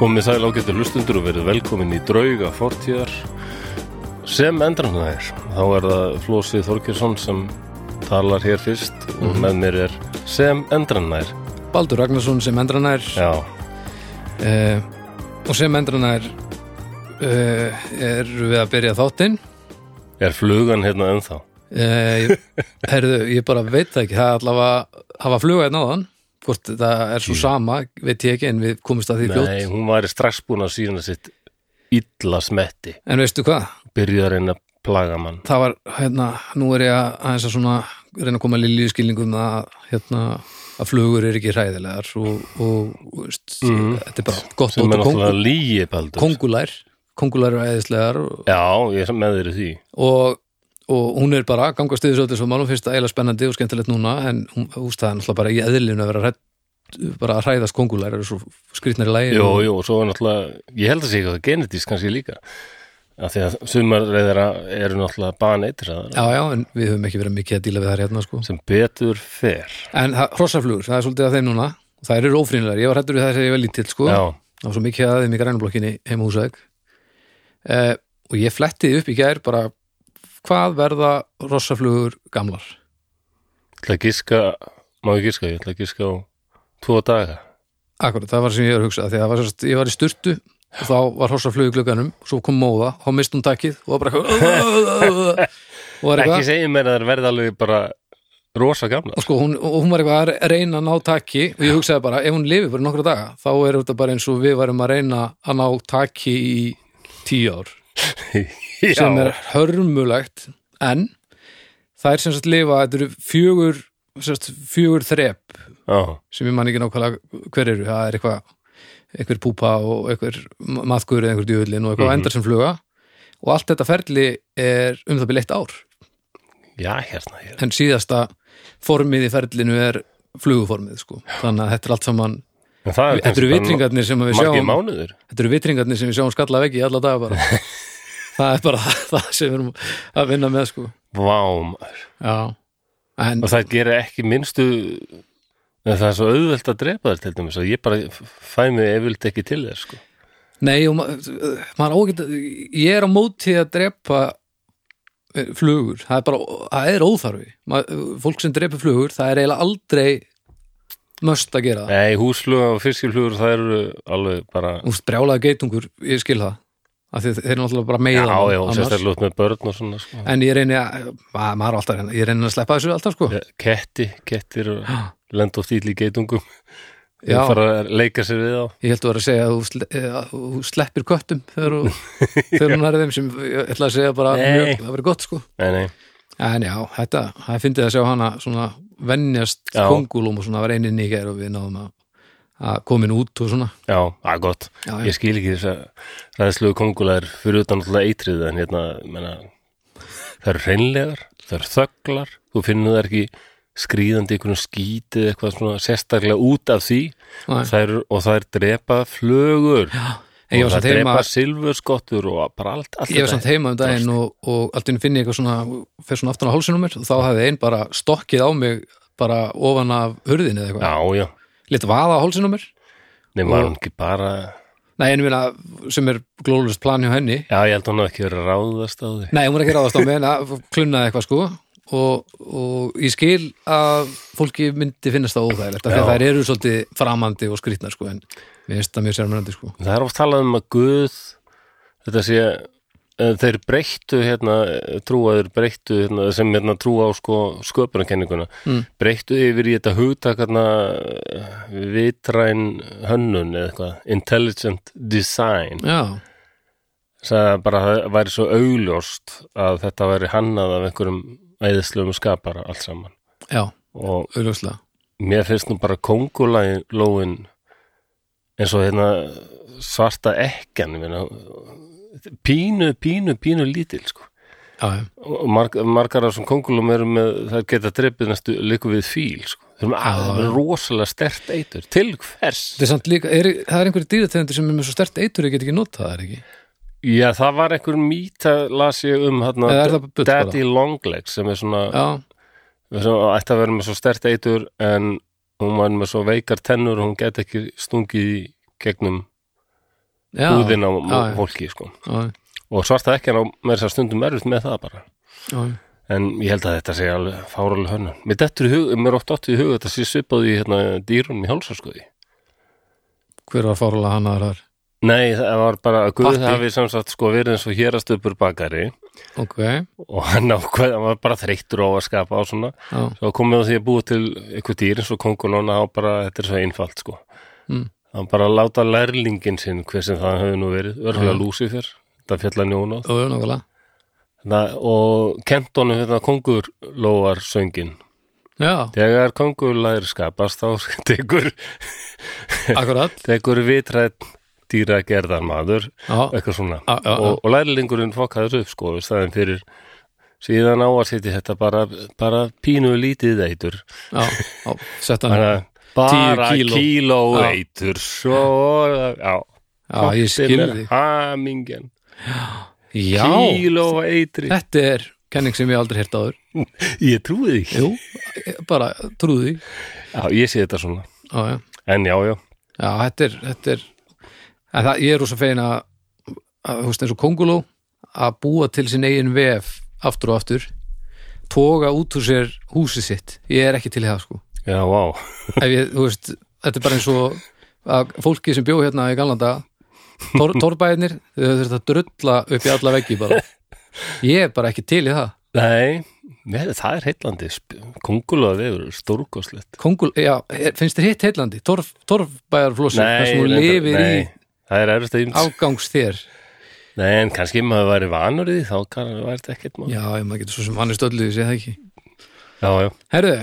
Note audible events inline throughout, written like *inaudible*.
Komið sæl ágættu hlustundur og verið velkomin í drauga fortíðar sem endranlega er. Þá er það Flósi Þorkjörsson sem talar hér fyrst og með mér er sem endranlega er. Baldur Ragnarsson sem endranær Já, uh, og sem endranær uh, erum við að byrja þáttinn er flugan hérna ennþá? *laughs* uh, herðu, ég bara veit það ekki það er allavega, hafa fluga einn áðan hvort það er svo sama, veit ég ekki en við komumst að því Nei, fljótt hún væri strax búin að sína sitt illa smetti. en veistu hvað, Byrjar einn að plaga mann. það var hérna, nú er ég að aðeins að svona reyna að koma lillu í skilningum að hérna að flugur er ekki hræðilegar og, og, og veist, þetta er bara gott Mhm. Sem er dót og náttúrulega kong, lígi baldur. kongulær kongulær eru æðislegar og, Já, ég er með þeirri því. og, og hún er bara að gangast yfir svolítið svo málum finnst það eiginlega spennandi og skemmtilegt núna en hún úst það er náttúrulega bara í eðlinu að vera hrætt bara að hræðast kongular eru svo skrýtnar í lægi Jú, jú, og svo er náttúrulega, ég held að sé eitthvað genetist kannski líka af því að sumar reyðara eru náttúrulega baneitraðar Já, já, en við höfum ekki verið mikið að díla við það hérna sko. sem betur fer En það- hrossaflugur, það er svolítið að þeim núna Það eru ófrýnilegar, ég var hættur við það þegar ég var lítill sko. Já, Það var svo mikið að þeim í grænublokkinni heima húsæk eh, Og ég fletti upp í gær bara Hvað verða hrossaflugur gamlar? ég ætla að giska má ég giska, ég ætla að giska á tvo daga Akkurat, það var sem ég var að hugsa því að það var, sérst, ég var í sturtu og þá var hossa flug í glugganum svo kom móða, þá mist hún takkið og var bara eitthvað og var Ekki eitthvað segja mér að það verða alveg bara rosa gamla *laughs* og sko, hún, og hún var eitthvað að reyna að ná takki og ég hugsaði bara, ef hún lifi bara nokkra daga þá er þetta bara eins og við varum að reyna að ná takki í tíu ár Já, sem er hörmulegt en það er sem sagt lifa, þetta eru fjögur sem sagt, fjögur þrep já, sem ég man ekki nákvæmlega hver eru það er eitthvað, einhver púpa og einhver maðgur eða einhver djöfullin og eitthvað Mhm. endar sem fluga og allt þetta ferli er um það byrja eitt ár já, hérna, hérna en síðasta formið í ferlinu er fluguformið sko þannig að þetta er allt saman, En það þetta eru vitringarnir sem að við Margir sjáum mánuður þetta eru vitringarnir sem við sjáum skalla veggi í alla daga *laughs* bara það er bara *laughs* það sem við erum að vinna með sko Vám já, en og það gerir ekki minnstu en það er svo auðvelt að drepa þér til dæmis að ég bara fæ mig efilt ekki til þér sko. Nei, og ma maður ágætt ég er á móti að drepa eh, flugur, það er bara það er óþarfi, Ma fólk sem drepa flugur það er eiginlega aldrei möst að gera það, Nei, húsfluga og fiskiflugur það eru alveg bara þú veist brjálaði geitungur ég skil það, af því þeir eru náttúrulega bara Já, meiða já, annars. sérstaklega út með börn og svona sko. en ég reyni að, ma- maður á alltaf reyna ég reyni að sleppa þessu alltaf sko Ketti, kettir og Já. lenda oft ítli í geitungum Já. og fara að leika sér við á ég held að vera að segja að þú, sle eh, að þú sleppir köttum þegar, þú- þegar hún er þeim sem ég ætla að segja bara Nei. mjög, það verið gott sko Nei, nei, En já, þetta, það er fyndið að sjá hana svona vennjast Já. kongulum og svona var einin í gær og við náðum að, að komin út og svona já, að gott Já, já. Ég skil ekki þess að ræðslugu kongulegar fyrir utan alltaf eitrið en hérna, menna það eru reynlegar, það eru þögglar þú finnur það ekki skríðandi einhvern skítið eitthvað svona sérstaklega út af því Nei. þær, og það er drepa flögur já, En ég og var það samt heima, drepa silfurskottur og bara allt, allt ég var þetta. samt heima um daginn og, og allt inn finn ég eitthvað svona fer svona aftan á hálsunum mér og þá hefði ein bara stokkið á mig bara ofan af hurðin eða eitthvað, Já, já, lit vaða á hálsunum mér nema var hún ekki bara Nei, einu minna sem er glólust plan hjá henni Já, ég held hún hafi ekki verið að ráðast á því Nei, hún var ekki að ráðast á mig en að klunnaði eitthvað sko og, og ég skil að fólki myndi finnast það óþægilegt af því að Já. þær eru svolítið framandi og skrýtnar sko en við finnst það mjög sérmennandi sko Það er oft talað um að Guð þetta sé eh, þeir breyttu hérna eh, trúaður breyttu hérna, sem hérna trú á sko sköpunarkenninguna mm. breyttu yfir í þetta hugtak hérna eh, vitræn hönnun eða eitthvað intelligent design Já, sagði að bara það væri svo augljóst að þetta væri hannað af einhverjum æðislegum skapara allt saman já, og auðljóslega mér finnst nú bara kongulóin eins og hérna svarta ekkan ég meina, pínu, pínu, pínu lítil sko. Já, já, og marg, margar af þessum kongulum eru með það geta drepið næstu líku við fíl sko. þeir eru með alveg rosalega stert eitur til hvers? þetta er samt líka, er, það er einhverju dýrategundir sem er með svo stert eitur ég get ekki notað það er ekki Já, það var einhver mýta las ég um hana, Eða er það bara bull bara? Daddy Longlegs sem er svona, Já, sem ætti að vera með svo stert eitur en hún var með svo veikar tennur og hún get ekki stungið í gegnum já, húðin á já, já. fólki sko. já, og svarta ekki á með þess að stundum erfitt með það bara já, en ég held að þetta sé alveg fáralega hönnun mér, dettur í hug, mér er oft átt í hug að þetta sé svipað í hérna, dýrum í hálsarskoði hver var fárlega hannaður þar nei, það var bara að Guð Patti. hafi samsagt sko verið eins og hérastöpur bakari ok, og hann ákveð, hann var bara þreyttur á að skapa á svona já, svo komið á því að búa til eitthvað dýr eins og kongulóna á bara, þetta er svo einfalt sko Mm. hann bara láta lærlingin sinn hver sem það hefur nú verið, örflega Já. lúsi þér þetta fjalla njóna það var nákvæmlega Hérna, og kent honum hérna kongulóar söngin *laughs* já, þegar kongulær skapast þá *laughs* tekur, akkurat tekur vitrætt dýra gerðar maður já, eitthvað svona Já, já, já. og, og lærlingurinn fokkaður upp sko í staðin fyrir síðan á að setja þetta bara, bara pínu lítið eitur já, já, sett hann bara, bara 10 kíló. kíló, kíló Já. eitur svo, já, já, ég skil þig hamingen, já, kíló eitri þetta er kenning sem ég aldrei hirt áður ég trúi því jú, bara trúði já, já, ég sé þetta svona, já, en já, já já, þetta er, þetta er en það, ég er rosa fegin að, að þú veist eins og konguló að búa til sinn eigin vef aftur og aftur toga út úr sér húsið sitt ég er ekki til í það sko já, vá, ef ég, þú veist, þetta er bara eins og að fólki sem bjó hérna í gamla daga tor, torbæðinir, þau þurft að drulla upp í alla veggi bara ég er bara ekki til í það nei Nei, það er heillandi, kongulóða vefur er stórkoslegt Kongul, já, er, finnst þér hitt heillandi torf, torfbæðarflossur, þar sem hún reyndar- lifir í nei, það er erfist að ímst afgangs þér Nei, en kannski ef maður væri vanur í því þá kann- væri þetta ekkert mál Já, já, ef maður getur svo sem annars öllu því, sé það ekki já, herðu,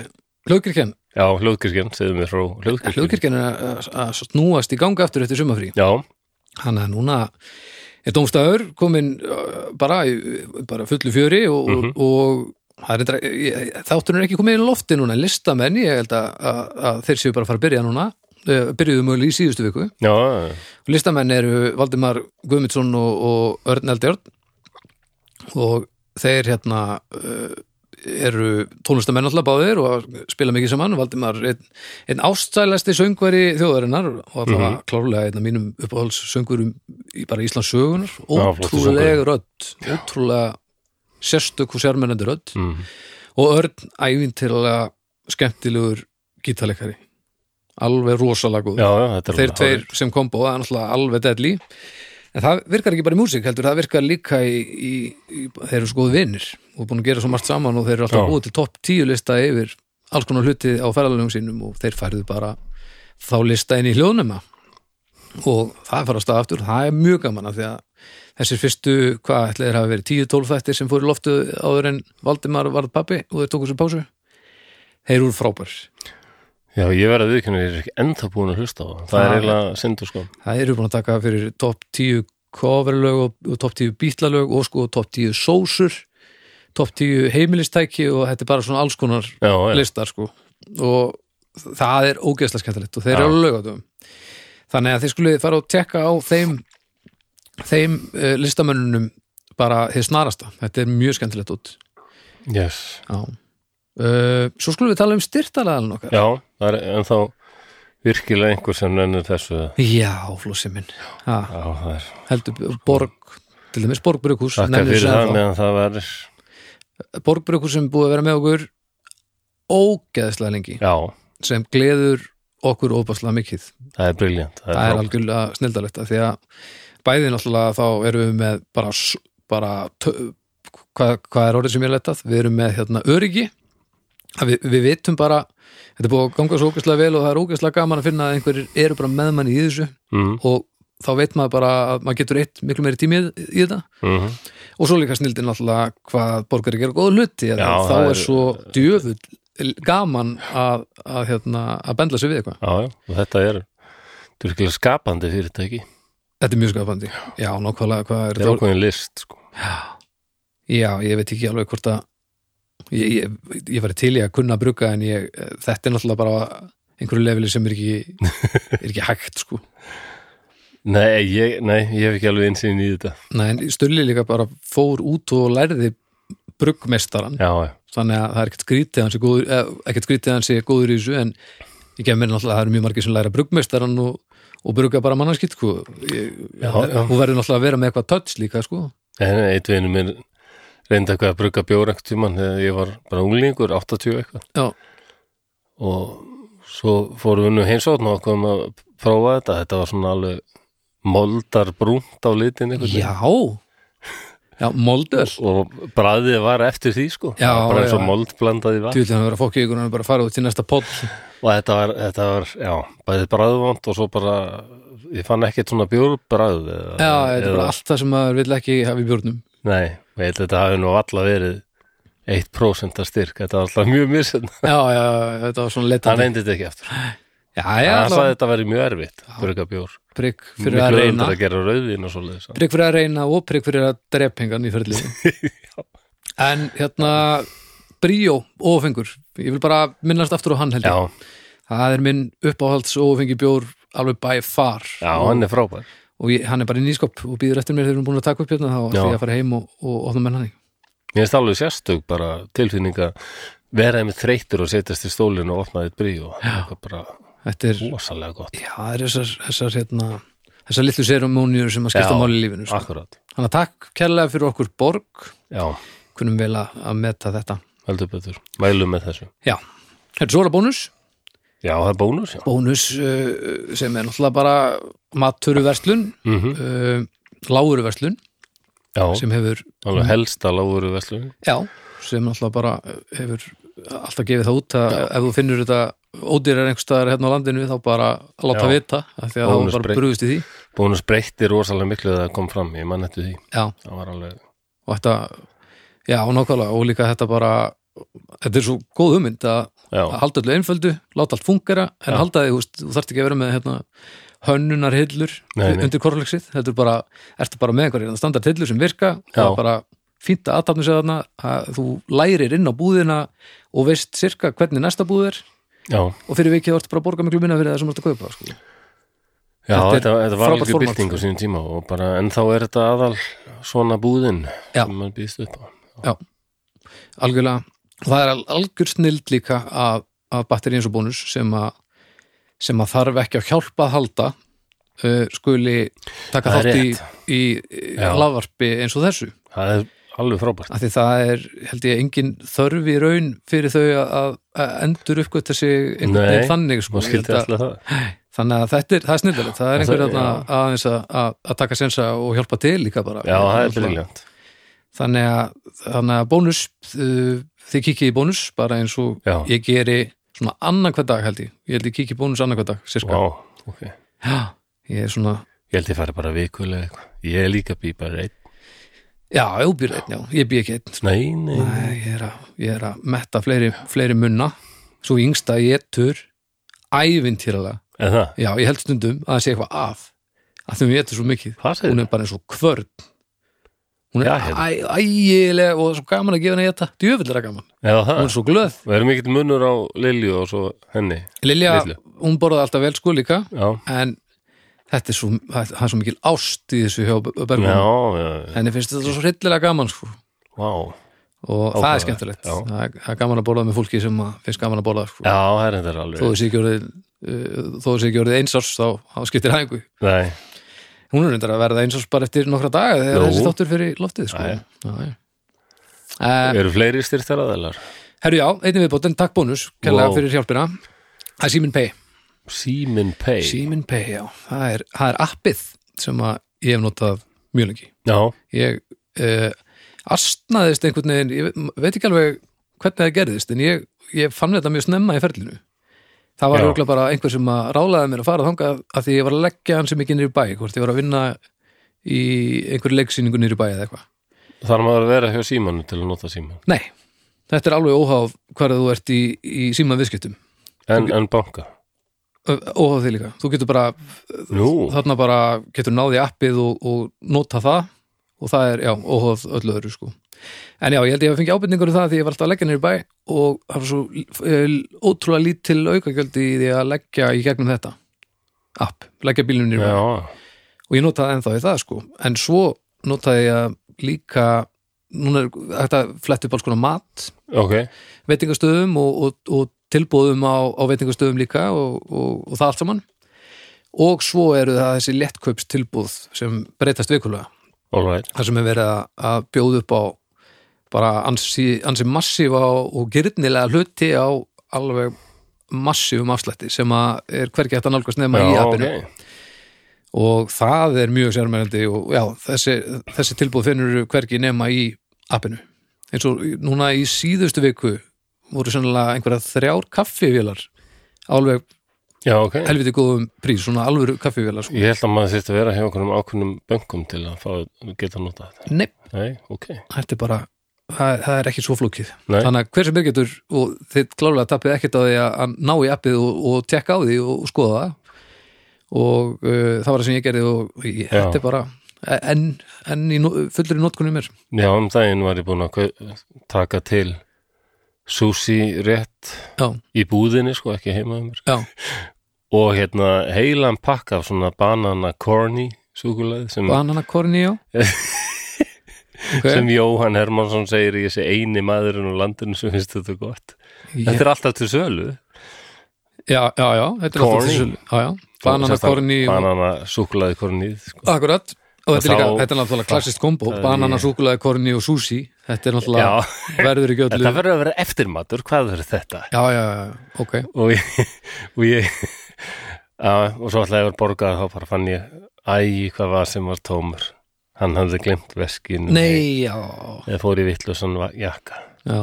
hlugkirkjan, já, hljóðkirkjan, segðum við frá hljóðkirkjan hlugkirkjan er að- að snúast í ganga aftur eftir sumafrí Já, Þannig að núna er Dómstafur komin uh, bara, í- bara fullu fjöri og, mm Mhm. -hmm. og, það er reyndar- ég- þátturinn er ekki komið inn í lofti núna en listamenn, ég held að, að, að þeir séu bara að fara að byrja núna uh, byrjuðu mögulega í síðustu viku já, já, listamenn eru Valdimar Guðmundsson og, og Örn Eldjörn og þeir hérna uh, eru tónlistamenn alltaf báðir og spila mikið saman Valdimar einn, einn ástælæsti söngveri þjóðarinnar og það var klárlega einn af mínum uppáhalds söngverum í bara Íslands sögunar flottur ótrúlega rödd ótrúlega sérstök og sérmennandi rödd Mhm. og Örn ævintilega skemmtilegur gítalekari alveg rosalega góð já, já, þetta er þeir alveg tveir hárrétt. sem kombo, það er náttúrulega alveg deadly en það virkar ekki bara í músík heldur, það virkar líka í, í, í þeir eru svo góðu vinnir og búin að gera svo margt saman og þeir eru alltaf Já. búið til topp tíu lista yfir alls konar hluti á ferðalöfum sínum og þeir færðu bara þá lista inn í hljóðnema og það fara að staða aftur, það er mjög gaman af því að þessir fyrstu, hvað ætlaðir hafa verið 10-12 þættir sem fóru í loftu áður en Valdimar varð pappi og þeir tóku sér pásu þeir eru frábær Já, ég verði að viðkynna, ég er ekki ennþá búin að hlusta á það Það Það- er eiginlega syndur sko Það eru búin að taka fyrir topp 10 coverlög og, og topp 10 bítlalög og sko topp 10 sósur topp 10 heimilistæki og þetta er bara svona alls konar Já, já, listar sko og það er ógeðslega skemmtilegt og þeir Já. eru lögatum þannig að þið skulið fara og tekka á þeim þeim uh, listamönnunum bara þið snarasta, þetta er mjög skemmtilegt út yes Já uh, Svo skulum við tala um styrtalaðan okkar Já, það er ennþá virkilega einhver sem nennir þessu Já, Já, flósi minn ha, það er heldur Borg til dæmis Borgbrukus Takka fyrir það meðan það verður Borgbrukus sem er búið að vera með okkur ógeðslega lengi Já, sem gleður okkur óbáslega mikið það er briljant það er algjörlega snildalegt af því að bæði náttúrulega þá erum við með bara, s- bara tö- hvað, hvað er orðið sem ég letað við erum með hérna öryggi Að við, við vitum bara þetta er búið að ganga svo ógeðslega vel og það er ógeðslega gaman að finna að einhverjir eru bara með manni í þessu mm, og þá veit maður bara að maður getur eitt miklu meiri tími í, í þetta mm, og svo líka snildin náttúrulega hvað borgari gera góða hluti Já, Já, þá það er, er- svo djöfull gaman að, að, hérna, að bendla sér við eitthvað Já, já, og þetta er Þetta er virkilega skapandi fyrirtæki þetta er mjög skapandi já, nákvæmlega hvað er Þetta er þetta ákveðin list sko já, ég veit ekki alveg hvort að ég, ég, ég var til í að kunna að brugga en ég, þetta er náttúrulega bara einhverju leveli sem er ekki, er ekki hægt sko Nei, ég, nei, ég hef ekki alveg einsýn í þetta. Nei, en Stulli líka bara fór út og lærði bruggmestaran Já, já, þannig að það er ekkert skrítið að hann sé góður, eh, ekkert skrítið að hann sé góður í þessu en ég gef mér náttúrulega að það eru mjög margir sem læra brugmestaran og, og bruga bara mannarskitt sko. Ég- Já, já. hún verður náttúrulega að vera með eitthvað touch líka sko. En eitt veginn mér reyndi eitthvað að brugga bjóra eitthvað tímann þegar ég var bara unglingur, 80 eitthvað já, og svo fórum við nú heimsókn og komum að prófa þetta þetta var svona alveg moldar brúnt á litin einhvern veginn. já já, moldöl og bræðið var eftir því sko Já, Það var bara eins og já. mold blandaði var Þú vil hann vera að fokki ykkur hann er bara að fara út til næsta poll og þetta var, þetta var, já, bæðið bræðvond og svo bara, ég fann ekkert svona bjórbræð eða, Já, þetta er eða- bara allt það sem maður vil ekki hafa í bjórnum Nei, ég held að þetta hafi nú alla verið 1% að styrk, þetta var alltaf mjög misinn Já, já, þetta var svona hann letandi reyndi þetta ekki eftir Já, já, hann sagði allavega þetta verið mjög erfitt, bruga bjór prigg fyrir að miklu reyna öðundar að gera rauðvín og svoleiðis prigg fyrir að reyna og prigg fyrir að drepingan í ferlið *laughs* En hérna Bríó, ófengur Ég vil bara minnast aftur á hann held já, ég Það er minn uppáhalds ófengi bjór alveg by far já, hann er frábær og ég, hann er bara í nýskop og býður eftir mér þegar við erum búin að taka upp hérna þá ætla Já. ég að fara heim og, og ofna menn hann mér finnst alveg sérstök bara tilfinninga vera með þreytur og setjast í stólinu og opna þitt brí og eitthvað bara Þetta er, rosalega gott já, það er þessar, þessar hérna, þessar litlu serumóniur sem að skipta Já, Ah. máli í lífinu sko. akkurat, Þannig að takk kærlega fyrir okkur borg já, kunum vel að að meta þetta heldur betur mælum með þessu, Já, þetta er svo er að bónus já, það er bónus já, bónus uh, sem er náttúrulega bara mattöruverslun mm uh, láguruverslun já sem hefur, alveg helsta láguru veslun já, sem náttúrulega bara uh, hefur alltaf gefið það út að ef þú finnur þetta ódýrar einhvers staðar hérna á landinu þá bara láta Já. vita af því að það var Bónusbreið. bara brugðist í því bónus breytti rosalega miklu þegar það kom fram, ég mann eftir því Já, það var alveg, og þetta já, og nákvæmlega, og líka þetta bara þetta er svo góð hugmynd að, já, að halda öllu einföldu, láta allt fungera en Já. halda því, þú veist, þú þarft ekki að vera með hérna, hönnunar hillur Nei, nei. undir korfleksið, þetta er bara, ertu bara með einhverjir standart hillur sem virka, það Já. er bara fínt að aðtapna sér þarna, að þú lærir inn á búðina og veist sirka hvernig næsta búð er já og fyrir vikið vartu bara að borga miklu minna fyrir það sem vartu að kaupa sko. Já, Þetta þetta, er þetta, var frábært alveg format. bylting á sínum tíma og bara, en þá er þetta aðal svona búðin Já. sem maður býðst upp á. algjörlega, og það er al- algjör snild líka að, að batteri eins og bónus sem að, sem að þarf ekki að hjálpa að halda uh, skuli taka Það er þátt í, í, í Já. lavarpi eins og þessu Það er alveg frábært. af því það er, held ég, engin þörf í raun fyrir þau að, að- að endur uppgötta sig einhvern Nei, veginn þannig sko. Má Ég skildi held að, alltaf það. þannig að þetta er, það er snildalegt það er Það- einhver þarna já. aðeins að, að, að taka sensa og hjálpa til líka bara Já, það er Náttúrulega. briljant. þannig að, þannig að bónus uh, þið kikið í bónus bara eins og Já. ég geri svona annan hver dag held ég, ég held ég kikið í bónus annan hver dag Vá, sirka, ok. Ég já, ég er svona held ég fari bara vikulega eitthvað. Ég er líka bý bara einn. já, ég býr einn, já, ég býr ekki einn sko. Nei, nei. Nei, ég, er að, ég er að metta fleiri, fleiri munna svo yngsta ég tur ævintýralega, En það, já, ég held stundum að það sé eitthvað af, að því við getur svo mikið hvað segir hún það? er bara eins og kvörn hún er Já, hérna. æ- ægilega og svo gaman að gefa henni þetta, djöfullega gaman Já, það. hún er svo glöð Það er mikill munur á Lilju og svo henni. Lilja, Litlu. hún borðaði alltaf vel sko líka Já, en þetta er svo, það það er svo mikil ást í þessu hjá já, Bergman já. henni finnst þetta svo hryllilega gaman sko Vá. og það er Áhugavert, skemmtilegt já. það er, það er gaman að borða með fólki sem að finnst gaman að borða sko. Já, það er þetta þó alveg. þessi ekki orðið uh, þó þessi ekki orðið einsás þá, þá skiptir það einhver Nei, hún er reyndar að verða einsás bara eftir nokkra daga þegar Nú. þessi þáttur fyrir loftið sko. Jæja. já, já. Uh, eru fleiri styrtar aðeinar? herru já, einnig viðbótt en takk bónus, kærlega Wow. fyrir hjálpina það er Simin Pay Símin Pay. Síminn Pay, já, það er, það er appið sem að ég hef notað mjög lengi. Já, Ég uh, astnaðist einhvern veginn, ég ve- veit ekki alveg hvernig það gerðist, en ég, ég fann þetta mjög snemma í ferlinu. Það var Já. rúglega bara einhver sem að rálaði mér að fara þangað að því ég var að leggja hann sem ekki niður í bæ, hvort ég var að vinna í einhver leiksýningu niður í bæ eða eitthvað. þarf maður að vera hjá símanu til að nota síman. Nei, þetta er alveg óháf hvar þú ert í, í síma viðskiptum. En, en banka. Óháf því líka. Þú getur bara Nú, þarna bara getur náði appið og, og nota það og það er, já, óhóð öllu öðru sko en já, ég held ég að fengi ábyrningur um það því ég var alltaf að leggja niður í bæ og það var svo eh, ótrúlega lítil aukagjöld í því að leggja í gegnum þetta app, leggja bílnum niður í bæ já, og ég notaði ennþá í það sko en svo notaði ég líka núna er þetta flett upp alls konar mat ok. veitingastöðum og, og, og tilbúðum á, á veitingastöðum líka og, og, og það allt saman og svo eru það þessi lettköps tilbúð sem breytast vikulega all right, þar sem er verið að- að bjóða upp á bara ansi, ansi massífa og gyrnilega hluti á alveg massífum afslætti sem að er hvergi hægt að nálgast nefna í já, appinu ok og það er mjög sérmennandi og já, þessi, þessi tilbúð finnur hvergi nema í appinu eins og núna í síðustu viku voru sannlega einhverja þrjár kaffivélar alveg já, ok, helviti góðum prís, svona alvöru kaffivélar sko. ég held að maður þyrst að vera hjá okkur ákveðnum bönkum til að fá, geta nota þetta Nei, nei, ok, þetta er bara það, það er ekki svo flókið Nei. þannig að hver sem er getur og þið klálega tappið ekkert á því að- að ná í appið og, og tekka á því og, og skoða það og uh, það var það sem ég gerði og ég, Já. þetta er bara enn en í no, fullri notkunni mér já, um daginn var ég búin að kau- taka til sushi rétt já, í búðinni, sko, ekki heima um mér já, og hérna heilan pakka af svona banana corny súkulæði sem, banana *laughs* corny já Mm. sem Jóhann Hermansson segir ég sé eini maðurinn á landinu sem finnst þetta gott þetta er alltaf til sölu já, já, já, þetta er alltaf Corny. til sölu. já, já, banana corny og, banana súkulæði corny sko. akkurat og þetta er, líka, þá- þetta er náttúrulega klassist kombo Það er- banana, súkulaði, corny og sushi þetta er náttúrulega, já, *laughs* verður ekki öllu þetta verður að vera eftirmatur hvað er þetta já, já, já, já, ok og ég, og, ég á, og svo ætlaði ég að borga þá bara fann ég, æ, hvað var sem var tómur hann hafði glemt veskinu Nei, já, eða fór í vitlusan jakka já,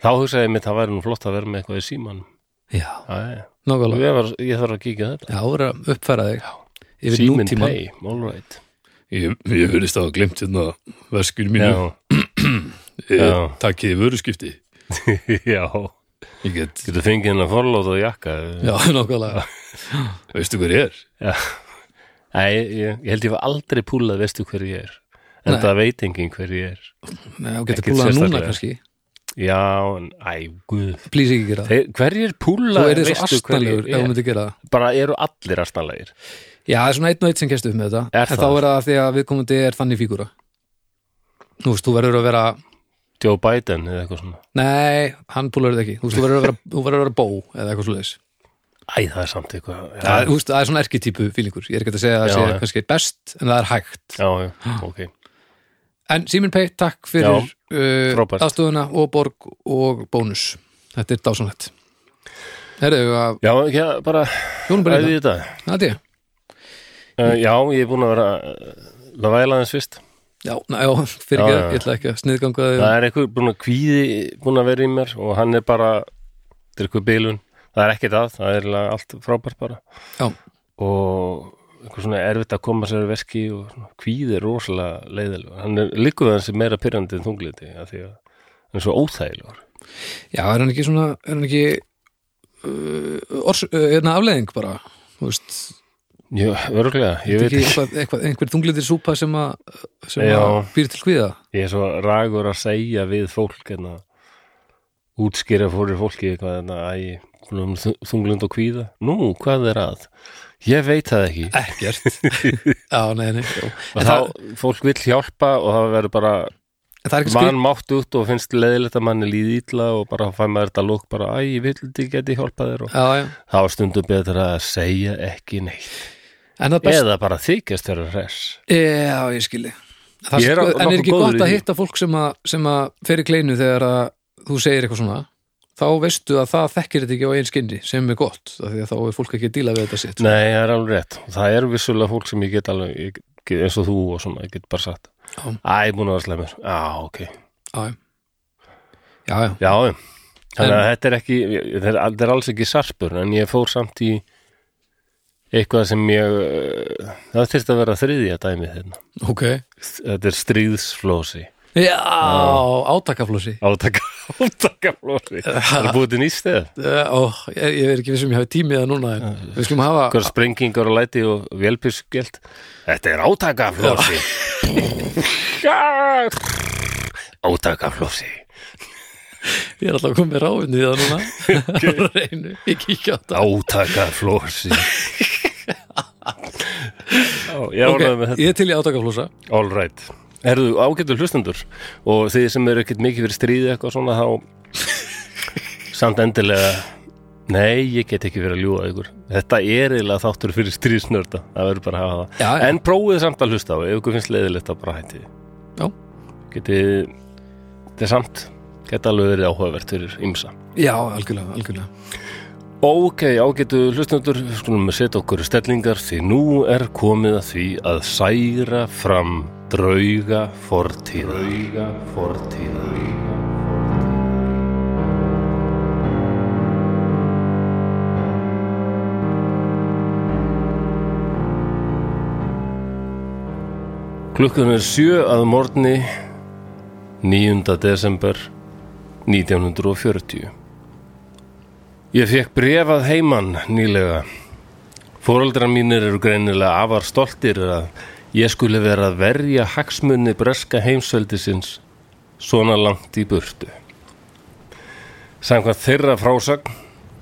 þá hugsaði ég mitt að væri nú flott að vera með eitthvað í símanum já, Æ, nákvæmlega ég, var, ég þarf að kíkja þetta Já, voru að uppfæra þig yfir Síminn nútíman Pay, all right Ég, ég verðist að hafa glemt hérna verskinu mínu, Já, Eh, ég, já. takkiði vöruskipti. já Ég get, Getur fengið hennar forlóð og jakka Já, *laughs* nákvæmlega veistu hver ég er? Æ, ég, ég held ég var aldrei púlað veistu hver ég er en Nei. það veit enginn hver ég er Nei, þú getur Ekkert púlað núna sérstaklega. kannski Já, en, æ, guð Plís ekki gera það Þeir, Hverjir Þú púlað er svo veistu hver astanlegur ég ef þú er myndir gera það Bara eru allir astanlegir Já, það er svona einn og einn sem kæst upp með þetta Er En það? þá er það af því að viðkomandi er þannig fígúra Þú veist, þú verður að vera Joe Biden eða eitthvað svona Nei, hann púlar þetta ekki Þú veist, þú verður að vera, þú verður að vera bó eða eitthvað svoleiðis Æ, það er samt eitthvað Það er- Já, þú veist, það er svona erkitípu fílingur Ég er ekki að segja Já, að það já. sé kannski best en það er hægt já, já ok En Simin Pay, takk Já, fyrir uh, frábært. aðstofuna og borg og bónus. Þetta er dásanlegt. Herðu, að Já, já, bara hjónum bara hérna. æði í þetta það. Það er Uh, já, ég er búin að vera uh, að væla aðeins fyrst. Já, na, já, fyrir Já, ekki, já, ég ætla ekki að sniðganga þig. Það er eitthvað búin að kvíði búin að vera í mér og hann er bara þetta er eitthvað bilun. Það er ekkert að, það er eiginlega allt frábært bara Já, og eitthvað svona erfitt að koma sér í verki og svona, kvíði er rosalega leiðilegur. Hann er líkuð hans meira pyrrandi en þungliti af því að hann er svo óþægilegur. já, er hann ekki svona, er hann ekki uh, ors, uh, er hann afleðing bara, þú veist, Jú, örgulega, ég veit ekki ekki. eitthvað, eitthvað, einhver þunglitir súpa sem að, sem að Já. býr til kvíða. Ég er svo ragur að segja við fólk en að útskýra fórir fólki eitthvað en að æ, svona um þunglind og kvíða. Nú, hvað er að? Ég veit það ekki. *laughs* Ekkert. já, nei, nei. Já. Og En þá, það, fólk vill hjálpa og það verður bara en það er ekki skrið. vannmátt út og finnst leiðilegt að manni líði ítla og bara fæ maður þetta lók bara, æ, ég vill ekki geti hjálpa þér og Já, já. þá er stundum betra að segja ekki neitt. En það best Eða bara þykjast þeirra hress. Já, ég skilji það, Ég er sko- nokkuð En er ekki góður gott í að því. hitta fólk sem að, sem að fer í kleinu þegar að þú segir eitthvað svona þá veistu að það þekkir þetta ekki á einn skinni sem er gott, af því að þá er fólk ekki að díla við þetta sitt Nei, það er alveg rétt. Og Það er vissulega fólk sem ég get alveg, ég, get- eins og þú og svona, ég get bara sagt. Já. Æ, búin að vera slemur. Já, ok. Já, já, já, Já, já. Þannig að En- þetta er ekki, ég- þetta er, þetta er alls ekki sarpur, en ég fór samt í eitthvað sem ég, uh, það þyrst að vera þriðja dæmið hérna. ok Þetta er stríðsflósi. Já, átakaflósi Átaka, *laughs* átakaflósi. Það er búið til nýst eða. Ó, ég, ég er ekki vissum ég hafi tímið það núna en við skulum hafa Hver sprengingar og læti og vélpissgjöld. Þetta er átakaflósi. *laughs* átakaflósi. ég er alltaf komið ráðinni í það *laughs* núna reynu, ég kíkja á þetta Átaka flósi *laughs* Já, Ok, okay. Ég er til í átakaflósa All right Erðu ágættur hlustendur og þið sem eru ekkert mikið fyrir stríði eitthvað svona þá samt endilega Nei, ég get ekki verið að ljúga ykkur. Þetta er eiginlega þáttur fyrir stríðsnörda. Það verður bara að hafa það. Já, já. En prófið samt að hlusta á, ef ykkur finnst leiðilegt að bara hætti því. Já. Getið, þetta er samt, geta alveg verið áhugavert fyrir ymsa. Já, algjörlega, algjörlega Ok, ágætu hlustendur, við skulum setja okkur í stellingar því nú er komið að því að særa fram drauga fortíð. Drauga fortíð. Klukkan er sjö að morgni 9. desember 1940. Ég fekk brefað heiman nýlega. Fóreldrar mínir eru greinilega afar stoltir að ég skuli vera að verja hagsmunni breska heimsveldisins svona langt í burtu. Samkvæmt þeirra frásagn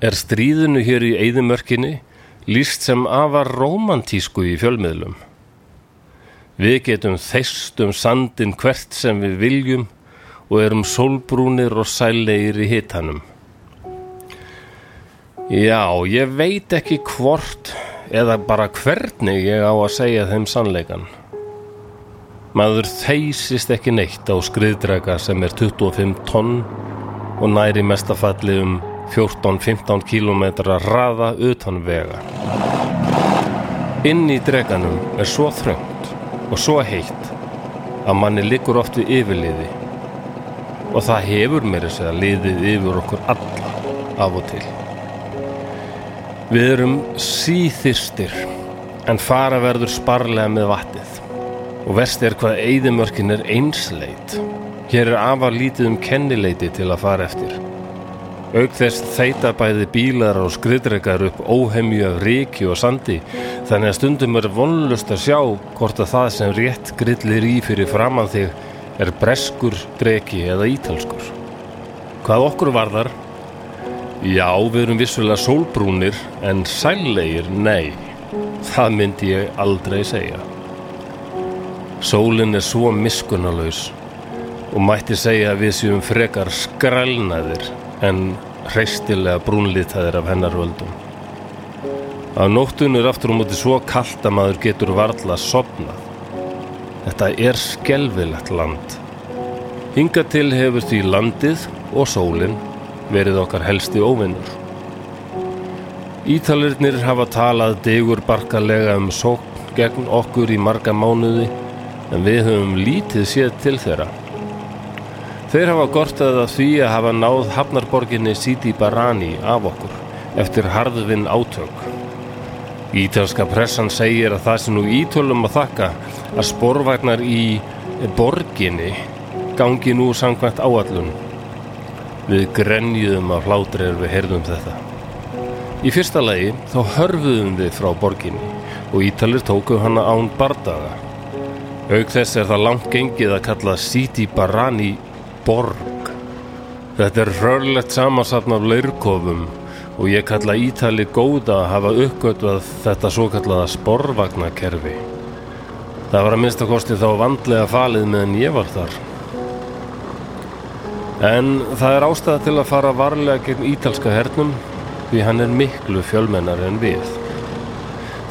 er stríðinu hér í eyðimörkinni líst sem afar rómantísku í fjölmiðlum. Við getum þeist um sandin hvert sem við viljum og erum sólbrúnir og sællegir í hitanum. Já, ég veit ekki hvort eða bara hvernig ég á að segja þeim sannleikan. Maður þeysist ekki neitt á skriðdraga sem er 25 tonn og næri mestafalli um 14-15 kílómetra raða utan vega. Inn í dreganum er svo þröngt og svo heitt að manni liggur oft við yfirliði og það hefur meira sér að liðið yfir okkur alla af og til. Við erum síþyrstir en fara verður sparlega með vatnið og verst er hvað eyðimörkin er einsleit. Hér er afar lítið um kennileiti til að fara eftir. Auk þess þeita bæði bílar og skriðdrekar upp óhemju af ríki og sandi þannig að stundum er vonlust að sjá hvort að það sem rétt grillir í fyrir framan þig er breskur, dreki eða ítalskur. Hvað okkur varðar Já, við erum vissulega sólbrúnir en sællegir, nei. Það myndi ég aldrei segja. Sólin er svo miskunnalaus og mætti segja að við séum frekar skrælnaðir en hreistilega brúnlitaðir af hennar völdum. Á nóttun er aftur á móti svo kalt að maður getur varla sopnað. Þetta er skelfilegt land. Hinga til hefur því landið og sólin verið okkar helsti óvinnur. Ítalirnir hafa talað degur barkalega um sókn gegn okkur í marga mánuði en við höfum lítið séð til þeirra. Þeir hafa gortað að því að hafa náð hafnarborginni Sidi Barani af okkur eftir harðvinn átök. Ítalska pressan segir að það sem nú ítölum að þakka að sporvagnar í borginni gangi nú samkvæmt áallun Við grenjuðum af hlátri er við heyrðum þetta. Í fyrsta lagi þá hörfuðum við frá borginni og ítalir tóku hana án bardaga. Auk þess er það langt gengið að kalla Siti Barani borg. Þetta er hrörlegt samansapn af laurkofum og ég kalla Ítali góða að hafa uppgötvað þetta svo kallaða sporvagnakerfi. Það var að minnsta kosti þá vandlega falið meðan ég var þar. En það er ástæða til að fara varlega gegn ítalska hernum því hann er miklu fjölmennar en við.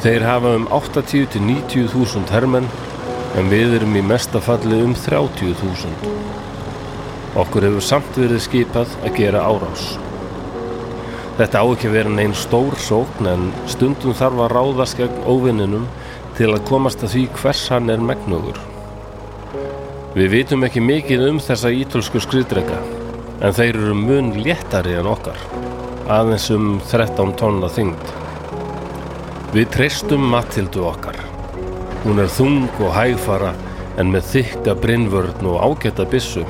Þeir hafa um 80-90.000 hermenn en við erum í mesta falli um 30.000. Okkur hefur samt verið skipað að gera árás. Þetta á ekki að vera neinn stór sókn en stundum þarf að ráðast gegn óvinninum til að komast að því hvers hann er megnugur. Við vitum ekki mikið um þessa ítölsku skriðdrega en þeir eru mun léttari en okkar aðeins um 13 tonna þyngd. Við treystum Matildu okkar. Hún er þung og hægfara en með þykka brinnvörn og ágæta byssu.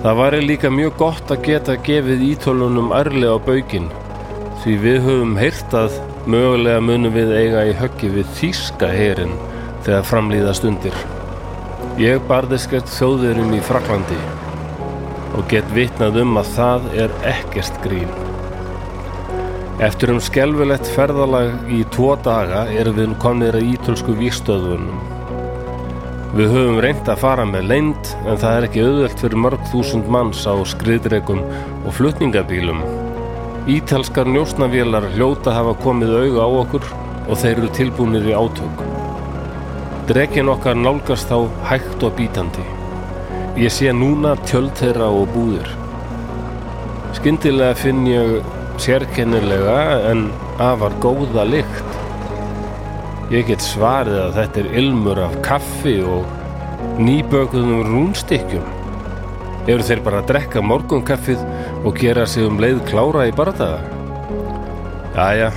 Það væri líka mjög gott að geta gefið ítölunum ærlega á baukinn því við höfum heyrt að mögulega munum við eiga í höggi við þýska herin þegar framlýðast undir. Ég barðist gert þjóðurum í Fraklandi og get vitnað um að það er ekkert grín. Eftir um skelfilegt ferðalag í tvo daga erum við komnir að ítölsku víkstöðunum. Við höfum reynt að fara með leynd en það er ekki auðvelt fyrir mörg þúsund manns á skriðdregum og flutningabílum. Ítalskar njósnavélar hljóta hafa komið auga á okkur og þeir eru tilbúinir í átök. Dregin okkar nálgast þá hægt og bítandi. Ég sé núna tjöld þeirra og búðir. Skyndilega finn ég sérkennilega en afar góða lykt. Ég get svarið að þetta er ilmur af kaffi og nýbökuðum rúnstykkjum. Eru þeir bara að drekka morgunkaffið og gera sig um leið klára í bardaga? Jæja,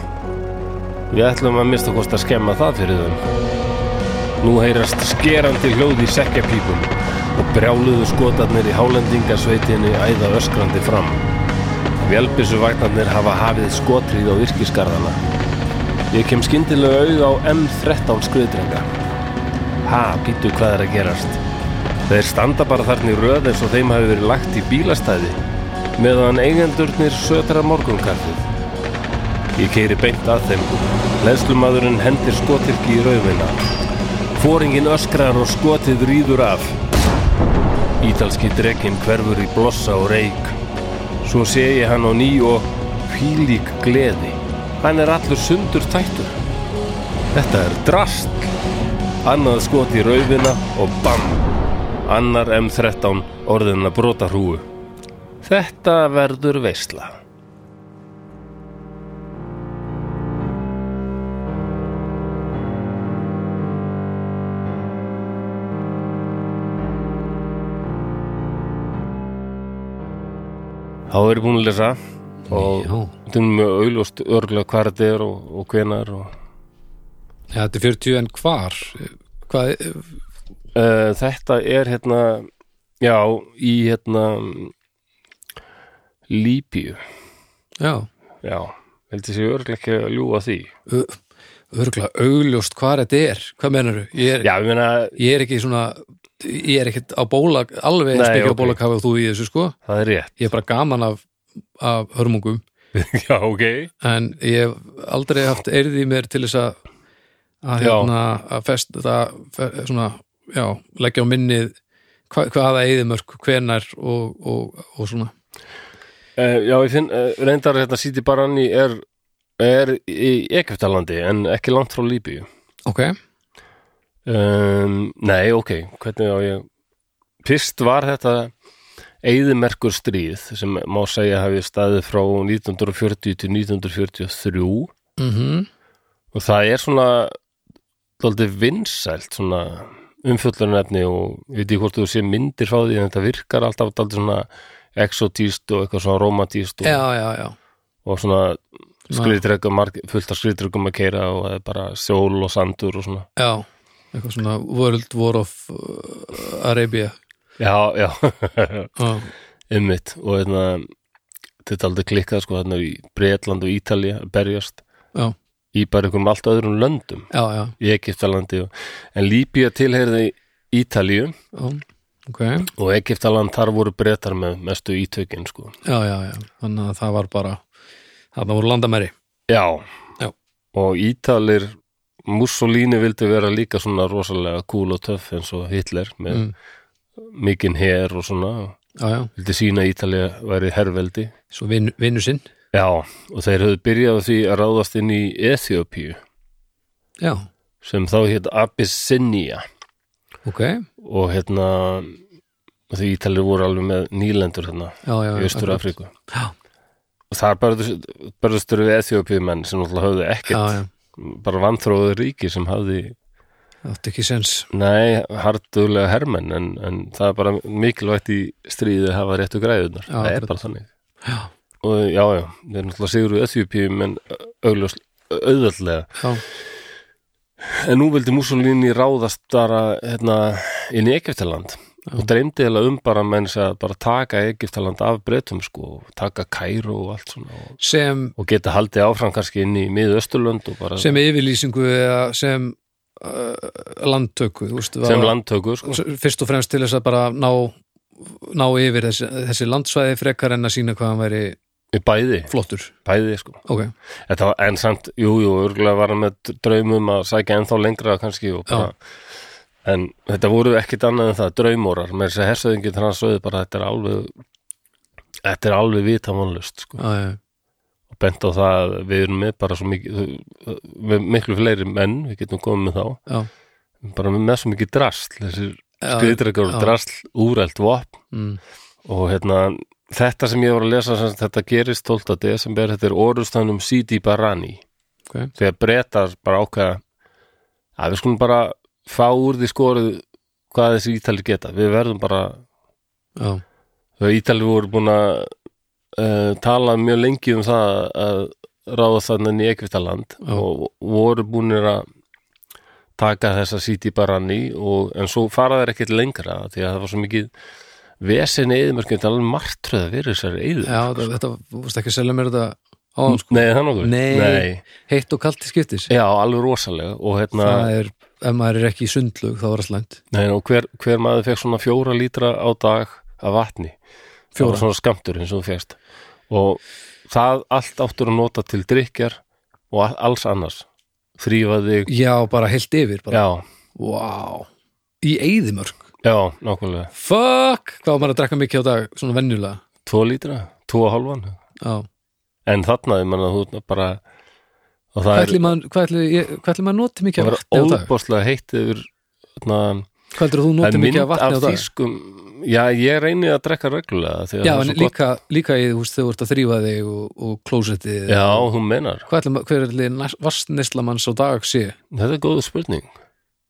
við ætlum að mista kost að skemma það fyrir þeim. Nú heyrast skerandi hljóð í sekkjapípum og brjáluðu skotarnir í hálendingasveitinni æða öskrandi fram. Vélbissuvagnarnir hafa hafið skotrið á virkiskarðana. Ég kem skyndilega auð á M13 skriðdrenga. Ha, býtu hvað er að gerast? Þeir standa bara þarna í röð eins og þeim hafi verið lagt í bílastæði meðan eigendurnir sötra morgunkaffið. Ég keiri beint að þeim. Leðslumadurinn hendir skotirki í rauðina. Fóringin öskrar og skotið rýður af. Ítalski drekinn hverfur í blossa og reik. Svo sé ég hann á ný og hvílík gleði. Hann er allur sundur tættur. Þetta er drast. Annað skot í rauðina og bam! annar M13 orðin að brota hrúu. Þetta verður veisla. Þá er ég búin að lesa og Já. þetta er mjög auðljóst örgulega hvað þetta er og, og hvenar og Já, þetta er 40 en hvar Hvað, Uh, þetta er hérna já, í hérna Líbíu já já, held ég sé örglega ekki að ljúga því Örgla, augljóst hvar þetta er Hvað menurðu? Ég er, já, ég meina, ég er ekki svona Ég er ekkit á bóla, alveg eins Nei, mikið ok. á bólakafi og þú í þessu sko það er rétt Ég er bara gaman af, af hörmungum *laughs* já, ok, en ég hef aldrei haft eirð í mér til þess að að, Já. hérna, að fest það fe- svona, já, leggja á minnið hva, hvaða eðimörk, hvenær og, og, og svona uh, já, ég finn uh, reyndar hérna Siti Barani er er í Egyptalandi en ekki langt frá Líbíu ok, um, nei, ok, hvernig á ég fyrst var þetta Eðimerkur stríð sem má segja hafi staðið frá 1940 til 1943 mm og það er svona daldið vinsælt svona umfjöllunarefni og ég veit ekki hvort þú sé myndir frá því en þetta virkar alltaf daldið svona exotíst og eitthvað svona romantíst og, já, já, já og svona skriðdregum fullt af skriðdregum að keira og það er bara sjól og sandur og svona já, eitthvað svona World War of uh, Arabia já, *laughs* já, já, ummitt og hérna, þetta er aldrei klikkað sko þarna í Breitland og Ítalía að berjast já, í bara einhverjum allt öðrum löndum já, já, í Egyptalandi og, en Líbía tilheyrði Ítalíu já. ok, og Egiptaland þar voru breytar með mestu ítökin sko. já, já, já þannig að það var bara þarna voru landamæri já. Já. og Ítalir Mussolini vildi vera líka svona rosalega cool og töff eins og Hitler með Mm. mikinn her og svona já, já, vildi sína Ítalið væri herveldi svo vin, vinnu sinn já, og þeir höfðu byrjað á því að ráðast inn í Ethiopíu já, sem þá hétt Abyssinia ok, og hérna því Ítalir voru alveg með nýlendur hérna já, já, í já, Östur-Afríku já, og þar börðustur við Ethiopíu menn sem náttúrulega höfðu ekkert já, já bara vantróðu ríki sem hafði Það átti ekki sens. nei, hardulega hermenn en, en það er bara mikilvægt í stríði að hafa réttu græðunar Já, það er akkurat. bara þannig Já. og já, já, við erum náttúrulega sigur úr Ethiopíum en augljós auðvöldlega, Já, en nú vildi Mussolini ráðast bara hérna, inn í Egyptaland og dreymdi heila um bara menn að bara taka Egyptaland af breytum sko, og taka Kæru og allt svona og, sem, og geta haldið áfram kannski inn í miðausturlönd og bara sem yfirlýsingu eða sem uh, landtöku, þú veist, var- sem landtöku sko. fyrst og fremst til þess að bara ná, ná yfir þessi, þessi landsvæði frekar en að sína hvað hann væri bæði, flottur. bæði sko Ok, Þetta var enn samt, jú, jú, örgulega var hann með draumum að sækja ennþá lengra kannski og bara, en þetta voru ekkit annað en það draumórar með þess að hersöðingi þannig að sögðu bara þetta er alveg þetta er alveg vita vonlust sko. já, já, bent á það að við erum með bara svo mikið með miklu fleiri menn, við getum komið með þá já, bara með svo mikið drasl þessir Já, skriðdrekar og já. drasl úrælt vopn mm, og hérna, þetta sem ég var að lesa sem sagt, þetta gerist 12. desember þetta er orðustanum Sidi Barani ok þegar brettar bara ákveða að við skulum bara fá úr því skorið hvað þessi ítali geta við verðum bara já, Þau Ítali voru búin að uh, tala mjög lengi um það að ráða þannig í Ekvitaland Já. og voru búinir að taka þessa síti bara ný og, en svo fara þær ekkert lengra því að það var svo mikið vesinni eðmörkjum, þetta er alveg martröð að vera þessari eður. já þetta, þetta vorst ekki að selja mér þetta áðan sko, Nei, það nokkuð. Nei. heitt og kalt til skiptis Já, alveg rosalega og hérna, það er, ef maður er ekki í sundlug þá er það slæmt, nei, og hver, hver maður fekk svona fjóra lítra á dag af vatni. það var fjóra svona skamtur eins og þú férst og það allt áttur að nota til drykjar og a- alls annars þrýfa þig, já, bara heilt yfir bara. já, wow, í eyðimörk já, nákvæmlega fuck, hvað var maður að drekka mikið á dag svona venjulega tvo lítra, tvo og halvan já. en þarna, ég menna, þú ert bara og hvað það ætli maður hvað ætli ég- hvað ætli maður noti er mikið af bara vatni á dag óbáslega heitt yfir þarna, hvað heldur þú það noti er mikið mynd af vatni á af dag þýskum já, ég reyni að drekka reglulega því að já, það er en svo gott- líka, líka í, þú veist, þegar þú ert að þrýfa þig og, og klósettið já, þú menar, hvað ætli, ma- hver ætli vastnislamanns á dag sé þetta er góð spurning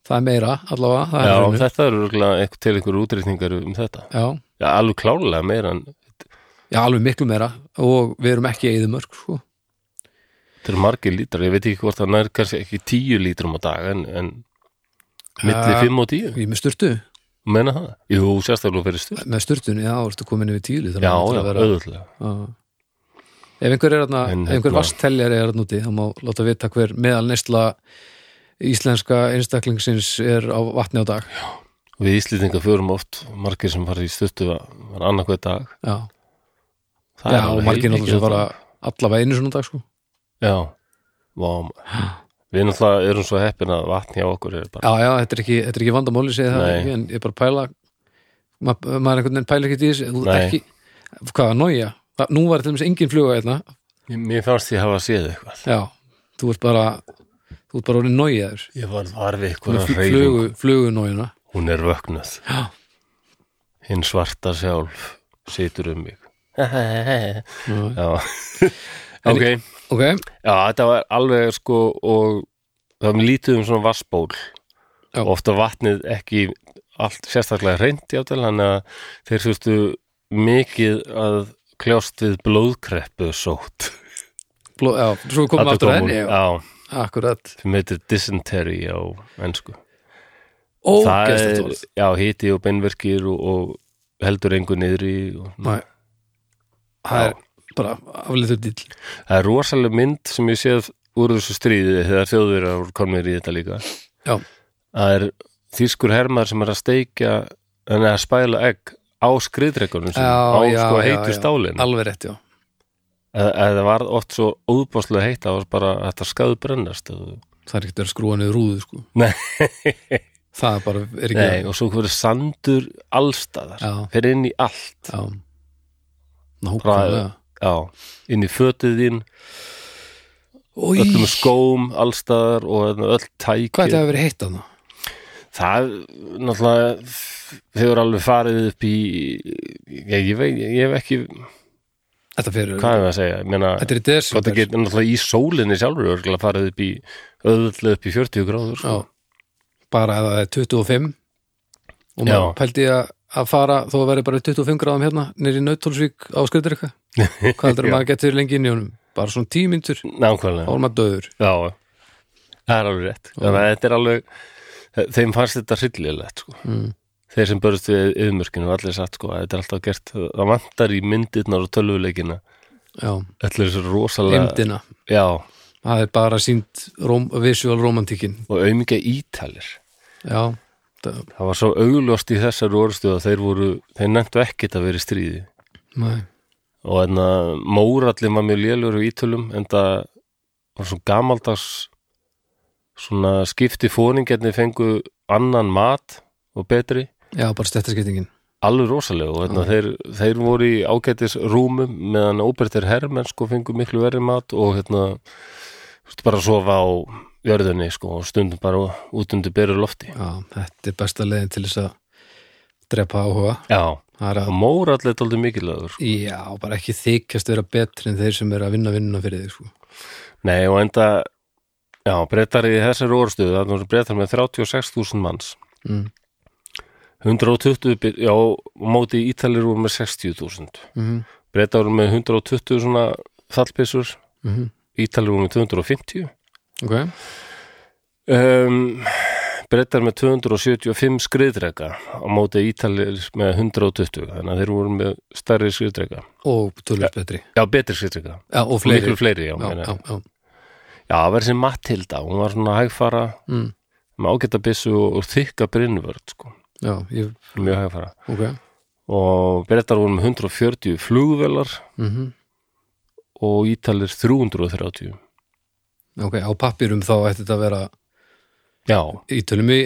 það er meira allavega það já, er hreinu. þetta eru örugglega einhver- til einhver útrýtningar um þetta já. já, alveg klálega meira en já, alveg miklu meira og við erum ekki eðimörk sko. Þetta eru margir lítrar, ég veit ekki hvort það nær kannski ekki tíu lítrum á dag en, en milli Ja. fimm og tíu, ég er með styrtu, menna það? Jú, sérstaklega fyrir stuð með styrtun já, ertu komin yfir tíli Já, já, auðvitlega ef einhver er þarna, En ef einhver hérna- vasteljar er þarna úti, þá má láta vita hver meðal nesla íslenska einstaklingsins er á vatni á dag Við Íslendingar förum oft margir sem fara í stuðtu var annarkveð dag já, Það já er og alveg margir heilmikið náttúrulega sem á fara dag. allavega einu svona dag sko Já, vá maður. Við náttúrulega erum svo heppin að vatn hjá okkur er bara Já, já, þetta er ekki, þetta er ekki vandamáli segið það Nei. ekki, en ég er bara að pæla ma maður einhvern veginn pæla ekki í þessu þú- Nei. ekki, hvað að nója nú var til dæmis engin fluga hérna Mér fannst ég hafa séð eitthvað já, þú ert bara þú ert bara orðin nójaður Ég var varfið eitthvað reyfing flugu, flugunójuna Hún er vöknuð Já. Hinn svarta sjálf situr um *laughs* mig Já En- Ok ok, Já, þetta var alveg sko og það var lítið um svona vassból Já. og ofta vatnið ekki allt sérstaklega reynd játtel þannig að þeir þurftu mikið að kljást við blóðkreppu sótt bló, já, svo komum Þarna við aftur kom að henni hún, já, Já, akkurat, sem heitir dysentery á ennsku Það ógeðslegt er, orð já, hiti og beinverkir og, og heldur engu niðri og, Nei. það er bara afleitur dýll Það er rosaleg mynd sem ég séð úr þessu stríði þegar þjóðverjar voru komnir í þetta líka Já. Það er þýskur hermaður sem er að steikja en að spæla egg á skriðdrekunum sem á Já, já, sko já, heitu já. stálin alveg rétt, já, Það var oft svo óðbáslega heitt að það var bara að þetta skaðu brennast og- það er ekkert verið að skrúa niður rúðu sko. Nei. *laughs* það er bara, er ekki Nei, og svo hverju sandur allstaðar já, fer inn í allt já nákvæmlega Já, inn í fötið þín Új, öllum skóm allstaðar og hérna öll tæki hvað þetta hefur verið heitt hann? Það, náttúrulega, hefur alveg farið upp í, ég, ég veit, ég hef ekki, Þetta fyrir, hvað er það að segja, ég meina, þetta er í hvað það desember getur náttúrulega í sólinni sjálfur örgulega farið upp í, öðvöldlega upp í 40 gráður, Já, sko. bara að það er 25 og maður Já. pældi að, að fara þó að verði bara 25 gráðum hérna nýri Nauthólsvík á skriður hvað *laughs* heldur Já. maður getur lengi inn í honum bara svona 10 myndur, þá Nákvæmlega, er maður döður já, það er alveg rétt. Þannig að þetta er alveg, þeim fannst þetta hryllilegt, sko. mm. Þeir sem börjast við yfirmörkinu og allir satt, sko, að þetta er alltaf gert, það vantar í myndirnar og tölvuleikina, Já, allir þessu rosalega, imdina já, það er bara sínt róm, visual romantikin og aumingja ítalir. Já, það, Það var svo augljóst í þessari orðstu að þeir voru, þeir nefntu ekkit að vera í stríði nei, og en að mórallin var mjög lélur í ítölum en það var svo gamaldags svona skipti fóningarnir fengu annan mat og betri já, bara stettarskiptingin alveg rosalega og hérna, þeir, þeir voru í ágætis rúmum meðan óbertir herrmenn sko fengu miklu verri mat og hérna þurftu bara að sofa á jörðunni sko og stundum bara út undir beru lofti Já, þetta er besta leiðin til þess að drepa áhuga Já, Það er að, og mórall er aldrei mikilvægur sko. Já, bara ekki þykjast vera betri en þeir sem eru að vinna vinna fyrir þig sko. Nei og enda já, brettar í þessari orðstöðu þannig voru brettar með 36.000 manns mm. 120 byr- já, á móti ítalir voru með 60.000 Mm Breta voru með 120 svona fallbissur, -hmm. Ítalir voru með 250 Ok, um, Bretar með 275 skriðdrega á móti Ítalir með 120 þannig að þeir voru með stærri skriðdrega og tölvöld betri Já, betri skriðdrega, Já, og fleiri. fleiri miklu fleiri Já, já, meina. já, já. já það var sem Matilda, hún var svona hægfara Mm. með ágæta byssu og, og þykka brinnvörð sko, já ég, mjög hægfara ok og Bretar voru með 140 flugvelar mm og Ítalir 330 Ok, á pappirum þá ætti þetta að vera Já, ítölum í,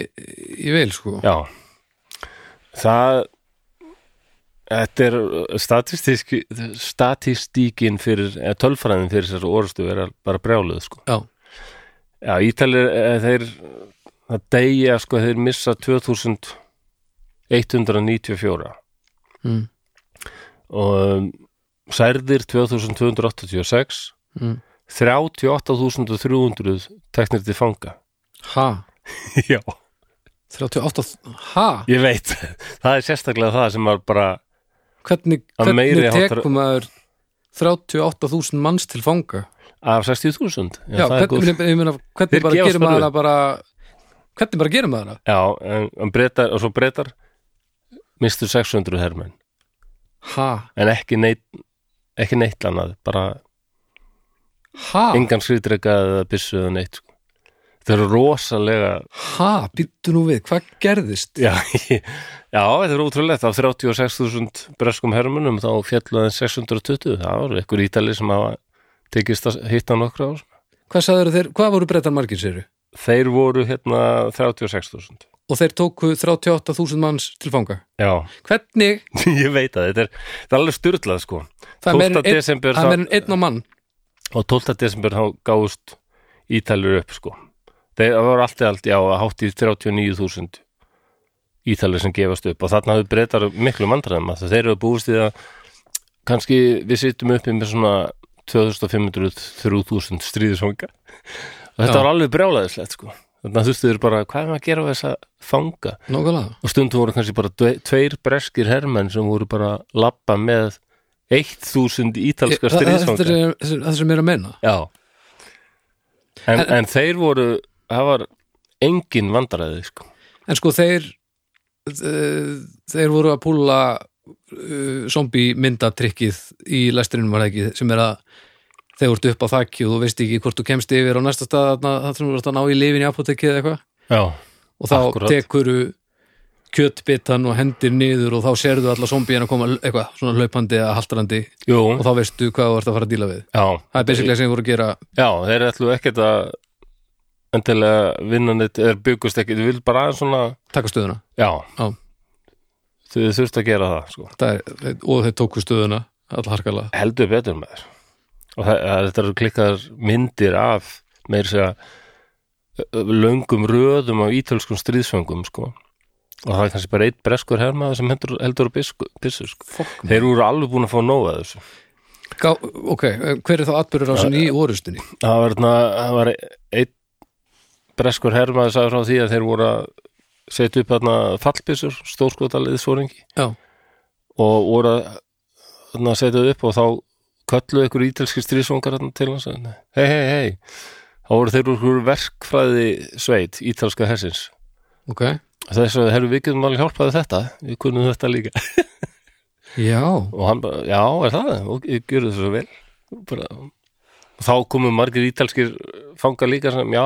í vel sko Já Það Þetta er statistík, statistíkin fyrir, eða tölfræðin fyrir þessar orðstu vera bara brjáluð sko. Já, Já, Ítalir, eh, þeir það deyja, sko, þeir missa 2194 Mm. og um, særðir 2286 Mm. 38.300 teknir til fanga *laughs* ha, Já 38 Ha, Ég veit, það er sérstaklega það sem var bara hvernig, Að meiri hvernig háttar- tekum maður 38.000 manns til fanga af 60.000 Já, það er góð- hvernig, ég meina, Þeir hvernig bara gefast gerir bara maður upp. það bara Hvernig bara gerir maður það? Já, en, en breytar, og svo breytar mistu 600 hermenn Ha, en ekki neitt ekki neitt annað, bara ha, engan skriðdrega eða byssu eða neitt sko. það eru rosalega ha, býttu nú við, hvað gerðist? já, *laughs* já, þetta er ótrúlegt af 36.000 breskum hermennum þá fjallu aðeins 620 það var einhver ítali sem hafa tekist að hitta nokkra ár Hvað sagður þeir, hvað voru brettar margir séru? þeir voru hérna 36.000 Og þeir tóku 38.000 manns til fanga já, *laughs* Hvernig, ég veit að þetta er, þetta er alveg styrlað sko það 12. er meira en einn- desember það er meira en einn á mann og 12. desember þá gáðust Ítalur upp sko Þeir- það var allt í allt, já, hátt í 39.000 Ítalur sem gefast upp og þarna hafði breytar miklu mandræðum að þeir eru búist í að kannski við sittum uppi með svona 2500-3000 stríðisfanga og þetta Já. var alveg brjálaðislegt sko þannig að þurftu þeir bara, hvað er maður að gera við þessa fanga Nógulega og stundum voru kannski bara dve- tveir breskir hermenn sem voru bara labba með 1000 ítalskar Það stríðsfanga er það sem ég er að menna Já En, en þeir voru, það var engin vandaræði sko. En sko þeir eh, þeir voru að púla uh, zombie myndatrikkið í læstrinum var það ekki sem er að þeir voru upp á þakki og þú veist ekki hvort þú kemst yfir á næsta stað þarna, þar sem þú voru að ná í lifin í apotekið eða eitthvað Já, og þá Akkúrat. Akkurat. tekuru kjötbitan og hendir niður og þá sérðu alla zombien að koma eitthvað svona hlaupandi eða haltrandi jú, og þá veistu hvað þú ert að fara að díla við já, Það er basically sem þeir voru að gera já þeir ætlu ekkert að endilega vinnan þetta er byggust ekki, þú vil bara aðeins svona taka stöðuna já, Já. þau þurft að gera það sko. Það er, og þeir tóku stöðuna allharkalega heldur betur með þér og það, það- þetta eru klikkar myndir af meir segja löngum röðum á ítölskum stríðsfangum sko. og það er kannski bara einn breskur hermaður sem heldur, heldur á bysku- byssur sko. Fokk Þeir eru alveg búin að fá nóg að þessu. Gá, ok, eh, hver er þá atbyrður á í orustunni? Það var, þarna- það var einn breskur hermaði sagði frá því að þeir voru að setja upp þarna fallbissur, stórskotaliðsfóringi Já, og voru að þarna, setja þau upp og þá kölluðu ykkur ítalski stríðsvangar þarna til hans hei, hei, hei þá voru þeir úr ykkur verkfræði sveit ítalska hersins ok þess að herru við getum alveg hjálpaði þetta við kunnum þetta líka *laughs* Já, og hann bara, já, er það og ég gjörðu þessu vel bara, og þá komu margir ítalskir fangar líka sem, já,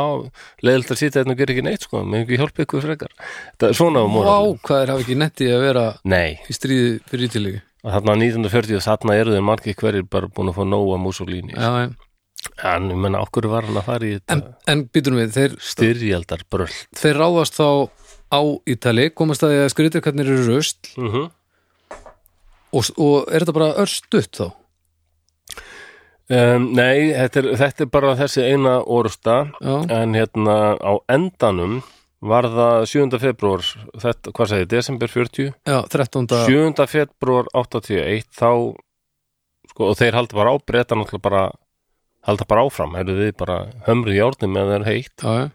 leiðilt að sitja þetta og gera ekki neitt, sko, með ekki hjálpa ykkur frekar það er svona á vá, morgun hvað er hafa ekki netti að vera nei, í stríði fyrir ítilífi og þarna 1940 þarna eru þeir margir hverjir bara búin að fá nóg að Mussolini Já, en, en, ég menna, okkur var hann að fara í þetta en, en býtum við, þeir, styrjaldar bröll þeir ráðast þá á Ítali, komast að því að skritir hvernig eru rusl mm -hmm. og, og er þetta bara örstutt þá? Um, nei, þetta er, þetta er bara þessi eina orsta Já, en hérna á endanum var það 7. februar þetta, hvað segir, desember 40 já 13. 7. februar 81 þá, sko, og þeir halda bara á breyta náttúrulega bara halda bara áfram, eru þið bara hömruð í árnum meðan það er heitt Já, já,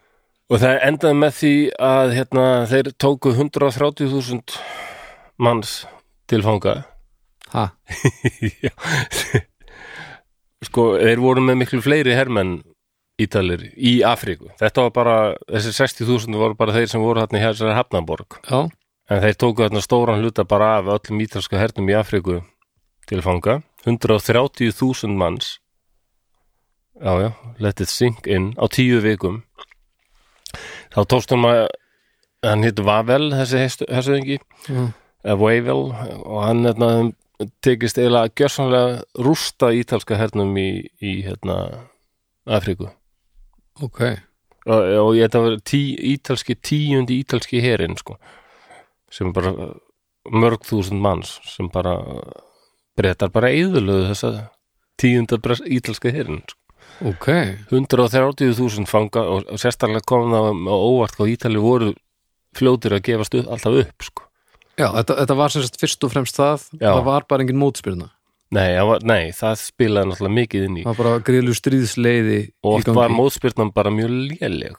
og það endaði með því að hérna, þeir tóku 130.000 manns til fanga ha, Já. sko, þeir voru með miklu fleiri hermenn ítalir í Afríku. Þetta var bara, þessi 60.000 voru bara þeir sem voru hérna í þessari Hafnaborg. já, En þeir tóku hérna stóran hluta bara af öllum ítalska hernum í Afríku til fanga. 130.000 manns. Já, já, let it sink in á tíu vikum. Þá tókst hann að, hann hétt Vavel, þessi hessuðingi, já, eða Wavell og hann hérna, tekist eiginlega gjörsamlega rústa ítalska hernum í, í hérna, Afríku ok og, og ég þetta var tí, ítalski tíundi ítalski herin sko, sem bara mörg þúsund manns sem bara brettar bara eðurlöðu þessa tíunda bres- ítalska herin sko. Ok, 130.000 fanga og og sérstaklega kom það á óvart hvað Ítali voru fljótir að gefast upp, alltaf upp sko. já, þetta, þetta var sem sagt fyrst og fremst það Já. það var bara engin mótspyrna nei, það var, nei, það spilaði náttúrulega mikið inn í það var bara grílu stríðsleiði og í oft gangi. var mótspyrnan bara mjög léleg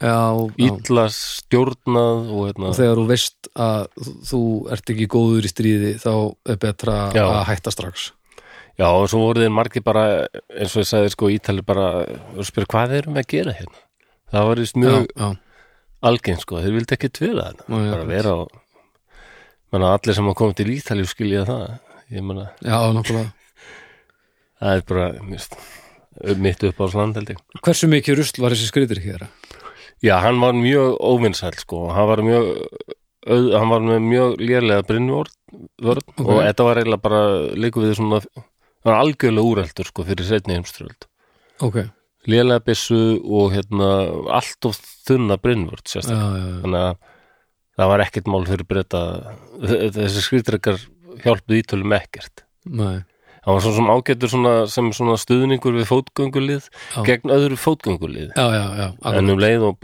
já, já. illa stjórnað og hérna og þegar þú veist að þú- þú ert ekki góður í stríði þá er betra Já. að hætta strax já og svo voru þeir margir bara eins og ég sagði sko ítali bara og spyr hvað erum við að gera hérna það var þess já, mjög já, algeng sko þeir vildi ekki tvila þarna Nú, já, bara vera og menna allir sem að koma til Ítali skilja það ég menna já, nákvæmlega það er bara mist, mitt upp á sland held ég Hversu mikið rusl var þessi skriðir hér? já hann var mjög óvinnsæl sko og hann var mjög auð, hann var með mjög lélega brinnvörn Ok. og þetta var eiginlega bara líku við svona hann var algjörlega úreldur sko fyrir setni heimströld Ok, lélega byssu og hérna allt of þunna brinnvörn já, sérstaklega já, já. þannig að það var ekkert mál fyrir breyta þessi skrýtrekar hjálpuð ítölum ekkert Nei, hann var svo sem ágætur svona, sem svona stuðningur við fótgöngulið Já. gegn öðru fótgöngulið já, já, já akkurat. en um leið og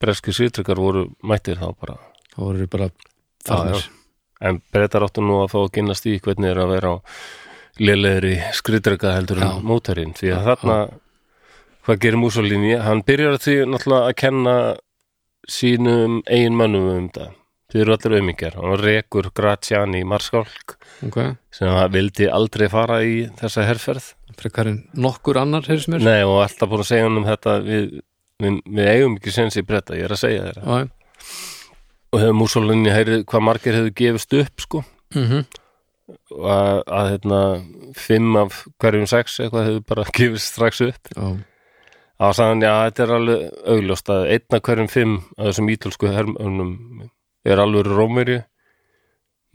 breski skrýtrekar voru mættir þá bara Það voru bara Já, farnir en breytar áttu nú að fá að kynast í hvernig er að vera á lélegri skriðdrega heldur Já. um mótarinn því að þarna, hvað gerir Mussolini hann byrjar því náttúrulega að kenna sínum eigin mönnum um þetta, þið eru allir auðmingjar hann rekur Graziani Marskálk Ok, sem hann vildi aldrei fara í þessa herferð frekarinn nokkur annar, heyrðis mér nei og alltaf búin að segja hann um þetta við, við, við eigum ekki sens í breyta, ég er að segja þér Já, og hefur Mussolini heyrið hvað margir hefur gefist upp sko mm og að, að hérna, fimm af hverjum sex eitthvað hefur bara *laughs* gefist strax upp já, þá sagði hann, já, þetta er alveg augljóst að einn af hverjum fimm af þessum ítölsku hermönum er alveg rómverju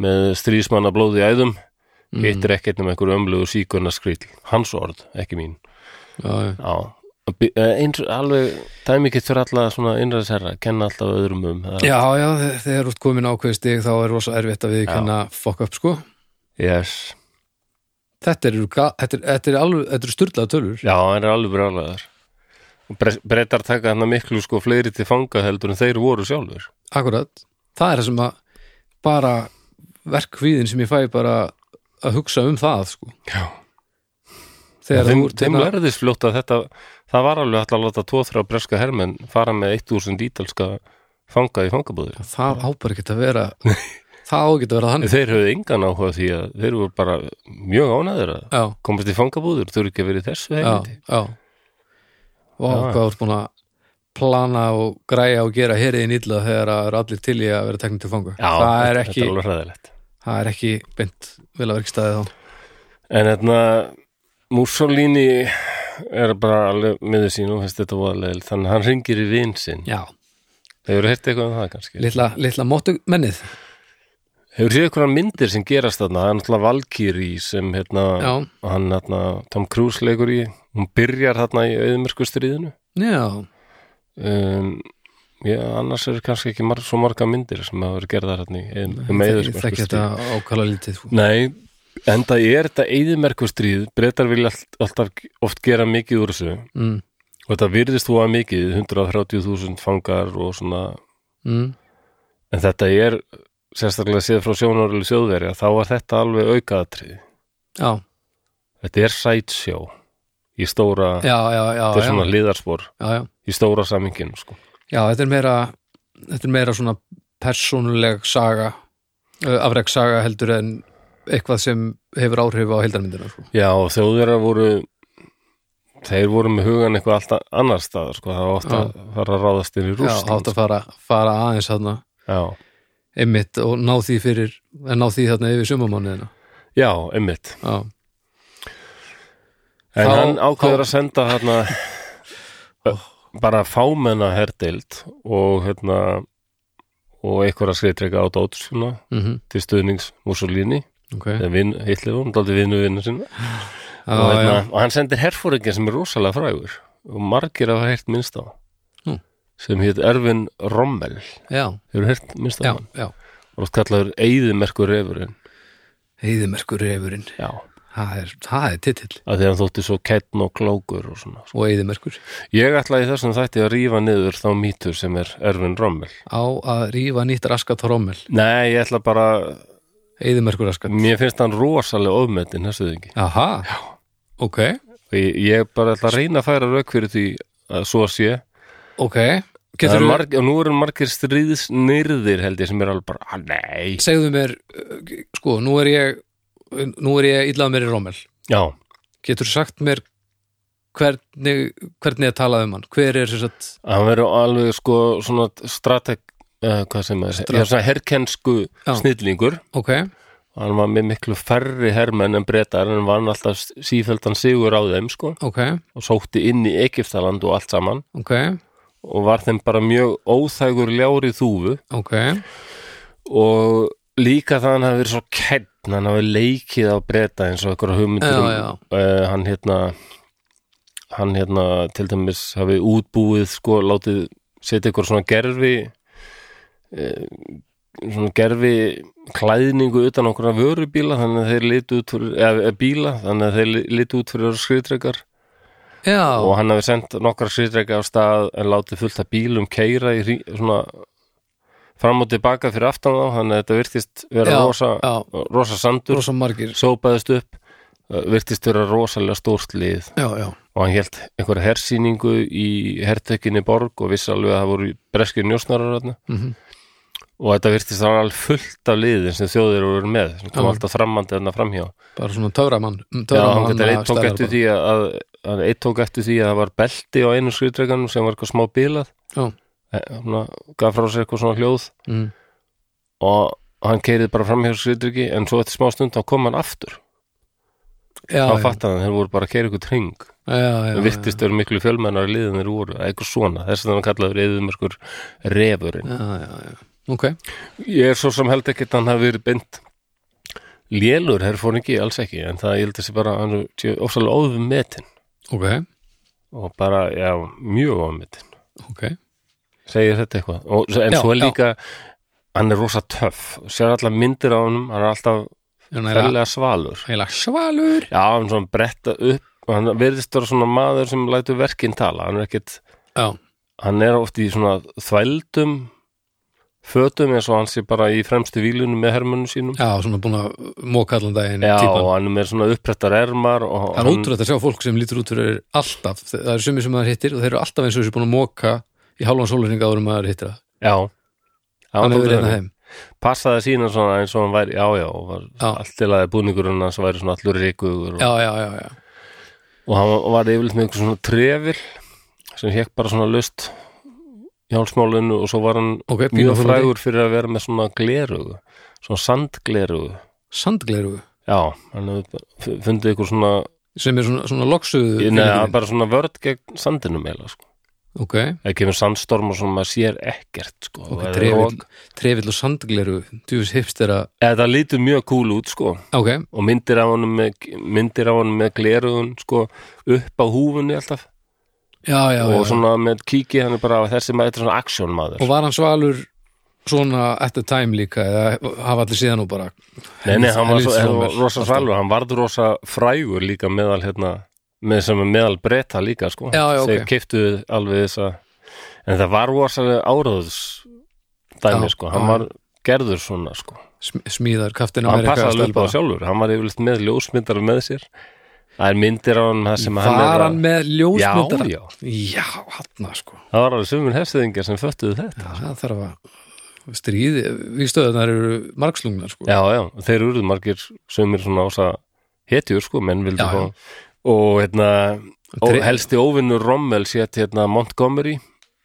með stríðsmanna blóði í æðum mm. eitt er ekkert um einhverju ömlugu síkunna skrýl hans orð, ekki mín já, já. já, Bi- eh, eins, alveg dæmi ekki þurr alla svona innræðsherra kenna alltaf öðrum um það Já, já, þe- þegar út komin ákveðið stig þá er rosa erfitt að við kenna fokk upp sko yes. Þetta eru ga- þetta er, þetta er, alveg- þetta er styrlað tölur Já, hann er alveg brjálæðar Brettar taka hann miklu sko fleiri til fanga heldur en þeir voru sjálfur Akkurat, það er það sem að bara verkvíðin sem ég fæ bara að hugsa um það sko Já, Þegar þeim, þú ert þeim hérna- lærðist fljótt að þetta það var alveg alltaf að láta tvo-þrjá breska hermenn fara með 1000 ítalska fanga í fangabúðir það á bara ekki að *laughs* vera það á ekki að vera þannig Þeir höfðu engan áhuga því að þeir voru bara mjög ánæður að Já, komast í fangabúðir þau eru ekki að vera í þessu já, heimindi já og Já, já. hvað þú ert búin að plana og græja og gera heriðin illa þegar það er allir til í að vera teknir til fanga Já, það er þetta ekki, er alveg hræðilegt það er ekki beint vel að verkstæði þá En hérna Mussolini er bara alveg miður sín og finnst þetta voðalegil þannig að hann ringir í vin sinn Já, Þeir eru hirt eitthvað um það kannski litla, litla móttu mennið Hefur séð einhverja myndir sem gerast þarna, það er náttúrulega Valkyrie sem hérna, Já, hann hérna, Tom Cruise leikur í, hún byrjar þarna í auðmörku stríðinu. já, Um, já, annars eru kannski ekki mar svo marga myndir sem hafa verið gerðar hérna í Ég auðmörku stríðinu. þekki þetta ákala lítið sko. Nei, en það er þetta eyðimerkustríð breytar vilja allt, alltaf oft gera mikið úr þessu mm, og þetta virðist þú að mikið 130.000 fangar og svona mm, en þetta er sérstaklega séð frá sjónarölu sjóðverja þá var þetta alveg aukaðatrið já, þetta er sætsjó í stóra, já, já, já, þetta er já, svona hliðarspor já, já. í stóra samingin sko. já þetta er meira þetta er meira svona persónuleg saga afreg saga heldur en eitthvað sem hefur áhrif á heildarmyndina sko. já og þjóðverjar voru þeir voru með hugan eitthvað alltaf annar staðar sko. það var ofta að fara að ráðast inn í já, átt Rússland að fara, fara aðeins þarna já, einmitt og ná því fyrir en ná því þarna yfir sumamánuðina já, einmitt já, En Þá- hann ákveður þá- að senda *laughs* hérna bara fámenna herdeild og hérna og einhverja skriðtreka á dót svona, mm til stuðnings Mussolini ok eða vin, Hitler var, hann daldi vinnu vinnu sinna já, og, já, hérna, og hann sendir herfóringin sem er rosalega frægur og margir hafa heyrt minnst á Hm. Nú. sem hétt Ervin Rommel já, hefur heyrt minnst á já, hann já. og oft kallaður Eyðimerkur refurinn Eyðimerkur refurinn, já, það er, það er titill að því hann þótti svo kettn og klókur og svona og Eyðimerkur Ég ætla í þessum þætti að rífa niður þá mýtur sem er Erfin Rommel. á að rífa nýtt raskat rommel Nei, ég ætla bara, Eyðimerkur raskat mér finnst hann rosalega ofmetinn, þessu þingi. Aha, ok Og ég, ég bara ætla að reyna að færa rauk fyrir því að svo sé. ok, Það getur er þú Marg, og nú eru margir stríðsnyrðir held ég sem er alveg bara, að nei. segðu mér, uh, sko, nú er ég nú er ég illað mér í rommel Já, getur sagt mér hvernig, hvernig er talað um hann hver er sér satt hann verður alveg sko svona strateg, uh, hvað sem er, Strat- Strat. svona herkensku Já. snillingur. ok, Hann var með miklu færri hermenn en breytar en vann alltaf sífjöldan sigur á þeim sko ok, og sótti inn í Egiptaland og allt saman. ok og var þeim bara mjög óþægur ljári þúfu ok, og líka það hann hafi verið svo kenn hann hafi leikið á breyta eins og eitthvað hugmyndur Já, já. Uh, hann hérna hann hérna til dæmis hafi útbúið sko látið setja eitthvað svona gerfi uh, svona gerfi klæðningu utan okkur að vörubíla þannig að þeir litu út fyrir eða, eða bíla þannig að þeir litu út fyrir skriðtrekar já og hann hafi sendt nokkra skriðdrega á stað en látið fullt af bílum keira í hrí, svona fram og tilbaka fyrir aftan þá þannig að þetta virtist vera Já, rosa, já. rosa sandur rosa margir sópaðist upp uh, virtist vera rosalega stórt lið já, já, og hann hélt einhverja hersýningu í hertökinni borg og vissi alveg að það voru breskir njósnarar þarna Mhm. og þetta virtist það alveg fullt af liðin sem þjóðir voru með sem kom Já. alltaf framandi þarna framhjá bara svona töframann Já, töframann hann getur eitt tók stælar eftir bara. því að, að hann eitt tók eftir því að það var belti á einu skriðdreganum sem var eitthvað smá bilað Eh, Já. hann gaf frá sér eitthvað svona hljóð mm. og hann keirið bara fram hjá skriðdregi en svo eftir smá stund þá kom hann aftur já, þá já, fattar hann, þeir voru bara að keira eitthvað tring já, já, það virtist verið miklu fjölmennar í liðin þeir voru, eitthvað svona, þess að hann kallaður eðumörkur refurinn já, já, já, já. ok, ég er svo sem held ekki að hann hafi verið beint lélur herfóringi, alls ekki en það ég held þessi bara, hann er ofsalega óðum metin ok, og bara, já, mjög óðum metin ok segir þetta eitthvað og, en Já, svo er já. líka, hann er rosa töff sér allar myndir á honum, hann er alltaf hann er að- fellega svalur eiginlega svalur já, hann svona bretta upp og hann verðist vera svona maður sem lætur verkin tala hann er ekkit, já, hann er oft í svona þvældum fötum eins og hann sé bara í fremstu vílunum með hermönnum sínum já, svona búin að móka allan daginn já, típan. og hann er með svona upprettar ermar og það er hann, ótrúlega að sjá fólk sem lítur út fyrir alltaf, það er sumir sem maður hittir og þeir eru alltaf eins og þessu búin að móka í hálfan sóluringa áður en maður hittir það já, Já, hann hefur þótti reyna þannig. heim passaði sína svona eins og hann væri já, já, og var Já. allt til að búningurinn hans væri svona allur reikugur og já, já, já, já, og hann var yfirleitt með einhver svona trefil sem hekk bara svona löst í hálsmálinu og svo var hann ok, mjög fínn á frægur fyrir að vera með svona glerugu svona sandglerugu fótbolti. sandglerugu já, hann hefði f- fundið ykkur svona sem er svona, svona loksuðu neða, bara svona vörð gegn sandinum eða sko. ok, það kemur sandstorm og svona maður sér ekkert sko, ok, og það er trefill rok. trefill og sandglerugu, djúfis hipster að Eða það lítur mjög kúl út sko ok, og myndir af honum með, myndir af honum með glerugun sko upp á húfunni alltaf já, já, já, og já. svona með kíki hann er bara þessi maður, þetta er svona action maður og var hann svalur svona at the time líka eða hafa allir síðan nú bara Nei, nei, hann var svo, helvítis svo Rómver, rosa alltaf. svalur, hann varð rosa frægur líka meðal hérna, með sem er meðal breyta líka, sko. Já, já, Þeir ok. keyptu alveg þessa, en það var rosa áraðs Já, dæmi, sko. Hann já. var gerður svona, sko. Sm- smíðar kaftin hann passaði alveg upp á það sjálfur, hann var yfirleitt með ljósmyndar með sér. Það er myndir á hann það sem hann er var hann með ljósmyndara Já, já. já hann sko Það var alveg sumin hefstöðingar sem föttuðu þetta. já, það þarf að stríði vígstöðunar eru margslungnar sko Já, já, þeir eru margir sumir svona ása hetjur sko, menn vildu Já, já. fá og hérna, ó, Dre- helsti óvinnur Rommel sétt hérna Montgomery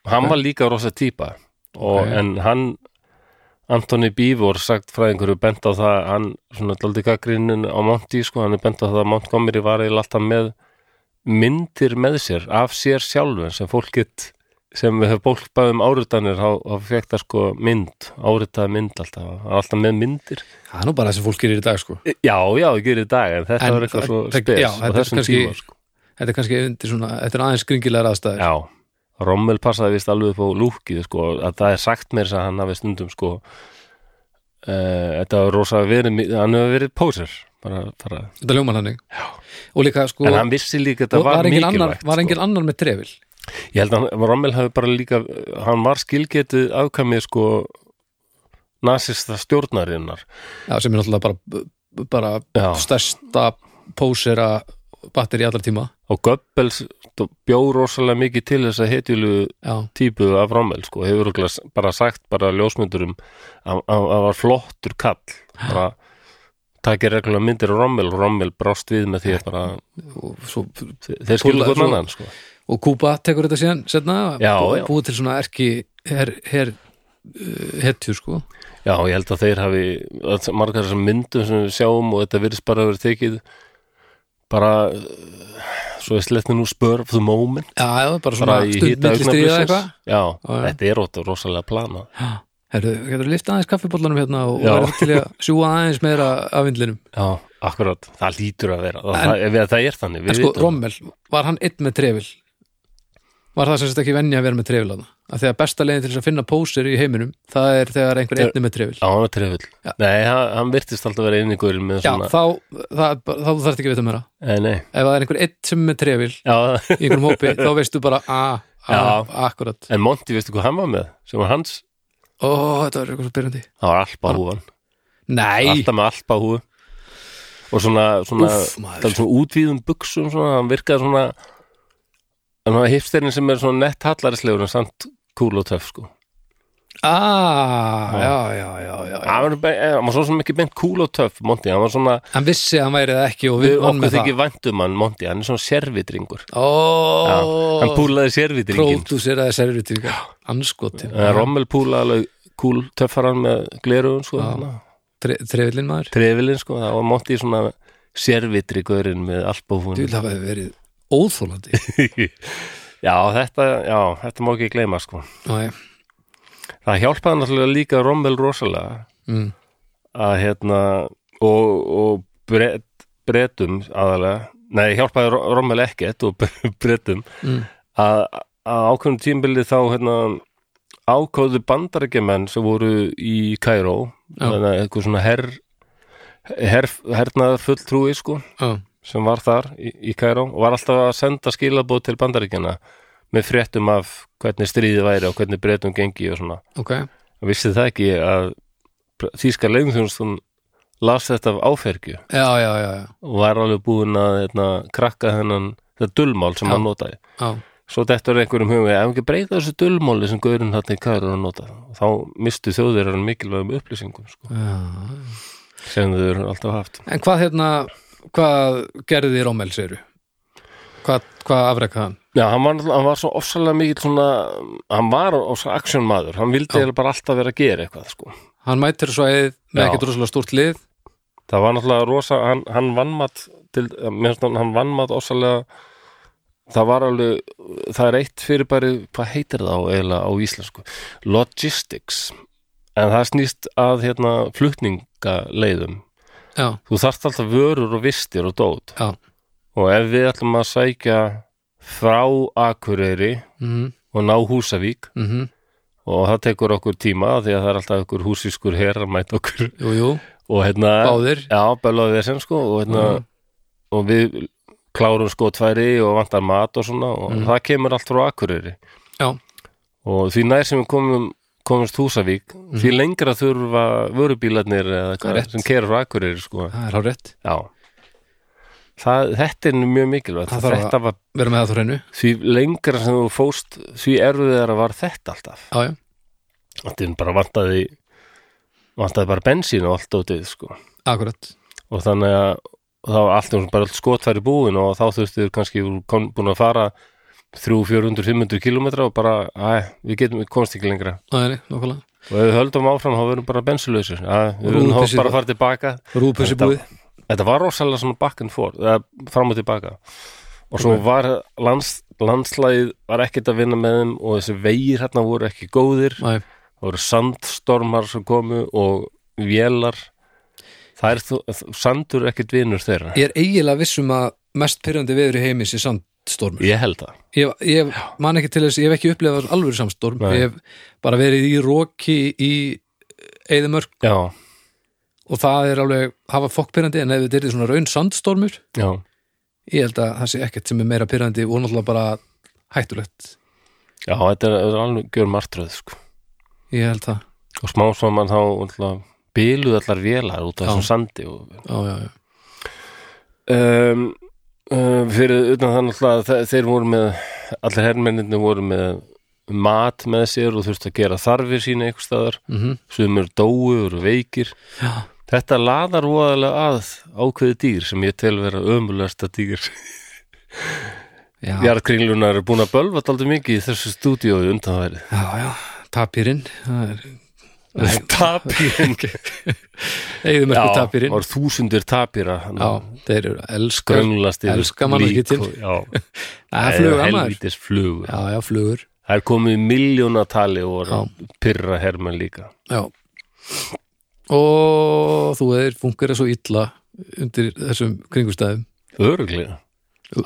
hann var líka rosa típa og, Ok. en hann Anthony Bívor sagt frá einhverju bent á það, hann svona daldi gaggrinnin á Monty sko, hann er bent á það að Montgomery var eiginlega alltaf með myndir með sér, af sér sjálfum sem fólkið, sem við höfum fólk bæði um áritanir, þá, þá fekk það sko mynd, áritaði mynd alltaf hann var alltaf með myndir það er nú bara það sem fólk gerir í dag sko Já, já, ég gerir í dag en þetta En var eitthvað það- svo það- spes já, á þetta er þessum kannski- tíma, sko. þetta er kannski undir svona, þetta er aðeins skringilegar aðstæður Já, Rommel passaði vist alveg upp á lúkið sko, að það er sagt mér þess að hann hafi stundum sko uh, þetta var rosa verið mi- hann hefur verið póser bara, bara. þetta ljómar hann já. og líka sko en hann vissi líka að og þetta var, enginn mikilvægt annar, var engin sko. annar með trefil ég held að hann- Rommel hafi bara líka hann var skilgetið afkamið sko nasista stjórnarinnar já, sem er náttúrulega bara, bara Já. stærsta pósera batteri allar tíma og Goebbels bjó rosalega mikið til þess að hetjulegu já, típu af Rommel sko, hefur örugglega bara sagt bara ljósmyndurum að að- að var flottur kall bara takir reglulega myndir af Rommel og Rommel brást við með því að bara og, svo, þe- þeir skilur Púlaði hvern svo- annan sko. og Kúba tekur þetta síðan setna, Já, búið, já. búið til svona erki her, her uh, hetjur sko Já, ég held að þeir hafi að margar þessar myndum sem við sjáum og þetta virðist bara að vera tekið bara eh, svo ég sletti nú spur of the moment já, já, bara svona bara í stund hýta milli stríða eitthvað Já, Já, já. þetta er ótaf rosalega plana Herru, getur að lifta aðeins kaffibóllanum hérna og Já. verður til í að sjúga aðeins meira af vindlinum. Já, akkurat, það lítur að vera En- það, það, það er þannig, En við sko, vitum það. Rommel, var hann einn með trefil? Var það sem sagt ekki venja að vera með trefil að það? Af því að besta leiðin til þess að finna pósir í heiminum, það er þegar einhver Þegar- einni með trefil. Já, hann var trefull. Já. Nei, hann, hann virtist alltaf vera einningur með Já, svona, þá, það, þá þú þarft ekki að vita meira. eh, nei, Ef það er einhver einn sem er með trefil í já, *laughs* einhverjum hópi, þá veistu bara að, Já. að, akkurat. en Monty, veistu hvað hann var með? Sem var hans, Ó, þetta var eitthvað svo byrjandi. það var alpahúan, Nei, alltaf með alpahúu og svona, svona, Úff, maður. það er svona útvíðum buksum, svona, hann virkaði svona, en hann var hipsterinn sem er svona nett hallarislegur en samt kúl og töff, sko. að, já, já, já, já, já. Hann var, be- eh, hann var svo sem ekki beint kúl og töff, Monty, hann var svona, Hann vissi að hann væri það ekki og við við vann okkur með það. þykir væntum hann, Monty, hann er svona servitringur. Já, hann Ó, púlaði servitringin, pródúseraði servitíka, anskotin. En Rommel púla Eh, alveg kúl töffaran með glerugun sko, Tre- Trefillin maður. trefilinn sko, það var mótti svona sérvitri gaurinn með Þú albúfun. vil hafa verið *laughs* óþólandi Já, þetta, já, þetta má ekki gleyma sko. Næ, Það hjálpaði náttúrulega líka Rommel rosalega mm. að hérna og, og bret, bretum aðalega, nei, hjálpaði Ro- Rommel ekkert og *laughs* bretum Mm. að, að ákveðum tímbildi þá hérna ákóðu bandarækjumenn sem voru í Kæró Já. eitthvað svona herr, herr, hernaðar fulltrúi sko Já, sem var þar í, í Kæró og var alltaf að senda skilabóð til bandaríkjana með fréttum af hvernig stríðið væri og hvernig breytum gengi og svona. ok Og vissi það ekki að þýska leiðumþjónstun las þetta af áfergju Já, já, já, já, og var alveg búin að hérna, krakka hennan þetta dulmál sem Já. hann notaði. já. Svo dettur einhverjum hugum við, ef ekki breyta þessu dulmáli sem gaurinn þarna í Kæró er að nota og þá mistu þjóðir hann mikilvægum upplýsingum sko, já. sem þau eru alltaf haft. En hvað hérna hvað gerði Rommel, segirðu? Hvað, hvað afrekaði hann? Já, hann var, náttúrulega- hann var svo ofsalega mikill svona, hann var ofsalega aksjónmaður, hann vildi eiginlega bara alltaf vera að gera eitthvað, sko. Hann mætir svo eð með Já. ekkert rosalega stórt lið Það var náttúrulega rosa, hann, hann vannmatt til, mér finnst hann- hann vannmatt ofsalega, það var alveg, það er eitt fyrirbæri, hvað heitir það á eiginlega á íslensku? Logistics, en það snýst að hérna flutningaleiðum. Já, Þú þarft alltaf vörur og vistir og dót já, og ef við ætlum að sækja frá Akureyri mhm, og ná Húsavík mhm og það tekur okkur tíma af því að það er alltaf okkur húsískur her að mæta okkur *laughs* jú, jú, og hérna, báðir já, bælaði þessum sko og hérna, Mhm. og við klárum skotfæri og vantar mat og svona og Mhm. það kemur allt frá Akureyri Já. og því nær sem við komum komumst Húsavík, því lengra þurfa vörubílarnir eða hvað Mhm. Rétt. sem kerir frá Akureyri sko, það er hár rétt, já það, þetta er mjög mikilvægt, Það þarf að- þetta var vera með það þó reynu því lengra sem þú fóst því erfiðara var þetta alltaf já, já, þetta er bara vantaði vantaði bara bensín og allt ótið sko. akkurat og þannig að og þá var allt um bara allt skotfæri búin og þá þurftu þau kannski þú kom, búin að fara 300, 400, 500 kilometra og bara, æ, við getum við komst ekki lengra Næri, nokkulega. og ef við höldum áfram þá verðum bara bensinlausir Æ, við verðum þá Rúðupyssi bara að var- fara tilbaka Rúðpussi Þetta- búið þetta var rosalega svona back and forth eða fram og tilbaka og svo var lands, landslæðið var ekkert að vinna með þeim og þessi vegir hérna voru ekki góðir Næ, það voru sandstormar sem komu og vélar það er þú, sandur er ekkert vinur þeirra Ég er eiginlega vissum að mest pyrrandi veður í heimis er sandstormur ég held það Ég, ég man ekki til þess, ég hef ekki upplefað alvöru samstorm Nei. Ég hef bara verið í roki í eh, Eðimörk já, og það er alveg, hafa fokk pyrrandi en ef þetta er svona raun sandstormur já, Ég held að það sé ekkert sem er meira pyrrandi og náttúrulega bara hættulegt já þetta er, er alveg gjör martröð sko. Ég held það, og smá saman þá alltaf, byluð allar vélar út af Já. þessum sandi og já, já, já um, uh, fyrir utan þannig að þe- þeir voru með allir hermenninni voru með mat með sér og þurftu að gera þarfir sína einhvers staðar, mm sumur dóu og veikir Já, Þetta laðar voðalega að ákveði dýr sem ég tel vera ömulegasta dýr. já, já, Jarkringlunar er búin að bölva daldið mikið í þessu stúdíói undanværi. já, já. Tapirinn, það er *laughs* *laughs* Tapírin. Eðimörku Já, tapirinn var þúsundir tapíra. Já, þeir eru elskar Grönglast yfir Elska mann lík ekki til. og- Já, Það er flugur annar Helvítis flugur. Já, já, flugur Það er komið miljónatali og voru að pyrra hermenn líka. Já Og þú eðir funkar svo illa undir þessum kringustæðum Öruglega.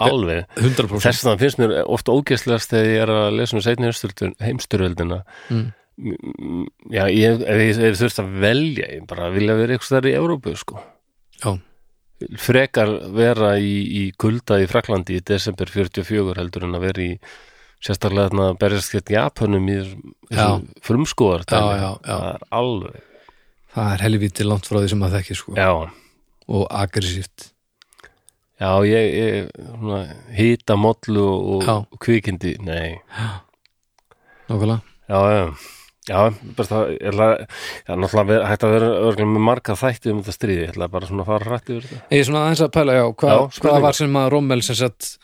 Alveg. 100% Þess vegna finnst mér oft ógeðslegast þegar ég er að lesa um seinni heimsturöldin- heimsturöldina Mm. Mm, Já, ég, ef ég er þurft að velja ég bara vilja vera eitthvað þar í Evrópu sko. Já, frekar vera í, í kulda í Fraklandi í desember 44 heldur en að vera í sérstaklega þarna að berjast gett Japanum í Já. frumskóðar Já, já, já. það er alveg það er helvítið langt frá því sem að þekki sko já, og aggressíft já ég, ég svona, hýta mollu og, Já. og kvikindi nei Nákvæmlega Já, já, já bara það, ég ætla, já, náttúrulega ver, hægt að vera örgulega með marga þætti um þetta stríði, ég ætla bara svona að fara rætt yfir þetta. Ég er svona aðeins að pæla, já, hva, Já, hvað spurningar. var sem að Rommel sem sett,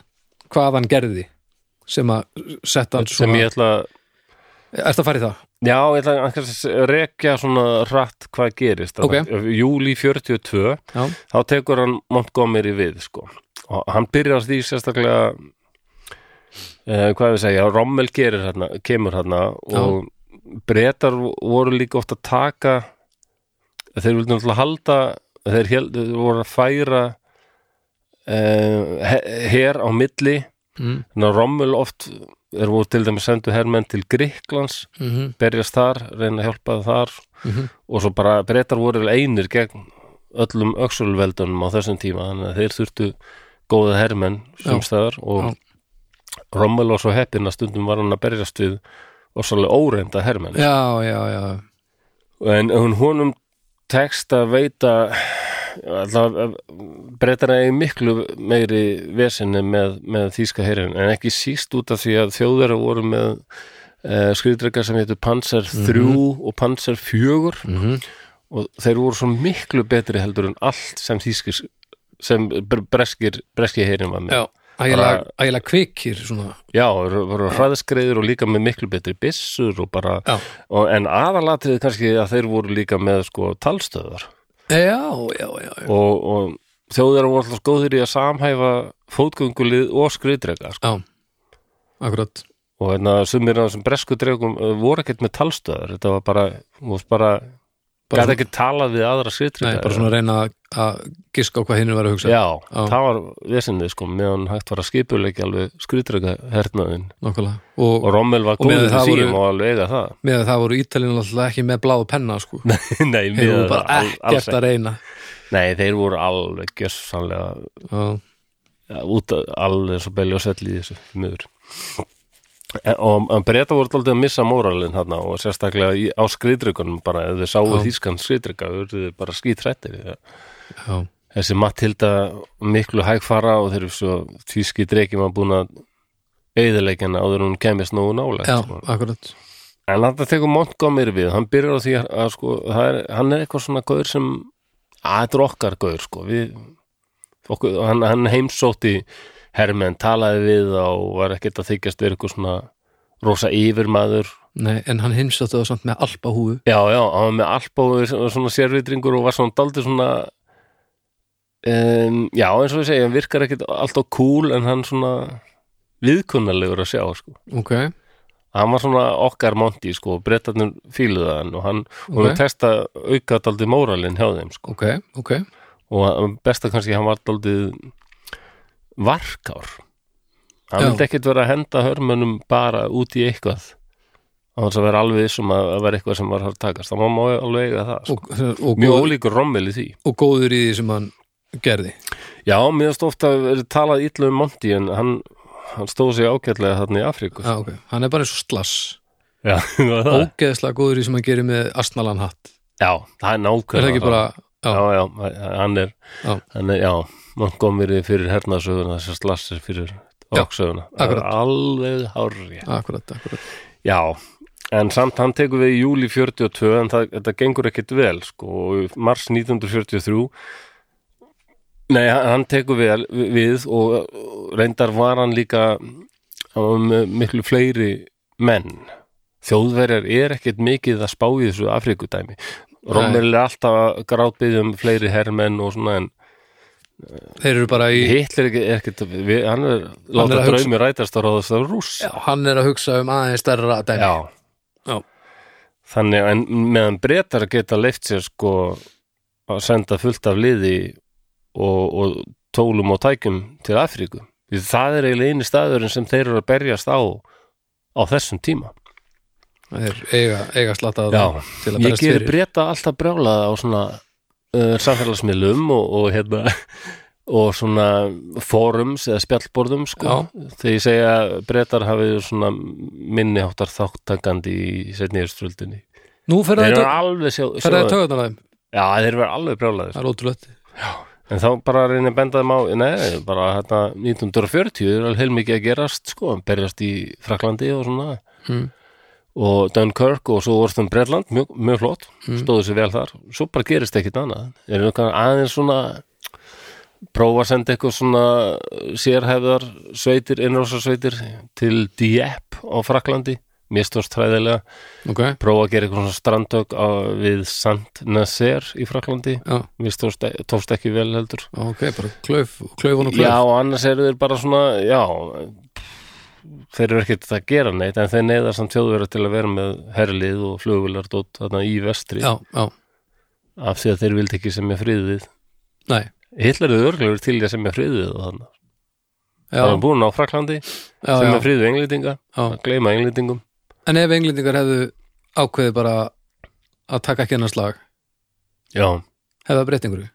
hvað hann gerði sem að setta hann Sem svona ég ætla, Ertu að fara í það? já, ég ætla að rekja svona rætt hvað gerist. Ok. Þannig að Júlí 42, Já, þá tekur hann Montgomery við, sko. Og hann byrjar á því sérstaklega, eh, hvað við segja, Rommel gerir hérna, kemur hérna og bretar voru líka oft að taka, þeir vildu náttúrulega halda, þeir held, þeir voru að færa eh, her á milli, mm. þannig að Rommel oft, þeir voru til dæmis sendu hermenn til Grikklands, Mm -hmm. berjast þar, reyna að hjálpa þar Mhm. og svo bara breytar voru einir gegn öllum öxulveldunum á þessum tíma þannig að þeir þurftu góða hermenn Já. sumstæðar og Rommel var svo heppinn að stundum var hann að berjast við og svolítið óreynda hermenn já, já, já en hún honum tekst að veita alltaf breytar að miklu meiri vesinni með, með þýska herin en ekki síst út af því að þjóðara voru með uh, skriðdrekar sem heitur Panzer 3 Mhm. og Panzer 4 mm -hmm. og þeir voru svo miklu betri heldur en allt sem þýskir sem bre- breskir, breski herin var með Já, ægilega ægilega kvikir svona Já, voru voru hraðskreiðir og líka með miklu betri byssur og bara Já, og, en aðalatriði kannski að þeir voru líka með sko talstöðar já, já, já, já. og, og þjóðir voru alltaf góðir í að samhæfa fótgöngulið og skriðdrega sko. já. Akkurat og hérna sumir af þessum bresku dregum eh, voru ekkert með talstöðar þetta var bara, þú varst bara bara, Gæti ekki talað við aðra sitri nei, bara svona reyna að- að giska á hvað hinn var að hugsa Já, það var vesinnið sko meðan hægt var að skipulegja alveg skrýtrega hernaðin nákvæmlega og, og Rommel var Og meðan góður í það síum voru- og alveg eiga *laughs* það *laughs* með að það voru Ítalina alltaf ekki með bláðu penna sko. Nei, þeir miðað voru bara al- alls ekkert að reyna ekki. Nei, þeir voru alveg gjössanlega já, ja, út að- alveg svo belja og selli í þessu miður En- og en breyta voru alltaf að missa móralin þarna og sérstaklega í, á skriðdryggunum bara ef þið sáu Já. þýskan skriðdrygga þau eru bara skítrættir já, þessi Matilda miklu hægfara og þeir eru svo þýski drekin var búin að auðilegjana áður en hún kemist nógu nálega já, akkurat en hann tekur Montgomery við hann byrjar á því að, að sko, það er, hann er eitthvað svona gaur sem að þetta er okkar gaur sko við, okkur, hann, hann heimsótti hermenn, talaði við þá og var ekkert að þykjast verið eitthvað svona rosa yfirmaður nei, en hann heimsóttu það samt með alpa húfu já, já, hann var með alpáður svona sérvitringur og var svona daldið svona um, já, eins og ég segi hann virkar ekkert alltaf cool en hann svona viðkunnalegur að sjá sko ok, hann var svona okkar Monty sko, brettarnir fíluðu hann og hann okay. hún Ok. testa aukaðaldi móralin hjá þeim sko. ok, ok og hann- besta kannski hann var aldrei varkár hann Já. vildi ekkit vera að henda hörmönnum bara út í eitthvað á þess að vera alveg vissum að, að vera eitthvað sem var að takast, það má alveg eiga það sko. og, og, mjög góður, ólíkur rommel í því og góður í því sem hann gerði já, mér stóð ofta að verið talað illa um Monty en hann, hann stóð sig ágætlega þarna í Afríku já, *laughs* Ah, ok, hann er bara eins og slass já, það, það. ógeðslega góður í því sem hann gerir með astnalan hatt já, það er nákvæmlega er það ekki það. bara, já, já, já, hann er Já. hann er, já, Montgomery fyrir hernaðsöguna þessar slassir fyrir Já, okksöguna, akkurat. alveg hárri akkurat, akkurat já, en samt hann tekur við í júli 42 en það, þetta gengur ekkit vel sko, og í mars 1943 nei, hann- hann tekur vel við og og reyndar var hann líka hann var með miklu fleiri menn þjóðverjar er ekkit mikið að spá í þessu Afrikudæmi Rommel er alltaf að grátbyggja um fleiri herrmenn og svona en þeir eru bara í, Hitler er ekki- er ekkert, við, hann er láta er að hugsa- draumi rætast að ráðast af rúss já, hann er að hugsa um aðeins stærra dæmi Já. Já. Þannig að meðan breytar geta leift sér sko að senda fullt af liði og, og tólum og tækjum til Afríku. Því það er eiginlega eini staðurinn sem þeir eru að berjast á á þessum tíma. þeir eiga, eiga slattað Já. til að Ég berast gerir fyrir breyta alltaf brjálaða á svona uh, samfélagsmiðlum og, og hérna *laughs* og svona forums eða spjallborðum sko þegar ég segja að breytar hafið svona minniháttar þáttakandi í setni yfirströldinni nú fer þeir það eru í alveg sjá, sjá tögarnar þeim já þeir eru alveg brjálaðir það er ótrúlega en þá bara að reyna að benda þeim á nei, bara hérna 1940 er alveg heilmikið að gerast sko, að berjast í Fraklandi og svona Mm. Hmm. og Dunkirk og svo Orðum Bretland, mjög, mjög flott stóðu sér vel þar, svo bara gerist ekkit annað er einhvern aðeins svona prófa að senda eitthvað svona sérhæfðar sveitir, innrásarsveitir til Dieppe á Fraklandi, mistóst hræðilega ok, prófa að gera eitthvað svona strandtök á, við Sant Nasser í Fraklandi já, mistóst, e- tófst ekki vel heldur ok, bara klauf klaufun og klauf Já, og annars eru þeir bara svona, já, þeir eru ekkert að gera neitt, en þeir neyða samt þjóðverða til að vera með herlið og flugvilardótt þarna í vestri, já, já, af því að þeir vildi ekki semja friðið. nei Hitler er örglegur til í að semja friðið og þannig. já, Það er búin á Fraklandi, já, semja já, friðið englendinga, já. að gleyma englendingum. en ef englendingar hefðu ákveðið bara að taka ekki hennar slag Já, hefða breytingur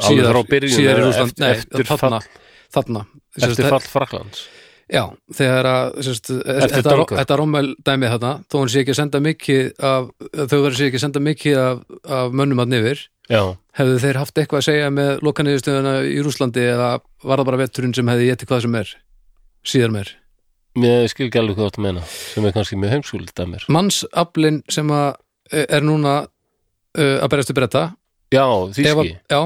alveg frá byrjun síðar í eða Rússland, eft- nei, eftir, þarna, fall, þarna Sérst, eftir fall Fraklands. já, þegar að sérst, Eftir þetta, Dunkirk. þetta rommel dæmið þarna þó hann sé ekki að senda mikið af, þau verður sé ekki að senda mikið af, af mönnum að nifir Já, hefðu þeir haft eitthvað að segja með lokaniðurstöðuna í Rúslandi eða var það bara vetturinn sem hefði getið hvað sem er síðar meir mér skil ekki alveg hvað þú átt að meina, sem er kannski mjög heimskuldið að mér. mannsaflin sem að eh, er núna uh, að berjast við bretta Já, ef að, þýski. já,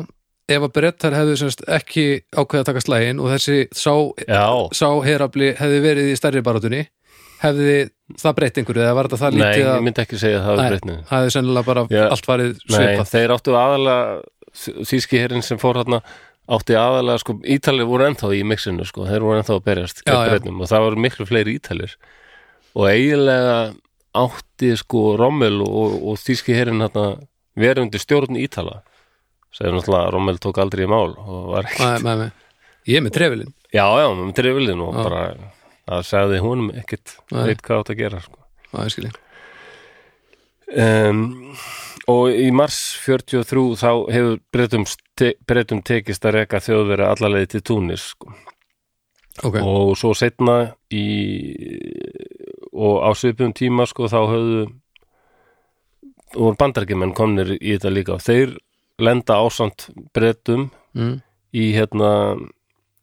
ef að brettar hefðu semst ekki ákveða að taka slægin og þessi sá, Já, sá herafli hefði verið í stærri barátunni hefði það breytt einhverju eða var þetta það nei, lítið ég að myndi ekki segja að það Nei. er breytnið. það hefði sennilega bara Já. allt farið Nei, svipað þeir áttu aðalega þýski herrin sem fór hérna átti aðalega, sko, Ítalir voru ennþá í mixinu, sko, þeir voru ennþá að berjast Já, gegn já. Bretum og það voru miklu fleiri Ítalir og eiginlega átti sko Rommel og, og þýski herin hérna verið undir stjórn Ítala segir náttúrulega að Rommel tók aldrei í mál og var ekki, Nei, nei, nei. Ég er með trefilinn já já, með trefilin og bara, það sagði húnum ekkit Nei. veit hvað átt að gera sko Já, ég skil ég. Um, og í mars 43 þá hefur breytum, te breytum tekist að reka þjóðvera allalegi til Túnis sko. Ok, og svo setna í og á svipum tíma sko þá höfðu og bandarkimenn komnir í þetta líka og þeir lenda ásamt breytum mm. í hérna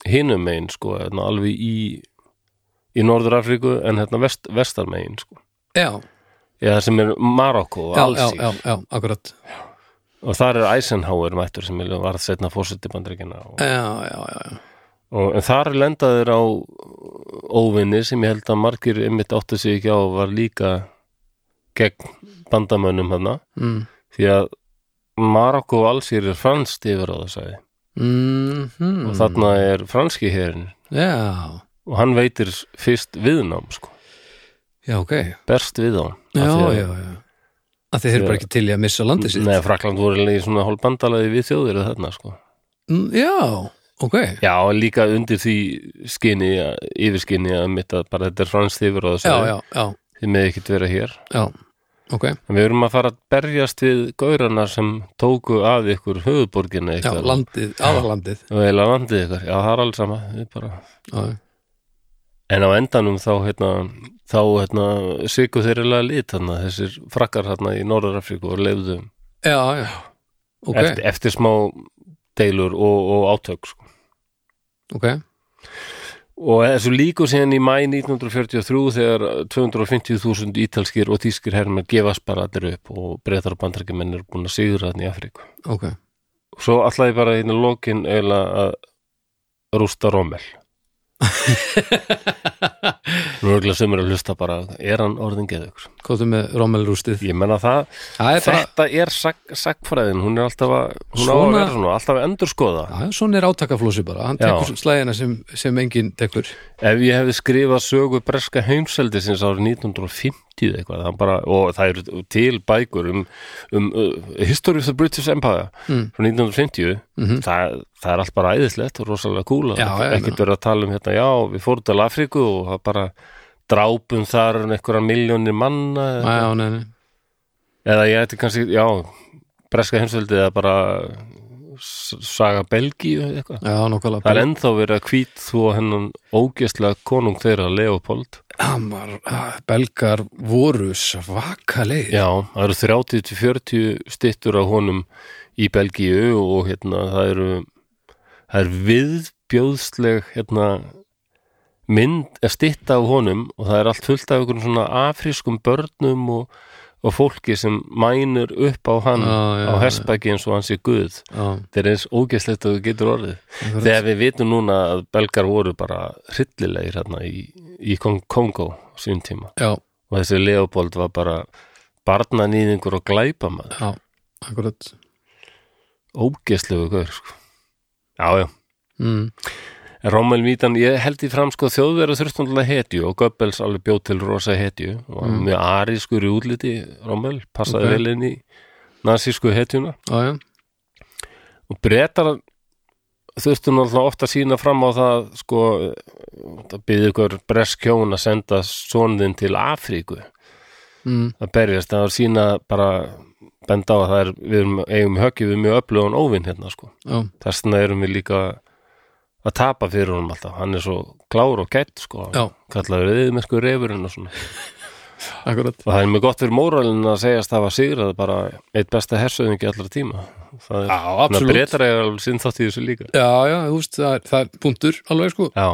hinum megin sko hérna, alveg í í Norður Afríku en hérna vest, vestar megin sko já, eða sem er Marokko og já, já, Alsír já, já, akkurat og þar er Eisenhower mættur sem var að setna fórseti bandaríkina og, Já, já, já, já. og en þar lendaður á óvinni sem ég held að margir einmitt átti sig ekki á og var líka gegn bandamönnum hana Mm. því að Marokko og Alsýr er franskt yfir á þessari Mm og þarna er franski herin Já, og hann veitir fyrst viðnám sko, já, ok berst við á Já, já, já að þeir eru bara ekki til í að missa landið sitt Nei, Frakland voru eiginlega í svona hálfbandalagi við þjóðir þarna sko Mm, Já, ok Já, líka undir því skinni, yfirskinni að mitt að bara þetta er franskt yfir og Já, þessu já, já, því með ekkert vera hér. já, ok En við erum að fara að berjast við gaurana sem tóku að ykkur höfuborgina Já, ykkar. landið, aðalandið Og eiginlega landið ykkar. Já, það er alls sama. við Bara. Já, já. En á endanum þá, hérna, þá, hérna, sigur þeirrilega lit hérna, þessir frakkar hérna í Norður-Afríku og lefðu já, já, ok, eftir, eftir smá deilur og, og átök, sko. ok Og þessu líku síðan í mæ 1943 þegar 250.000 ítalskir og tískir herrmenn gefast bara allir upp og breytar og bandrækjumenn eru búin að sigur þarna í Afríku. Ok, Og svo alltaf ég bara hérna lokin eiginlega að rústa *laughs* Rommel. Nú er ekki sem er að hlusta bara, er hann orðin geðugur? hvað er með rommelrústið? Ég menna það, Það er bara, þetta er sak, sakfræðin, hún er alltaf að, hún á að Svona- vera svona, alltaf að endurskoða. já, svona er átakaflósi bara Hann Já. tekur slægina sem, sem enginn tekur Ef ég hefði skrifað sögu breska heimseldi sinns árið 1950 eitthvað, það bara, og það eru til bækur um, um uh, History of the British Empire Mm. frá 1950 Mhm. það, það er allt bara æðislegt og rosalega kúla Já, já, ég ekkert verið að tala um hérna, já, við fórum til Afríku og það bara drápum þar en einhverja miljónir manna Já, eða, já, nei, nei eða ég ætti kannski, já breska heimseldi eða bara s- saga Belgíu eða eitthvað Já, nokkala Það er ennþá verið að hvít þú hennan ógæslega konung þeirra Leopold. Amar, ah, belgar voru svakalegir Já, það eru 30-40 stittur af honum í Belgíu og hérna það eru það er viðbjóðsleg hérna mynd að stitta af honum og það er allt fullt af einhvern svona afrískum börnum og, og fólki sem mænur upp á hann Já, já, á já. hestbæki eins og hann sé guð Já, þetta er eins ógeðslegt að þú getur orðið akkurat. þegar við vitum núna að belgar voru bara hryllilegir hérna í, í Kong Kongo á sínum tíma já, og þessi Leopold var bara barnanýðingur og glæpamaður já, akkurat ógeslegu gaur sko. já, já, mm. en Rommel Mítan ég held í fram sko þjóðverðu þurftunlega hetju og Goebbels alveg bjóð til rosa hetju og mm. með arískur í útliti Rommel, passaði Ok. vel inn í nazísku hetjuna Já, já, og brettar þurftu náttúrulega ofta að sína fram á það sko, það byggði ykkur breskjón að senda sonðin til Afríku mm. að berjast, það var sína bara benda á að það er, við erum, eigum í höggi við mjög öflugan óvinn hérna sko já, þess vegna erum við líka að tapa fyrir honum alltaf, hann er svo klár og gætt sko, Já. kallaður viðmerkur refurinn og svona, akkurat og það er mjög gott fyrir móralin að segjast það var sigrað bara eitt besta hersöðingi allra tíma það er, Já, absolutt. breytar eða alveg sinn þátt í þessu líka Já, já, þú veist, það er, það er punktur alveg sko Já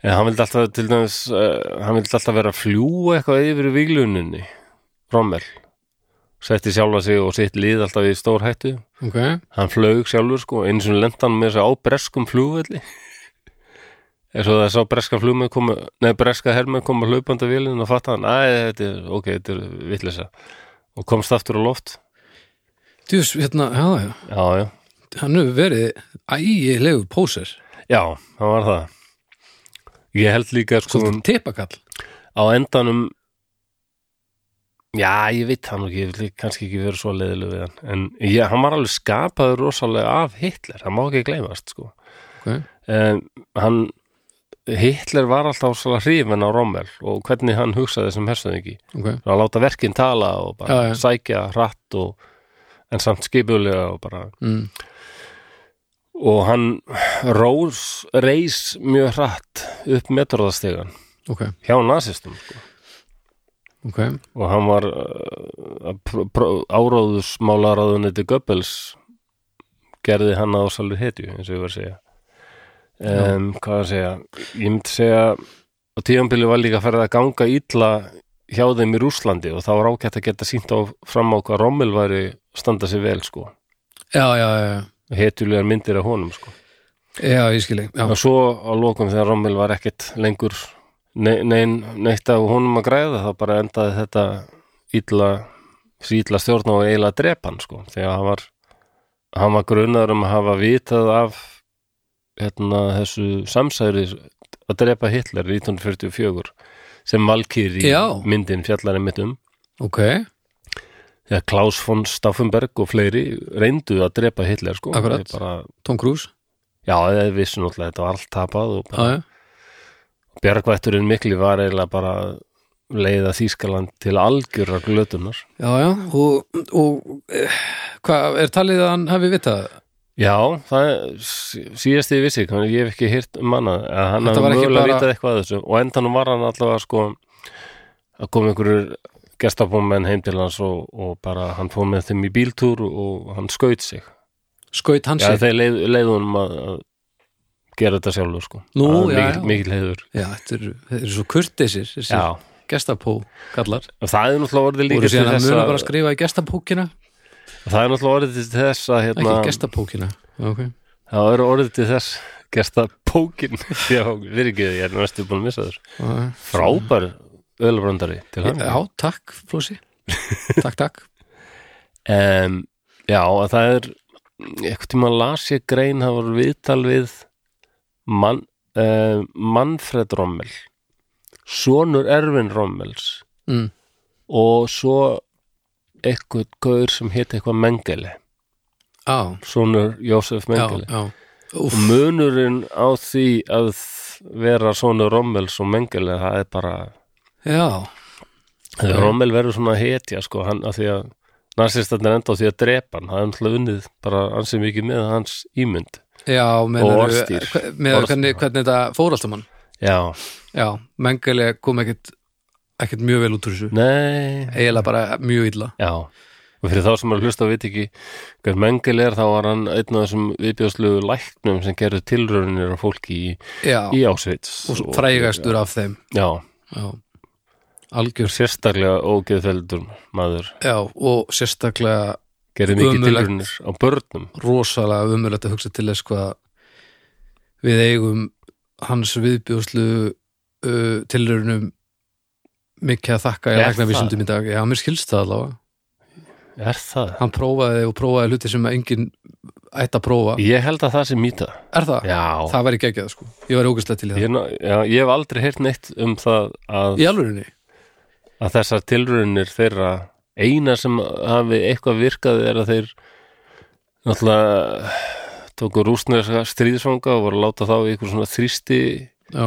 En hann vildi alltaf til dæmis uh, hann vildi alltaf vera að fljúa eitthvað yfir í vígluninni Rommel setti sjálfa sig og sitt lið alltaf í stór hættu Ok, hann flaug sjálfur sko eins og lent hann með þess að á breskum flugvelli *laughs* eins og það sá breska flugmenn komu, nei breska hermenn koma hlaupandi vélinn og fatta hann, æ, þetta er ok, þetta er vitleisa og komst aftur á loft djús, hérna, já, já Já, já, Hann hefur verið ægilegu póser já, það var það Ég held líka sko Svolítið teipakall á endanum Já, ég veit það nú ekki, ég vil kannski ekki vera svo leiðilegu við hann, en já, hann var alveg skapaður rosalega af Hitler, það má ekki gleymast, sko. okay. Um, hann, Hitler var alltaf svona hrifin á Rommel og hvernig hann hugsaði sem hersöðingi, Okay. að láta verkinn tala og bara Já, já. sækja hratt og, en samt skipulega og bara, Mm. og hann rós, reis mjög hratt upp metróðastegan ok, hjá nasistum, sko. ok og hann var uh, áráðusmálaráðuniti Goebbels gerði hann að ásalur hetju eins og ég var að segja um, hvað að segja ég myndi segja og tíðanbili var líka að fara að ganga illa hjá þeim í Rússlandi og þá var ágætt að geta sínt á fram á hvað Rommel væri að standa sér vel sko já, já, já, já, hetjulegar myndir af honum sko já, ég skilji já, og svo á lokum þegar Rommel var ekkit lengur ne- nein, neitt af honum að græða þá bara endaði þetta illa, þessi illa stjórn og eiginlega að drepa hann sko þegar hann var, hann var grunar um að hafa vitað af hérna, þessu samsæri að drepa Hitler 1944 sem Valkyr í Já. myndin fjallarinn mitt um ok, þegar Klaus von Stauffenberg og fleiri reyndu að drepa Hitler sko Akkurat. Þeir bara, Tom Cruise já, þeir vissu náttúrulega þetta var allt tapað og bara já, já, bjargvætturinn mikli var eiginlega bara að leiða Þýskaland til algjörar glötunar. já, já og, og eh, hvað, er talið að hann hafi vitað það? Já, það er sí- síðast ég vissi, hann, ég hef ekki hýrt um hana, að hann Þetta hafði var ekki mögulega bara- vitað eitthvað að þessu og endanum var hann allavega sko að koma einhverjur gestabómenn heim til hans og, og bara hann fóð með þeim í bíltúr og hann skaut sig. skaut hans Já, sig? þeir leið, leiðunum að, að gera þetta sjálfur sko. Nú, Það var já, mikil, já. mikil heiður. já, þetta eru, þetta eru svo kurteisir þessi Já, gestapó kallar og það er náttúrulega orðið líka voru til síðan að þess muna að, bara að skrifa í gestapókina það er náttúrulega orðið til þess að hérna, ekki gestapókina okay. Það eru orðið til þess Gersta pókin Já, virkiði, ég er næstu búin að missa þér Já, Frábær ölubrandari til hann Já, takk Flósi *laughs* Takk, takk um, Já, að það er eitthvað tíma las ég grein það var viðtal við mann, uh, Manfred Rommel Sonur Ervin Rommels mm. og svo eitthvað gaur sem hétt eitthvað Mengele Á, Sonur Jósef já, Mengele já og Úff, munurinn á því að vera sonur Rommels og Mengele það er bara já, Þegar Rommel verður svona hetja sko, hann að því að narsistarnir enda á því að drepa hann, það er náttúrulega unnið bara ansið mikið með hans ímynd já meinaru, Og orðstír. hve- með Orðstír. hvernig, hvernig þetta fór alltaf mann Já, Já, mengali kom ekkit ekkit mjög vel út úr þessu nei eiginlega bara mjög illa Já, og fyrir þá sem er að hlusta og veit ekki hver mengil er, þá var hann einn af þessum viðbjóðslu læknum sem gerðu tilraunir á fólki í, Já, í Ásveits og svo frægastur af þeim Já, Já, algjör sérstaklega ógeðfeldur maður Já, og sérstaklega gerði mikið Ömurlegt. tilraunir á börnum rosalega umjulegt að hugsa til þess hvað við eigum hans viðbjóðslu uh, tilraunum mikið að þakka í Er læknavísundum í dag já, mér skilst það allavega Er það? hann prófaði og prófaði hluti sem enginn ætti að prófa Ég held að það sé mýta er það? Já, það væri geggjað sko, ég væri ógæslega til í það Ég, er ná- já, ég hef aldrei heyrt neitt um það að í alvörinni, að þessar tilraunir þeirra eina sem hafi eitthvað virkað er að þeir náttúrulega tóku rústneska stríðsfanga og voru að láta þá í ykkur svona þrýsti já,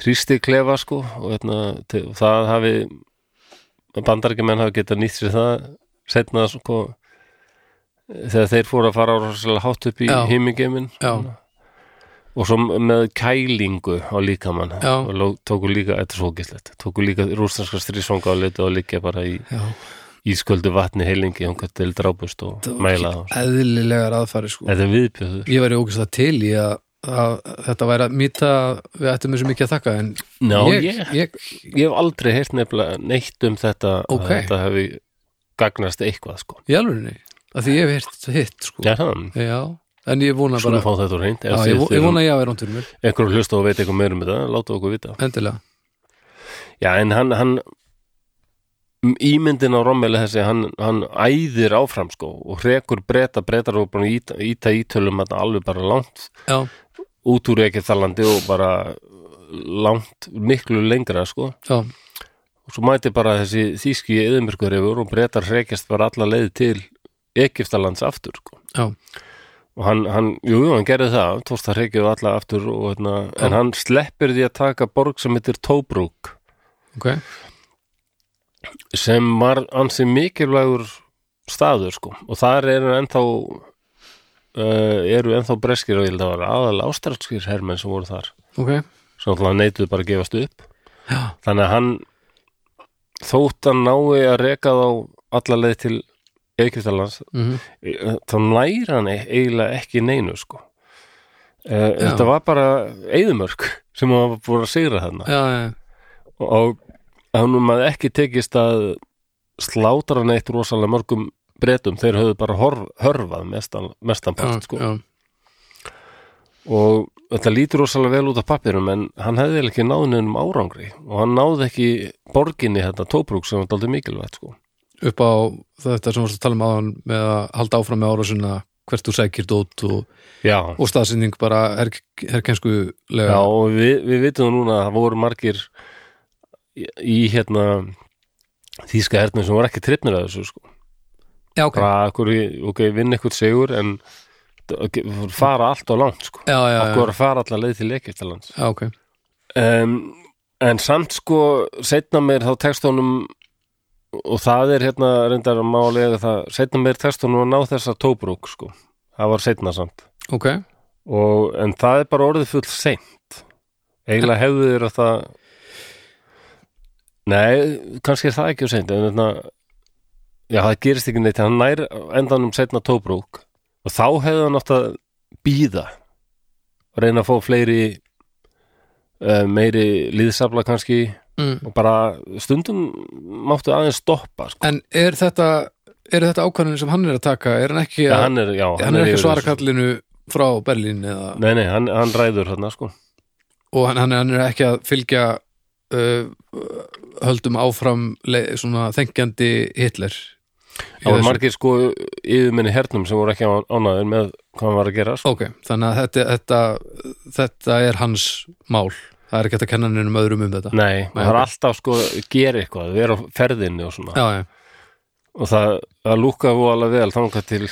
þrýsti klefa sko og hérna, te- og það hafi bandarækjumenn hafi getað nýtt sér það setna sko þegar þeir fóru að fara á rosalega hátt upp í Já. himingeimin já, og svo með kælingu á líkamann Já. og ló- tóku líka, þetta er svo gæslegt tóku líka rústneska stríðsfanga og leita og liggja bara í já ísköldu vatni heilingi einhvern til drápust og það var mæla ekki það. eðlilegar aðfæri sko Þetta er viðbjöður. ég væri ógæslega til í að, að þetta væri að mýta við ættum þessu mikið að þakka en Ná, ég, ég, ég, ég, hef aldrei heyrt nefnilega neitt um þetta Ok. að þetta hefði gagnast eitthvað sko. í alvörinni að því ég hef hitt hitt sko Já, þannig, Já, en ég vona bara svona fá þetta úr reynd. já, ég, vo- ég vona að ég hafi rámt fyrir mér, Ekkur hlusta og veit eitthvað meira um þetta, láta okkur vita. endilega Já, en hann, hann m- ímyndin á Rommeli þessi, hann, hann æðir áfram sko og hrekur breyta, breyta og búin að íta, íta ítölum þetta alveg bara langt Já, út úr ekki þarlandi og bara langt, miklu lengra sko. já, og svo mæti bara þessi þýski yðurmyrkurefur og breytar hreikjast bara alla leið til Egiptalands aftur sko. Já. og hann, hann, jú, jú, hann gerði það tókst að hreikjaðu alla aftur og, hérna, Já. en hann sleppir því að taka borg sem heitir Tóbrúk ok, sem var ansi mikilvægur staður sko og þar eru ennþá uh, eru ennþá breskir og ég held að það var aðal ástraldskir hermenn sem voru þar ok sem alltaf neituðu bara að gefast upp já, þannig að hann þótt að nái að reka þá alla leið til Eikvitalands mhm þá næra hann eiginlega ekki neinu sko uh, þetta var bara eðumörk sem hann var búin að sigra þarna já, já, og hann hafði ekki tekist að slátra neitt rosalega mörgum bretum, þeir höfðu bara horf, hörfað mestan, mestan já, part sko. já, og þetta lítur rosalega vel út af pappirum en hann hefði eiginlega ekki náð nefnum árangri og hann náði ekki borginni þetta tóbrúk sem var daldið mikilvægt sko. upp á þetta sem varst að tala um áðan með að halda áfram með árásuna hvert þú sækir dót og, Já, og staðsending bara her, herkenskulega Já og við, við vitum núna að það voru margir í, í hérna þýska hernum sem voru ekki trippnir að þessu sko. já, ok, bara okkur, ok, vinn eitthvað segur en ok, fara allt og langt sko. já, já, já, okkur að fara allar leið til Egyptalands já, ok um, en samt sko setna mér þá tekst honum og það er hérna reyndar að málega það, setna mér tekst honum að ná þessa tóbrúk sko, það var setna samt ok, og, en það er bara orðið full seint eiginlega hefðu þér að það nei, kannski er það ekki seint, en þarna já, það gerist ekki neitt, hann nær endanum setna tóbrúk og þá hefðu hann átt að býða og reyna að fá fleiri uh, meiri liðsafla kannski mm. og bara stundum máttu aðeins stoppa sko. en er þetta er þetta ákvæðin sem hann er að taka er hann ekki, ja, að, hann er, já, hann er ekki að yfir svara þessu. kallinu frá Berlín eða, nei, nei, hann, hann ræður hérna sko og hann, hann, er, hann er ekki að fylgja uh, höldum áfram le, svona þengjandi Hitler í Það voru þessu. margir sko yfirminni hernum sem voru ekki á- ánægður með hvað hann var að gera sko. Ok, þannig að þetta, þetta, þetta er hans mál. Það er ekki hægt að kenna hennum öðrum um þetta. Nei, Nei, það er ok. alltaf sko gera eitthvað, vera á ferðinni og svona Já, já, og það, það lúkaði vó alveg vel þangað til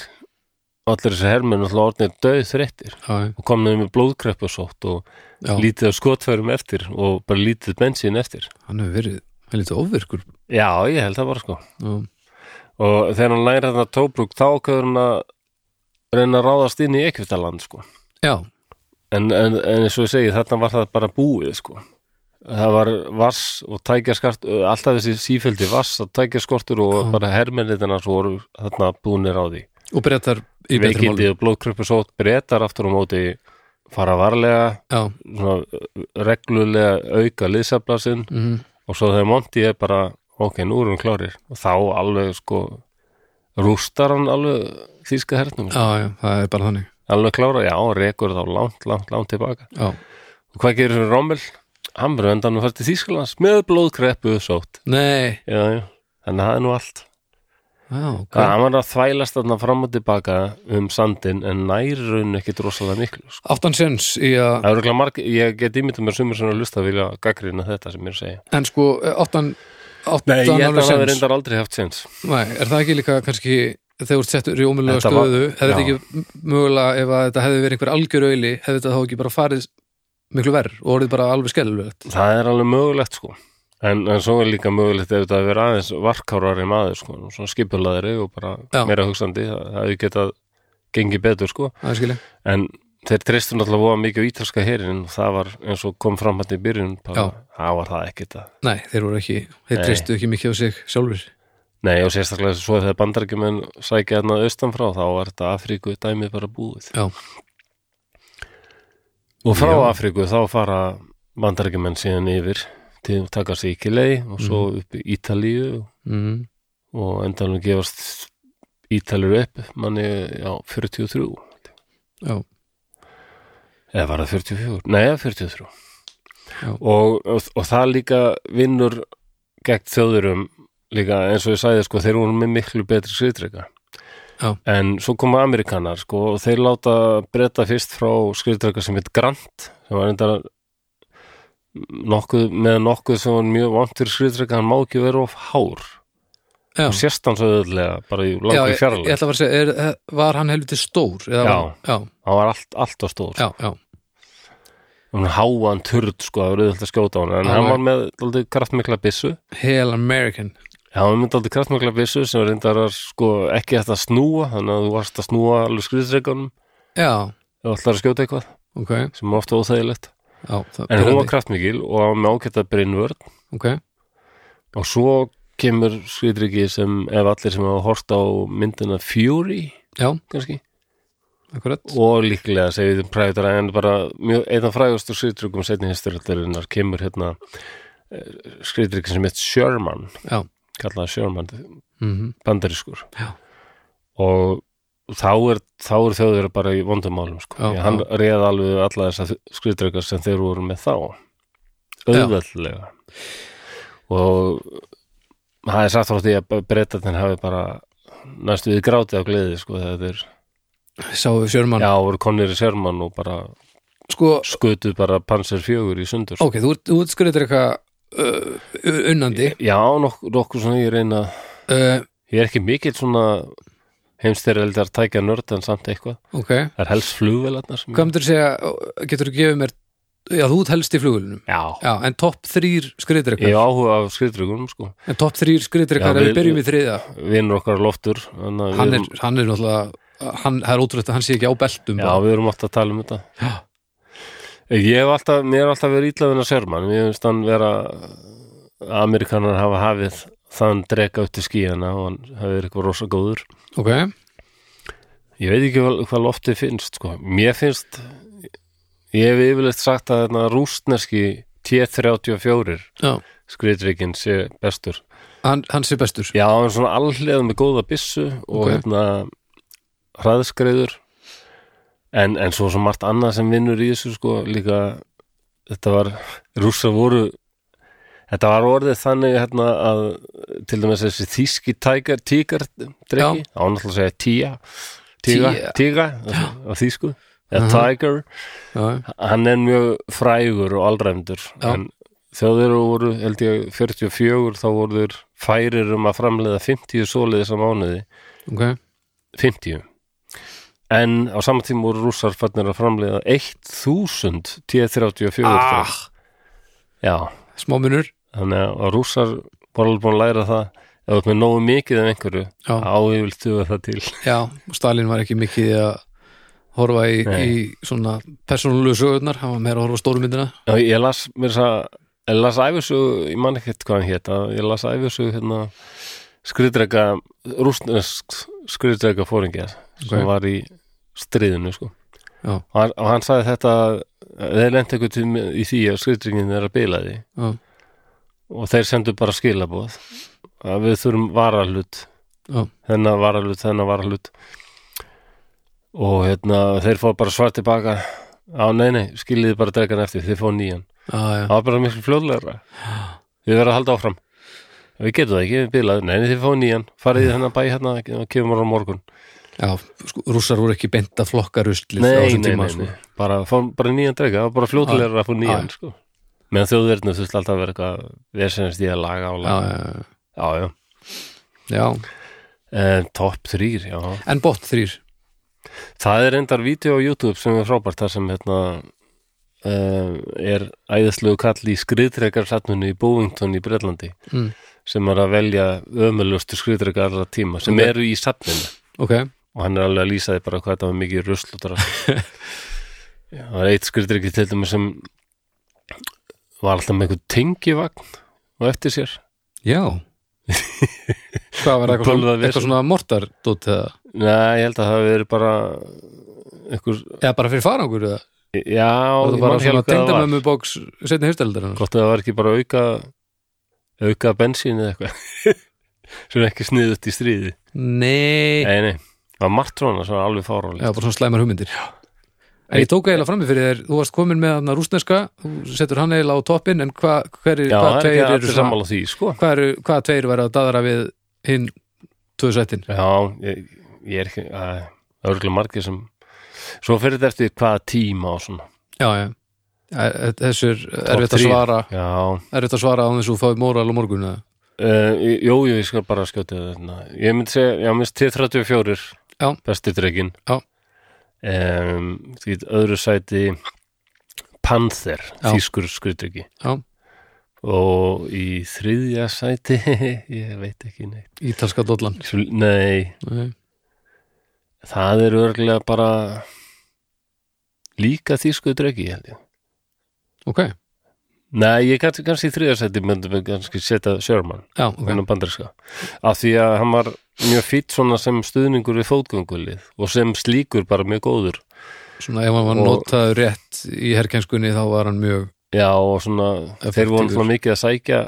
allir þessi hermenn alltaf orðnir döð þreyttir já, já, og komnið með blóðkreppasótt og já. lítið af skotfærum eftir og bara lítið bensín eftir hann hefur verið helítið ofvirkur. Já, ég held það bara sko Já, og þegar hann læra þarna tóbrúk þá köður hann að reyna að ráðast inn í Ekvitaland sko já, en, en, en eins og ég segi þarna var það bara búið sko það var vass og tækjaskart alltaf þessi sífældi vass og tækjaskortur og Já. bara hermennitina svo voru þarna búinir á því og breytar í betri mál. veikindi og blóðkruppusótt breytar aftur á móti fara varlega Já, svona, uh, reglulega auka liðsaflasinn mm og svo þegar Monty er bara ok, nú erum við klárir og þá alveg sko rústar hann alveg þýska hernum sko. já, já, það er bara þannig. alveg klára, já, rekur þá langt, langt, langt tilbaka Já, Og hvað gerir fyrir Rommel? Hann verður endan að fara til Þýskalands með blóðkreppu sótt. nei, Já, já, þannig að það er nú allt. já, ok. Það hann var að þvælast þarna fram og tilbaka um sandin en næri raun ekki drosalega miklu. Sko. Áttan sens í að, Það er örugglega marg, ég get ímyndum mér sumir sem er að lusta að vilja gaggrina þetta sem ég er að segja. en sko, áttan, áttan Nei, ég held að það alveg er sens. reyndar aldrei haft sens. Nei, er það ekki líka kannski þegar þú ert settur í ómjölulega Þetta var- stöðu hefði þetta já. ekki mögulega ef að þetta hefði verið einhver algjör auðli hefði þetta þá ekki bara farið miklu verð og orðið bara alveg skellulegt Það er alveg mögulegt sko. En, en svo er líka mögulegt ef þetta verður aðeins varkárari maður sko, svona skipulaðari og bara Já. meira hugsandi, það það hefði getað gengið betur sko. Það er skilja en þeir treystum náttúrulega voða mikið á ítalska herin og það var eins og kom fram hann í byrjun bara, það var það ekkit að Nei, þeir voru ekki, þeir Nei. treystu ekki mikið á sig sjálfur nei og sérstaklega svo þegar bandarækjumenn sækja hérna austanfrá þá var þetta Afríku dæmi bara búið Já, og frá Já. Afríku þá fara bandarækjumenn síðan yfir til að taka sig ekki leið og svo Mhm. upp í Ítalíu mm. og endanum gefast Ítalur upp manni já, 43 já, eða var það 44? Nei, 43 Já. og, og, og það líka vinnur gegn þjóðurum líka eins og ég sagði sko, þeir voru með miklu betri skriðdrega Já. en svo koma Amerikanar sko og þeir láta breyta fyrst frá skriðdrega sem heit Grant sem var enda nokkuð, með nokkuð sem hann mjög vant fyrir skriðtreka, hann má ekki vera of hár já, og sérst hann svo öðlega bara í já langri ég, ég fjarlæg ætla að fara að segja, er, eh, var hann helviti stór? Eða, Já. var- já, hann var allt, allt á stór já, já, hann háan turd sko, það var auðvitað að skjóta á hann en Já, hann já. var með aldrei kraftmikla byssu Hail American já, hann var með aldrei kraftmikla byssu sem reyndar að sko ekki þetta að snúa þannig að þú varst að snúa alveg skriðtrekanum Já, ef þú ætlar að skjóta eitthvað ok, sem er ofta óþægilegt já, það en hún pirrandi. var kraftmikil og hann var með ágæta brinnvörn Ok, og svo kemur skriðtreki sem ef allir sem hafa hort á myndina Fury já, kannski akkurat og líklega segið um Private Ryan bara mjög, einn af frægustu skriðtrygum setni hinsturöldarinnar kemur hérna skriðtrygg sem heit Sherman Já, kallaða Sherman, mhm bandarískur Já. og þá er, þá er þjóður bara í vondumálum sko. Já, já, hann já. reið alveg alla þessa skriðtryggar sem þeir voru með þá auðveldlega og það er sagt frá því að breytatinn hafi bara næstu við grátið á gleði sko, þegar þeir Sáðu Sjörmann já, voru konir í Sherman og bara Sko, skutu bara Panzer 4 í sundur ok, þú, ert- þú skurðir eitthvað uh, unnandi já, nok nokkuð svona ég reyna uh, ég er ekki mikill svona heimstyrjöldar tækja nörd en samt eitthvað Ok, það er helst flugvelarnar sem hvað myndir segja uh, getur þú gefið mér Já, þú ert helst í flugulunum já, Já, en topp þrýr skurðir ég hef áhuga af skriðtryggum sko. En topp þrýr skurðir Já, ef við- við byrjum í þriða vinnur okkar loftur þannig að Hann við er, erum, hann er náttúrulega hann, Það er ótrúlegt að hann sé ekki á beltum já, við erum alltaf að tala um þetta já, ég hef alltaf, mér er alltaf verið ítlaðin að Sherman mér finnst hann vera Amerikanar hafa hafið þann drega upp til skíðana og hann hafi verið eitthvað rosa góður ok Ég veit ekki hvað, hvað loftið finnst sko. Mér finnst ég hef yfirleitt sagt að þarna rústneski T-34 Já, skriðtrykkin sé bestur hann, hann sé bestur Já, hann er svona allhlega með góða byssu og Ok. hérna hraðskreiður en, en svo svo margt annað sem vinnur í þessu sko, líka þetta var, rússa voru þetta var orðið þannig hérna að til dæmis þessi þíski tækar, tíkar drekki, á náttúrulega að segja tía tíga, Tía. tíga á þísku, eða Aha. tiger Já, hann er mjög frægur og allræmdur Já. en þegar þeir voru held ég 44 þá voru þeir færir um að framleiða 50 svoleiðis á mánuði ok 50 en á saman tíma voru rússar fannir að framleiða 1000 T-34 Ah, já, smámunur þannig að að rússar voru alveg búin að læra það ef þú ert með nógu mikið af einhverju Já. áhefil duga það til Já, Stalin var ekki mikið í að horfa í, Nei. í svona persónulegu sögurnar, hann var meira að horfa á stóru myndina Já, ég las mér þess að ég las æfisögu, ég man ekkert hvað hann hét að ég las æfisögu hérna skriðdrega, rústnesk skriðdrega fóringja Ok. sem var í stríðinu sko. Já. og, hann, og hann sagði þetta að þeir lent eitthvað tími í því að skriðdregin er að bila því Já, og þeir sendu bara skilabóð að við þurfum varalut Já. þennan varalut, þennan varalut og hérna þeir fóðu bara svart tilbaka á nei nei, skiljiði bara dregan eftir þið fóðu nýjan já, já, það var bara miklu fljóðlegra við verðum að halda áfram við getum það ekki, við bilaðum, neini þið fáum nýjan farið í þennan bæ hérna og kemur á morgun já sko, rússar voru ekki beint að flokka ruslið á nei, þessum nei, tíma nei, sko. nei. Bara, fáum bara nýjan drega, það var bara fljóðlegra að fá nýjan sko. meðan þjóðverðinu þurfti alltaf að vera eitthvað vesenast í að laga á já, laga já, já, já, já, já, Eh, topp þrýr já. en bótt þrýr það er endar vídeo á YouTube sem er frábært þar sem hérna Uh, er æðislegu kall í skriðtrekarsatnunni í Bovington í Bretlandi mm, sem er að velja ömulegustu skriðdrega allra tíma sem Ok. eru í safninu Ok, og hann er alveg að lýsa því bara hvað þetta var mikið rusl og *laughs* drast Já, það er eitt skriðdregi til dæmis sem var alltaf með einhver tengivagn og eftir sér já *laughs* Hvað var Bölvað eitthvað, svona, vesen. eitthvað svona mortardótt eða, Nei, ég held að það veri bara einhver, eða bara fyrir farangur eða já, ég man Það var ekki alveg hvað svona það var tengdamömmu bóks setni hefstældarinn gott að það var ekki bara auka auka bensín eða eitthvað *laughs* sem er ekki sniðut í stríði Nei, Nei, nei, það var margt svona sem var alveg fárónlega já, bara svona slæmar hugmyndir En ég tók eiginlega frammi fyrir þér, þú varst komin með hann rúsneska, þú setur hann eiginlega á toppin en hva, hver, Já, hvað það er tveir ekki eru allir svona, sammála því, sko hvað, eru, hvað tveir verða að daðra við hinn tvöðsættin? Já, ég, ég er ekki að, það er örgulega margir sem svo fyrir þetta eftir hvaða tíma og svona Já, já, e, þessu er erfitt að Top svara Já, erfitt að svara á þessu fáið móral og morgun eða? Uh, jú, jú, ég skal bara skjóta það hérna. Ég myndi segja, já, minnst T34 Já. besti drekkin Já. um, Því öðru sæti Panther, Já. þýskur skriðdrekki Já. Og í þriðja sæti *laughs* ég veit ekki neitt ítalska dollan Svo, Nei, Nei. það er örglega bara líka þýskur drekki, held ég ok, Nei, ég kannski, kannski í þriðja sæti myndi mig kannski setja Sherman já, ok hennar bandarinska af því að hann var mjög fýtt svona sem stuðningur við fótgöngulið og sem slíkur bara mjög góður svona ef hann var Og- notaður rétt í herkenskunni þá var hann mjög já og svona þeir voru Effektífur. svona mikið að sækja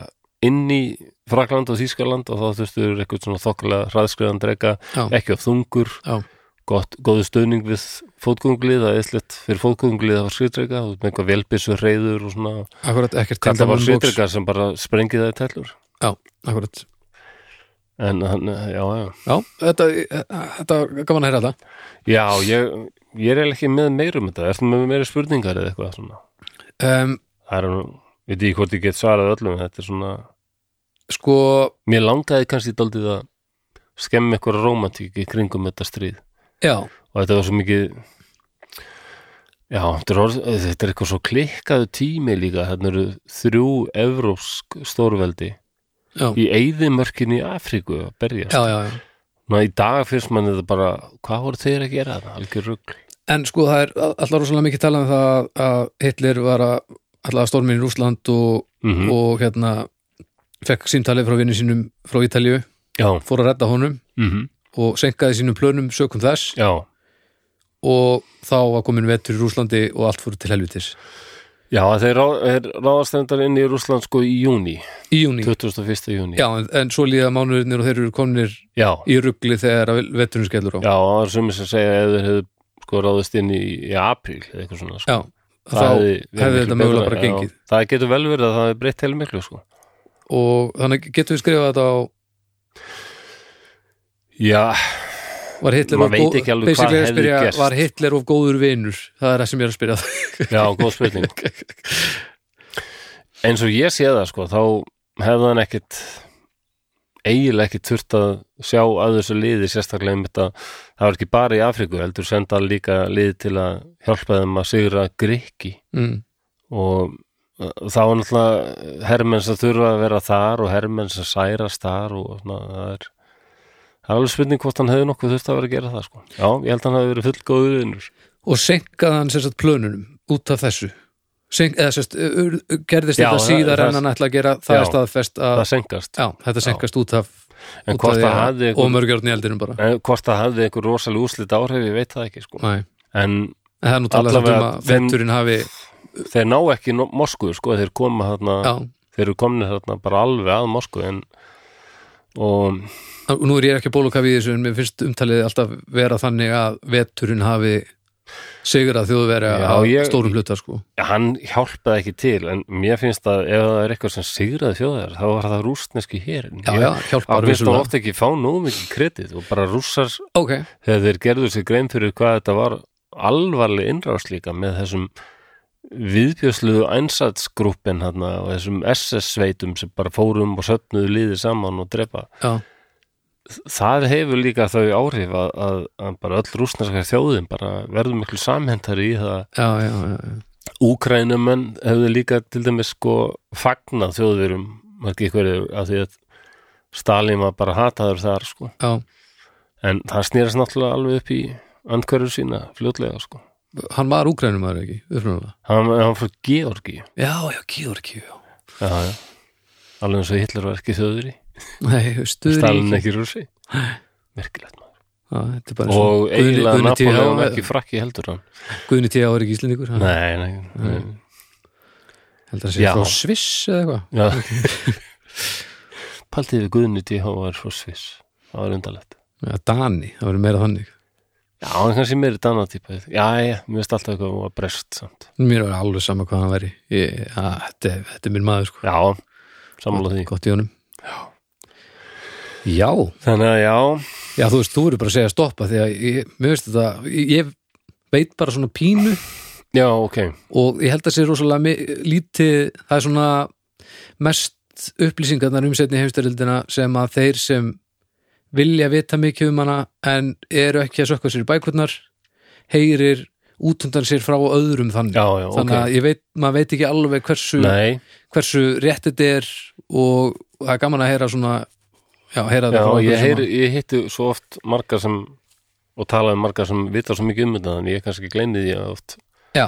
inn í Frakland og Þýskaland og þá þurftu þeir eitthvað svona þokkulega hraðskriðan drega, Já. ekki á þungur Já. gott, góðu stuðning við fótgöngulið, það er eitthvað fyrir fótgöngulið það var skriðdrega, þú með eitthvað velbissu reyður og svona, akkurat ekkert þetta var tindamannbox. skriðdrega sem bara sprengið það í tellur já, akkurat en hann, já, já já, þetta, e, þetta var gaman að heyra þetta Já, ég, ég er eiginlega ekki með meirum þetta, ertu með meira spurningar eða eitthvað svona um, Það er nú, veit ég hvort ég get svarað öllum þetta er svona, sko, mér langaði kannski daldið að skemmi eitthvað rómantík í kringum þetta stríð já og þetta var svo mikið Já, þetta er, orð, þetta er eitthvað svo klikkaðu tími líka þarna eru þrjú evrópsk stórveldi já, já, í eyðimörkinni í Afríku að berjast. já, já Ná, í dag finnst manni þetta bara, hvað voru þeir að gera það? Algjör rugl. En sko það er alltaf rosalega mikið talað um það að- að Hitler var að alltaf stormin í Rússland og, Mm og hérna fekk símtalið frá vinnu sínum frá Ítalíu, Já, fór að redda honum mm og senkaði sínum plönum sökum þess já. og þá var komin vetur í Rússlandi og allt fór til helvitis Já, þeir, rá, þeir ráðastendar inn í Rússland sko í júni, í júni. 21. júni. Já, en, en svo líða mánuðurnir og þeir eru komnir já, í ruggli þegar að veturinn skellur á. já, og það er sumir sem segja ef þeir hefðu sko ráðast inn í, í apríl eða eitthvað svona. Sko. Já, þá hefði, hefði verið miklu þetta mögulega betra, bara gengið. Já, það getur vel verið að það hefði breytt heil miklu sko. Og þannig getum við skrifað þetta á, *laughs* Já, var Hitler Maður of góð- veit ekki alveg hvað basically að hefði spyrja, gerst. Var Hitler of góður vinur? Það er það sem ég er að spyrja *laughs* já, góð spurning. Eins og ég sé það sko, þá hefði hann ekkit eiginlega ekki þurft að sjá að þessu liði sérstaklega um þetta það var ekki bara í Afríku, heldur senda líka liði til að hjálpa þeim að sigra Grikki mm, og uh, þá er náttúrulega hermenn sem þurfa að vera þar og hermenn sem særast þar og svona, það er það er alveg spurning hvort hann hefði nokkuð þurft að vera að gera það sko. já, ég held að hann hefði verið fullgóður vinnur Og senkaði hann sérstætt plönunum út af þessu Senk, eða sérst, ur- ur- gerðist Já, þetta það- síðar það- en hann ætla að gera það Já. er staðfest að það senkast, já, þetta senkast út af, en út af hvort því það að- hafði og einhver, mörgjörn í eldinum bara en hvort það hafði einhver rosalega úslit áhrif, ég veit það ekki sko. Nei, en en það er nú talað samt Allavega um að þeim- veturinn hafi þeir ná ekki no- Moskvu, sko, þeir koma þarna já, þeir eru komnir þarna bara alveg að Moskvu en og Og Nú er ég ekki bólokaf í þessu en mér finnst umtalið alltaf vera þannig að veturinn hafi sigrað þjóðverja Já, að ég- stórum hluta sko. hann hjálpaði ekki til en mér finnst að ef það er eitthvað sem sigraði þjóðar þá var það rústneski hérin Já, já, hjálpar Það finnst það vissulega. ofta ekki fá nóg mikið kredið og bara rússar Ok, þegar þeir gerðu sér grein fyrir hvað þetta var alvarleg innrás líka með þessum viðbjörsluðu einsatsgrúppin hérna og þessum SS-sveitum sem bara fórum og söfnuðu liðið saman og drepa. já, Það hefur líka þau áhrif að, að, að bara öll rússnarskar þjóðin bara verður miklu samhendari í það já, já, já, já. Úkrænumenn hefðu líka til dæmis sko fagnað þjóðverum margir hverju af því að Stalin var bara hataður þar sko já. en það snýrast náttúrulega alveg upp í andhverju sína fljótlega sko Hann var úkrænum aður ekki, upprunalega hann, hann frá Georgi já, Já, já, Georgi, já já. alveg eins og Hitler var ekki þjóðveri Nei, stuður Stalin ekki rússi merkilegt maður Já, þetta er bara og eiginlega Napoleon Napoleon ekki frakki heldur hann Guðni T.A. var ekki íslendingur hann nei, nei, nei. heldur að sé Já. frá Sviss eða *laughs* eitthvað Já. paldið við Guðni T.H. var frá Sviss það var undarlegt Já, Dani, það verður meira þannig Já, hann er kannski meiri danatýpa Já, já, mér finnst alltaf eitthvað að brest samt Mér var alveg sama hvað hann væri ég, að, þetta, er- þetta er minn maður sko Já, sammála því Gott í honum Já, já Þannig að já, Já, þú veist, þú eru bara að segja stoppa því að ég, mér veist þetta, ég, ég veit bara svona pínu já, ok, og ég held að sé rosalega mi- lítið, það er svona mest upplýsingarnar um setni heimstyrildina sem að þeir sem vilja vita mikið um hana en eru ekki að sökka sér í bækurnar heyrir útundan sér frá öðrum þannig, já, já, ok þannig að ég veit, maður veit ekki alveg hversu, Nei, hversu rétt þetta er og það er gaman að heyra svona já, já, heyra þetta frá ég, einhverjum heyri, ég hitti svo oft margar sem og talaði um margar sem vita svo mikið um þetta en ég kannski gleyni því að oft sem að, já,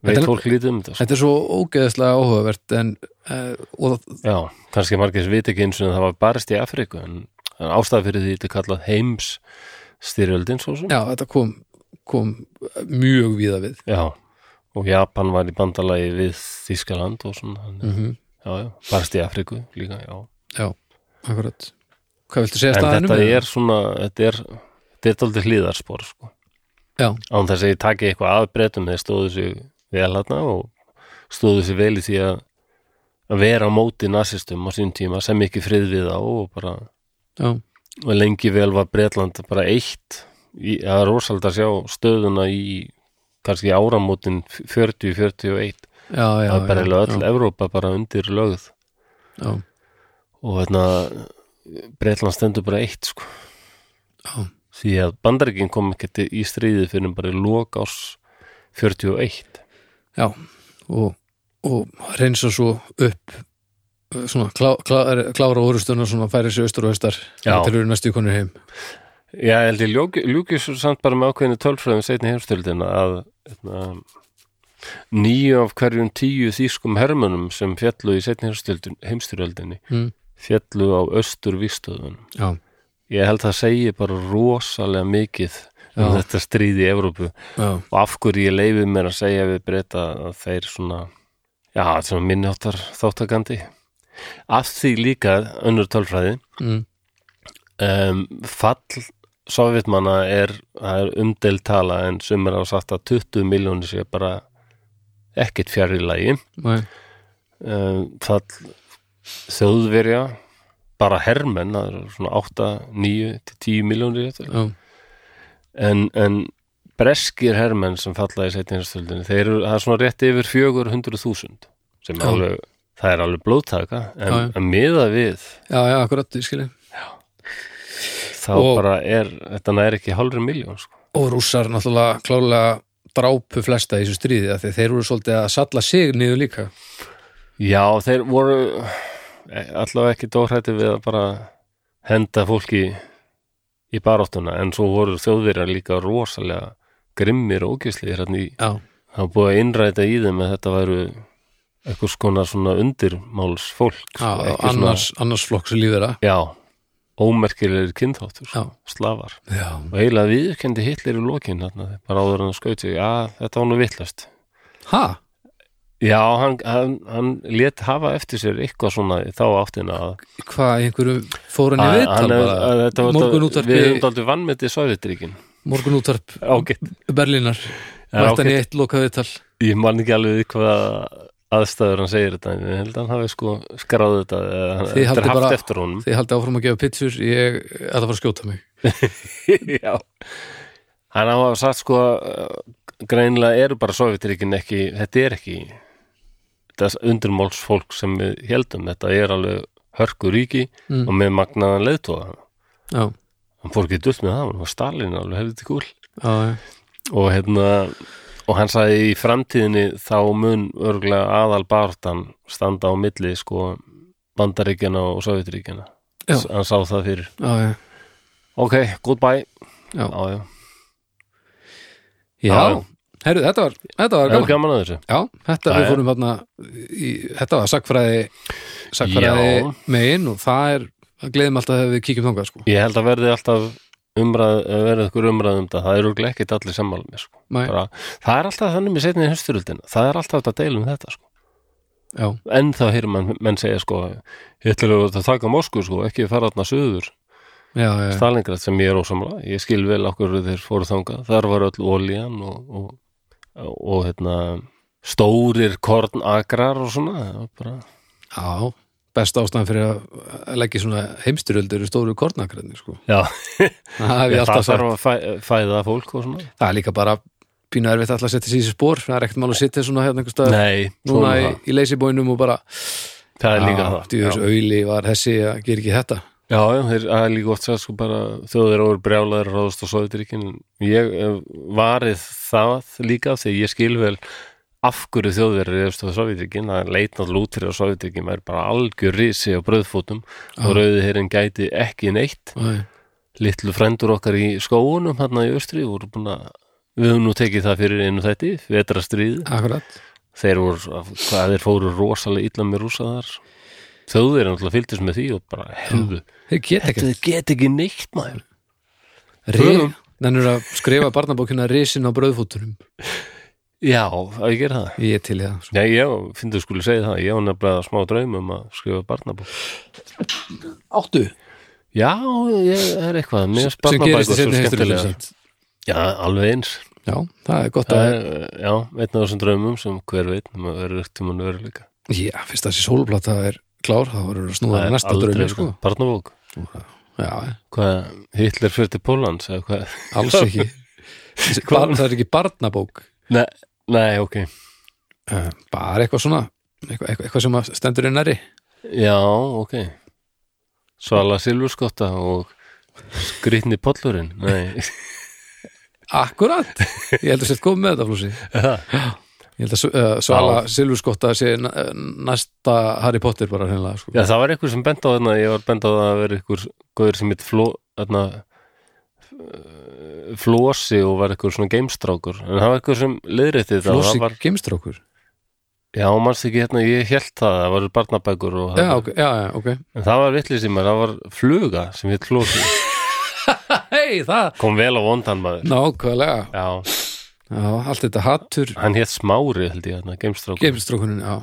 veit Þetta er- fólk lítið um þetta sko. þetta er svo ógeðslega áhugavert en, uh, og Já, kannski margir sem vita ekki eins og það var barist í Afríku en, en ástæða fyrir því þetta er kallað heims styrjöldin svo sem já, þetta kom, kom mjög víða við Já, og Japan var í bandalagi við Þískaland og svona þannig að- Já, já, barist í Afríku líka, já Já, akkurat Hvað viltu segja En staðanum? þetta er svona, þetta er þetta er daldið hlýðarspor sko. Já, án þess að ég taki eitthvað að breytum þeir stóðu sig vel hérna og stóðu sig vel í því að að vera á móti nasistum á sín tíma sem ekki frið við á og bara já, og lengi vel var Bretland bara eitt í, það er rosalega að sjá stöðuna í kannski áramótin 40-41 já, það já, er bara já, eiginlega öll já, Evrópa bara undir lögð já, og þarna Bretland stendur bara eitt sko Já. því að bandaríkin kom ekki í stríði fyrir bara í lok ás 41 já og, og reynsa svo upp eh, svona klá, klá, er- klára orustuna svona færi sig austur og austar Já. til eru næstu konur heim Já, ég held ég ljúki- ljúki svo samt bara með ákveðinu tölfræðum seinni heimstöldina að eitna, nýju af hverjum tíu þýskum hermönum sem fjallu í seinni heimstöldinni mm. fjallu á östur vístöðunum. Já, Ég held það segi bara rosalega mikið um Já. þetta stríði í Evrópu já, og af hverju ég leifi mér að segja við breyta að þeir svona já, svona minnjáttar þáttakandi af því líka önnur tölfræði mm. um, fall sovjetmanna er, það er umdeild tala en sumir hafa sagt að 20 miljónir sé bara ekkit fjarri lagi Nei, um, fall þjóðverja bara hermenn, það eru svona 8, 9 til 10 miljónir þetta já, en, en breskir hermenn sem falla í setjinastöldinu, þeir eru það er svona rétt yfir 400.000 sem er Já. alveg, það er alveg blóðtaka en Já, já. að miða við já, já, akkurat, ég skilji þá Og- bara er, þetta er ekki halvri miljón sko. Og rússar náttúrulega klálega drápu flesta í þessu stríði af því þeir eru svolítið að salla sig niður líka já, þeir voru eh, allavega ekki dóhrætti við að bara henda fólki í baráttuna, en svo voru þjóðverjar líka rosalega grimmir og ógislir hérna í, Já, það var búið að innræta í þeim að þetta væru eitthvað skona svona sko, undirmáls fólk já annars, annars flokks lífera Já, ómerkilegir kynþáttur, Já. slafar Já, og eiginlega viðurkendi Hitler í lokin þarna, bara áður en að skauti, já, þetta var nú vittlast ha, Já, hann, hann, hann lét hafa eftir sér eitthvað svona í þá áttina að, hvað einhverju fór hann í að, viðtal hann- bara? að þetta var morgunútvarpi- við höfum daldið vannmyndi Sovjetríkin morgunútvarp Ágætt, Berlínar Já, mættan ok. í eitt lokaðiðtal ég man ekki alveg við hvað aðstæður hann segir þetta en ég held að hann hafi sko skráð þetta eða hann- Þið þetta haldið er haft bara- eftir honum þið haldið áfram að gefa pitsur ég ætla að fara að skjóta mig *laughs* Já Hann hafa sagt sko eh, greinilega eru bara Sovjetríkin ekki þetta er ekki þess undurmáls fólk sem við heldum þetta er alveg hörku ríki Mm. og með magnaðan leiðtóða já, hann fór ekki dult með það, hann var Stalin alveg hefði til kúl já, já, og hérna og hann sagði í framtíðinni þá mun örglega aðal barðan standa á milli sko bandaríkjana og Sovjetríkjana Já. S- hann sá það fyrir já, já. ok, goodbye Já. já, já. já. Já. Herru, þetta var, þetta var Er gaman gaman að þessu? já, þetta Já, við já. fórum þarna í, þetta var sakfræði sakfræði Já. megin og það er það gleðum alltaf þegar við kíkjum þangað sko. Ég held að verði alltaf umræð, að verði ykkur umræð um þetta, það eru örugglega ekkert allir sammála mér sko. Nei, Bara, það er alltaf þannig með setnið hösturöldina, það er alltaf þetta deilum þetta sko. já, En þá heyrir mann, menn segja sko, ég ætlum að þetta taka Moskvu sko, ekki fara þarna söður, já, já, já, Stalingrad sem ég er ósamla, ég skil vel okkur þeir fóru þangað, þar var öll olían og, og, og, hérna, stórir kornagrar og svona, það var bara, já. best ástæðan fyrir að- að leggja svona heimstyröldur í stóru kornakræðni sko. *laughs* já, *laughs* það hef ég það alltaf sagt þarf að fæ, fæða fólk og svona. það er líka bara pínu erfitt alltaf að setja sér í þessi spór það er ekkert mál að setja svona hérna einhver stað Nei, núna svona í, það í leysibóinum og bara Það er líka það djúðis Já, auðli var þessi að gera ekki þetta já, já, þeir- það er líka oft það sko bara þjóður áur brjálaður að ráðast á soðutrykkin Ég hef varið það líka af því að ég skil vel af hverju þjóðverður reyðust á Sovjetryggjum það leit náttúrulega út fyrir að Sovjetryggjum er bara algjör risi á bröðfótum og rauði herrin gæti ekki neitt litlu frendur okkar í skóunum hérna í austri voru búin að við höfum nú tekið það fyrir einu þætti vetrastrýð, akkurat þeir voru hvað þeir fóru rosalega illa með rúsa þar þjóðir náttúrulega fylgdist með því og bara hefðu, þeir geta þetta ekki get ekki neitt maður Re- nennur að skrifa barnabókina risin á bröðfótunum já, að ég gera það ég er til í það sko. já, ég finn þú skulle segja það, ég á nefnilega smá draum um að skrifa barnabók áttu já, ég það er eitthvað, mér sem gerist í barnabækur svo seinni heimsstyrjöldinni, skemmtilega sant? já, alveg eins já, það er gott það að er, já, einn af þessum draumum sem hver veit, maður verður ekkert tímann veruleika já, fyrst þessi sólplata er klár þá verður að snúða að næsta draumi sko. Barnabók, já, hvað Hitler fyrir til Pólans eða hvað alls ekki *laughs* Bar, það er ekki barnabók Nei, nei, ok Eh, bara eitthvað svona eitthvað, eitthvað, eitthvað sem að stendur í næri Já, ok Svala Silfurskotta og skrýtni pollurinn Nei, akkurat, ég held að sér komið með þetta flúsi það ég held að s- eh, Svala Silvurskotta sé n- eh, næsta Harry Potter bara hennilega sko. Já, það var einhver sem bent á þarna Ég var bent á það að vera einhver Guður sem heit fló, þarna, eh, Flosi og var einhver svona geimstrákur En það var einhver sem leiðrétti þetta flósi Það var, gemstrókur Já, manst ekki hérna, ég held það Það var barnabækur og það já, ok, já, já, ok En það var vitlis í maður, það var fluga sem heit Flosi hei, það, Kom vel á vondan maður nákvæmlega Já, já, allt þetta hattur hann hétt Smári held ég, hann geimstrákur gemstrókunin, já Já,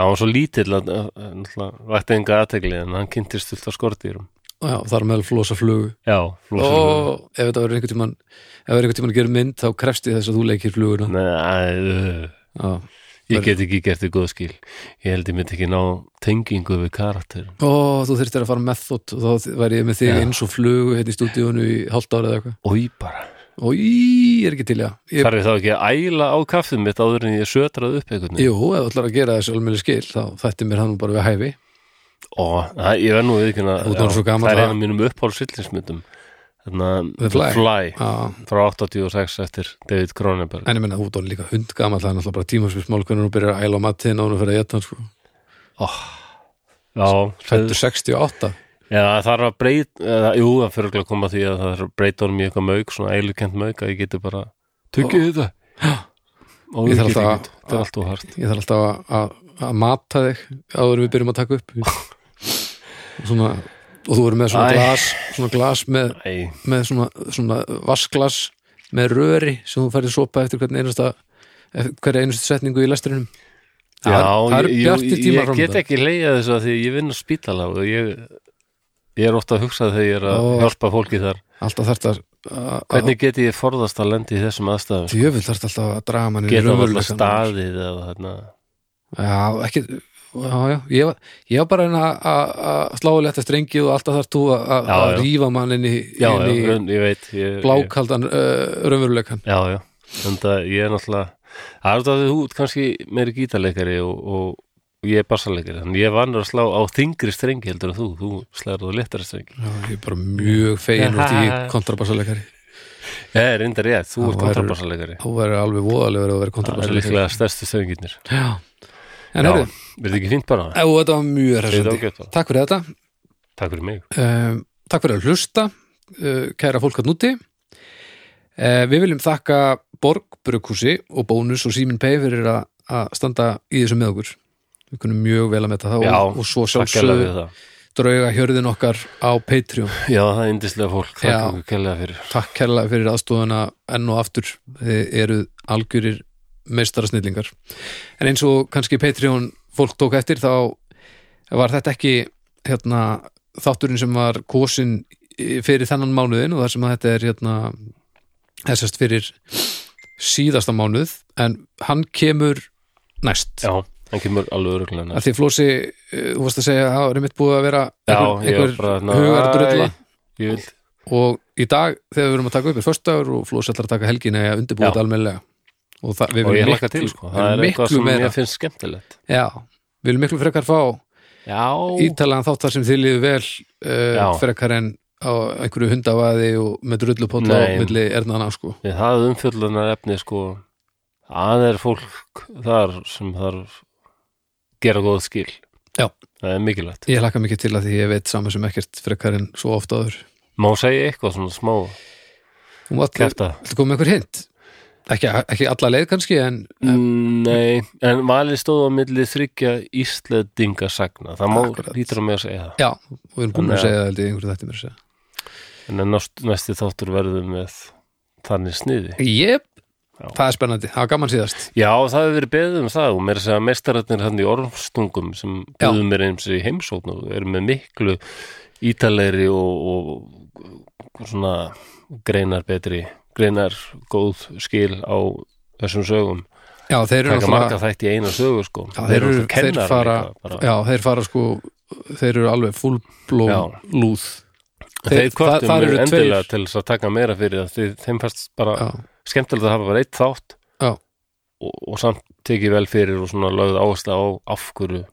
hann var svo lítill að að- að- náttúrulega vætti enga aðtegli en hann kynntist fullt af skordýrum Og já, þar meðal flosa flugu Já, flósum og ef þetta verður einhvern tímann ef það verður einhvern tímann að gera mynd þá krefst ég þess að þú leikir fluguna Nei, æ, já. ég get ekki gert þig góð skil Ég held ég myndi ekki ná tengingu við karakter ó, þú þurftir að fara method og þá væri ég með þig Já. eins og flugu hérna í stúdíónu í hálft ára eða eitthvað Ói bara og ég er ekki til, já ég, Þarf ég þá ekki að æla á kaffið mitt áður en ég sötrað upp einhvern veginn jú, ef þú ætlar að gera þessu alveg skil þá þætti mér hann nú bara við hæfi Ó, það- ég verð nú við ekki Þú ert orðinn svo gamall Það er að- einu mínum upphálsillinsmyndum The Þannig Fly. Fly já, frá 86 eftir David Cronenberg en ég menna út á líka hundgamall það er náttúrulega bara tímaspjörsmál hvernig hún byrjar að æla á matinn og hún fyrir að geta hann sko Já, fættur 68 Já, það þarf að breyta, eða, jú, það fyrir örugglega að koma að því að það þarf að breyta honum í eitthvað mauk, svona eilukent mauk að ég geti bara tökið þetta. Og Ég ég þarf get alltaf ekki, þetta er allt og hart. ég þarf alltaf að, að, að mata þig áður en við byrjum að *laughs* taka upp svona, og þú verður með svona Æ. glas svona glas með, Æ, með svona, svona vaskglas með röri sem þú færði sopa eftir hvern einasta eftir hverja einustu setningu í lestrinum já, það eru ég- jú, bjartir tímar ég fram get undan. ekki leiða þessu að því að ég vinn á spítala og ég, ég er ofta að hugsa þegar ég er að Ó. hjálpa fólki þar. alltaf þarft að- að að- Hvernig geti ég forðast að lendi í þessum aðstæðum? djöfull þarft alltaf að draga mann inn í Geta alltaf raunveruleikann. staðið eða þarna. Já, ekki Já, já, ég var, ég var bara að reyna að- að að slá að leta strengi og alltaf þarf þú að- að Já, að já. rífa mann inn í, Já, já, inn í raun- ég veit. ég- ég- blákaldan uh, raunveruleikan Já, já, en það ég er náttúrulega það er þetta að þú ert kannski meiri gítarleikari og, og, og ég er bassarleikari þannig ég er vannur að slá á þingri strengi heldur en þú, þú slæður þú léttari strengi Já, ég er bara mjög fegin út í *laughs* kontrabassalegari Ég er reyndar rétt, þú Já, ert það eru- kontrabassarleikari Þú verður alveg voðalegur að vera Það er kontrabassalegari líklega stærstu strenginir Já, en Já, heyrðu, verði ekki fínt bara ef þetta var mjög Þetta er hressandi ágætt bara. Takk fyrir þetta Takk fyrir mig um, Takk fyrir að hlusta uh, kæra fólk að núti uh, Við viljum þakka Borg, Brukhúsi og Bónus og Símin Pei fyrir að, að standa í þessu með okkur Við kunum mjög vel að metta það Já, og, og svo Takk kærlega sjálfsögðu fyrir það drauga hjörðin okkar á Patreon Já, það er yndislega fólk, Já. takk ykkur kærlega fyrir Takk kærlega fyrir aðstofuna enn og aftur þið eruð algjörir meistarasnillingar en eins og kannski Patreon fólk tók eftir þá var þetta ekki hérna, þátturinn sem var kosin eh, fyrir þennan mánuðin og þar sem að þetta er hérna, þessast fyrir síðasta mánuð en hann kemur næst Já, hann kemur alveg hérna. öruglega að næst. því Flósi, eh, þú varst að segja að það er mitt búið að vera Já, einhver, ég var einhver bara þarna, hugardrulla æ, Ég vil og í dag þegar við erum að taka upp er föstudagur og Flósi ætlar að taka helgin eða undirbúið Já. þetta almennilega og það, við og ég viljum laka miklu, til sko. við það viljum er eitthvað miklu sem meira ég finnst skemmtilegt já, við viljum miklu frekar fá já, ítalega þátt þar sem þið líður vel uh, Já. frekar en á einhverju hundavaði og með drullupólla Nei. og milli erðnana sko við það umfjöllunar efni sko það er fólk þar sem þarf gera góð skil Já. það er mikilvægt ég laka mikið til að því ég veit saman sem ekkert frekar en svo oft áður má segja eitthvað svona smá Þú mátt- kæfta Viltu koma með einhver hint? Ekki, ekki alla leið kannski en nei, en valið stóð á milli þryggja Íslandinga sagna það má Akkurat. lítur á mig að segja það já, og við erum búin Þannig að að- segja það held ég í einhverju þetta mér að segja. en næst, næsti þáttur verður með þannig sniði Jep, Já. það er spennandi, það var gaman síðast Já, það hefur verið beðið um það og mér að segja mestararnir hann í ormstungum sem Já. beðum mér eins í heimsókn og eru með miklu ítalegri og, og, og svona greinar betri, greinar góð skil á þessum sögum. Já, þeir eru Taka marga náttúrulega þætti í eina sögu sko. Já, þeir, eru, svo þeir, kennarar fara, líka, bara. já, þeir fara sko þeir eru alveg fullblóm Já. lúð þeir það- kvartum þar mér eru endilega tveir. til þess að taka meira fyrir það. Þeir, þeim fannst bara já, skemmtilegt að hafa bara eitt þátt Já. og, og samt tekið vel fyrir og svona lögð áhersla á af hverju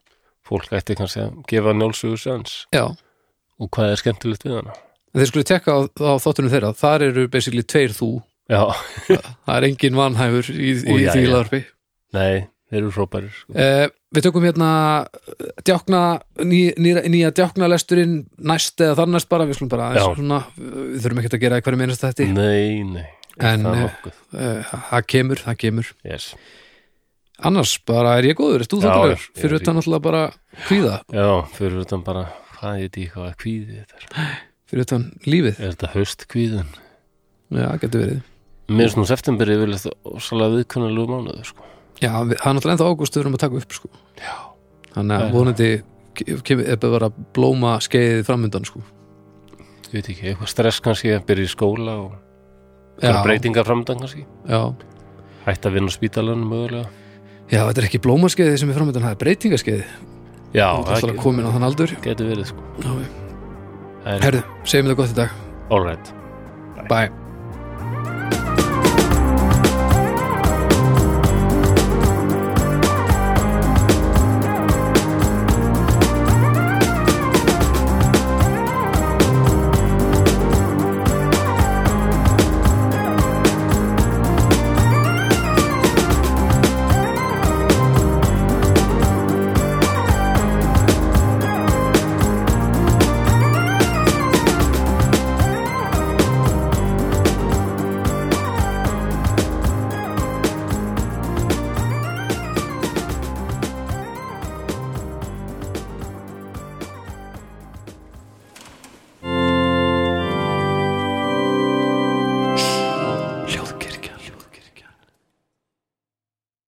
fólk ætti kannski að gefa njálsugu sens já, og hvað er skemmtilegt við hana en þeir skulle tekka á, á þáttunum þeirra þar eru basically tveir þú Já, það er engin vanhæfur í, Ó, í já, því já. laðarpi nei, þeir eru fróparir sko. Eh, við tökum hérna eh, djákna, ný, nýra- nýja djáknalesturinn næst eða þannast bara við skulum bara Já. aðeins svona, eh, við þurfum ekkert að gera í hverju minnast þetta Nei, nei, En, það er eh, nokkuð eh, það kemur, það kemur yes. annars bara er ég góður, erst þú Já, þáttulegur já, ég fyrir er utan náttúrulega bara kvíða Já, fyrir utan bara hvað ég díka að kvíði þetta er fyrir utan lífið, Er þetta höst kvíðun? já, getur verið Mér finnst nú september yfirleitt ósalega viðkunnalegu mánuðu sko. já, við, það er náttúrulega ennþá ágúst við erum að taka upp sko. þannig Já, já. að vonandi ke- kemur eða bara blóma skeiðið framundan sko. Ég veit ekki, eitthvað stress kannski að byrja í skóla og já, einhverjar breytingar framdann kannski já. Hætt að vinna á spítalanum mögulega já, þetta er ekki blómaskeiðið sem er framundan það er breytingaskeiðið, Já, það er alltaf komin á þann aldur getur verið sko. já, já Það er- Herðu, segjum þetta gott í dag. All right Bye.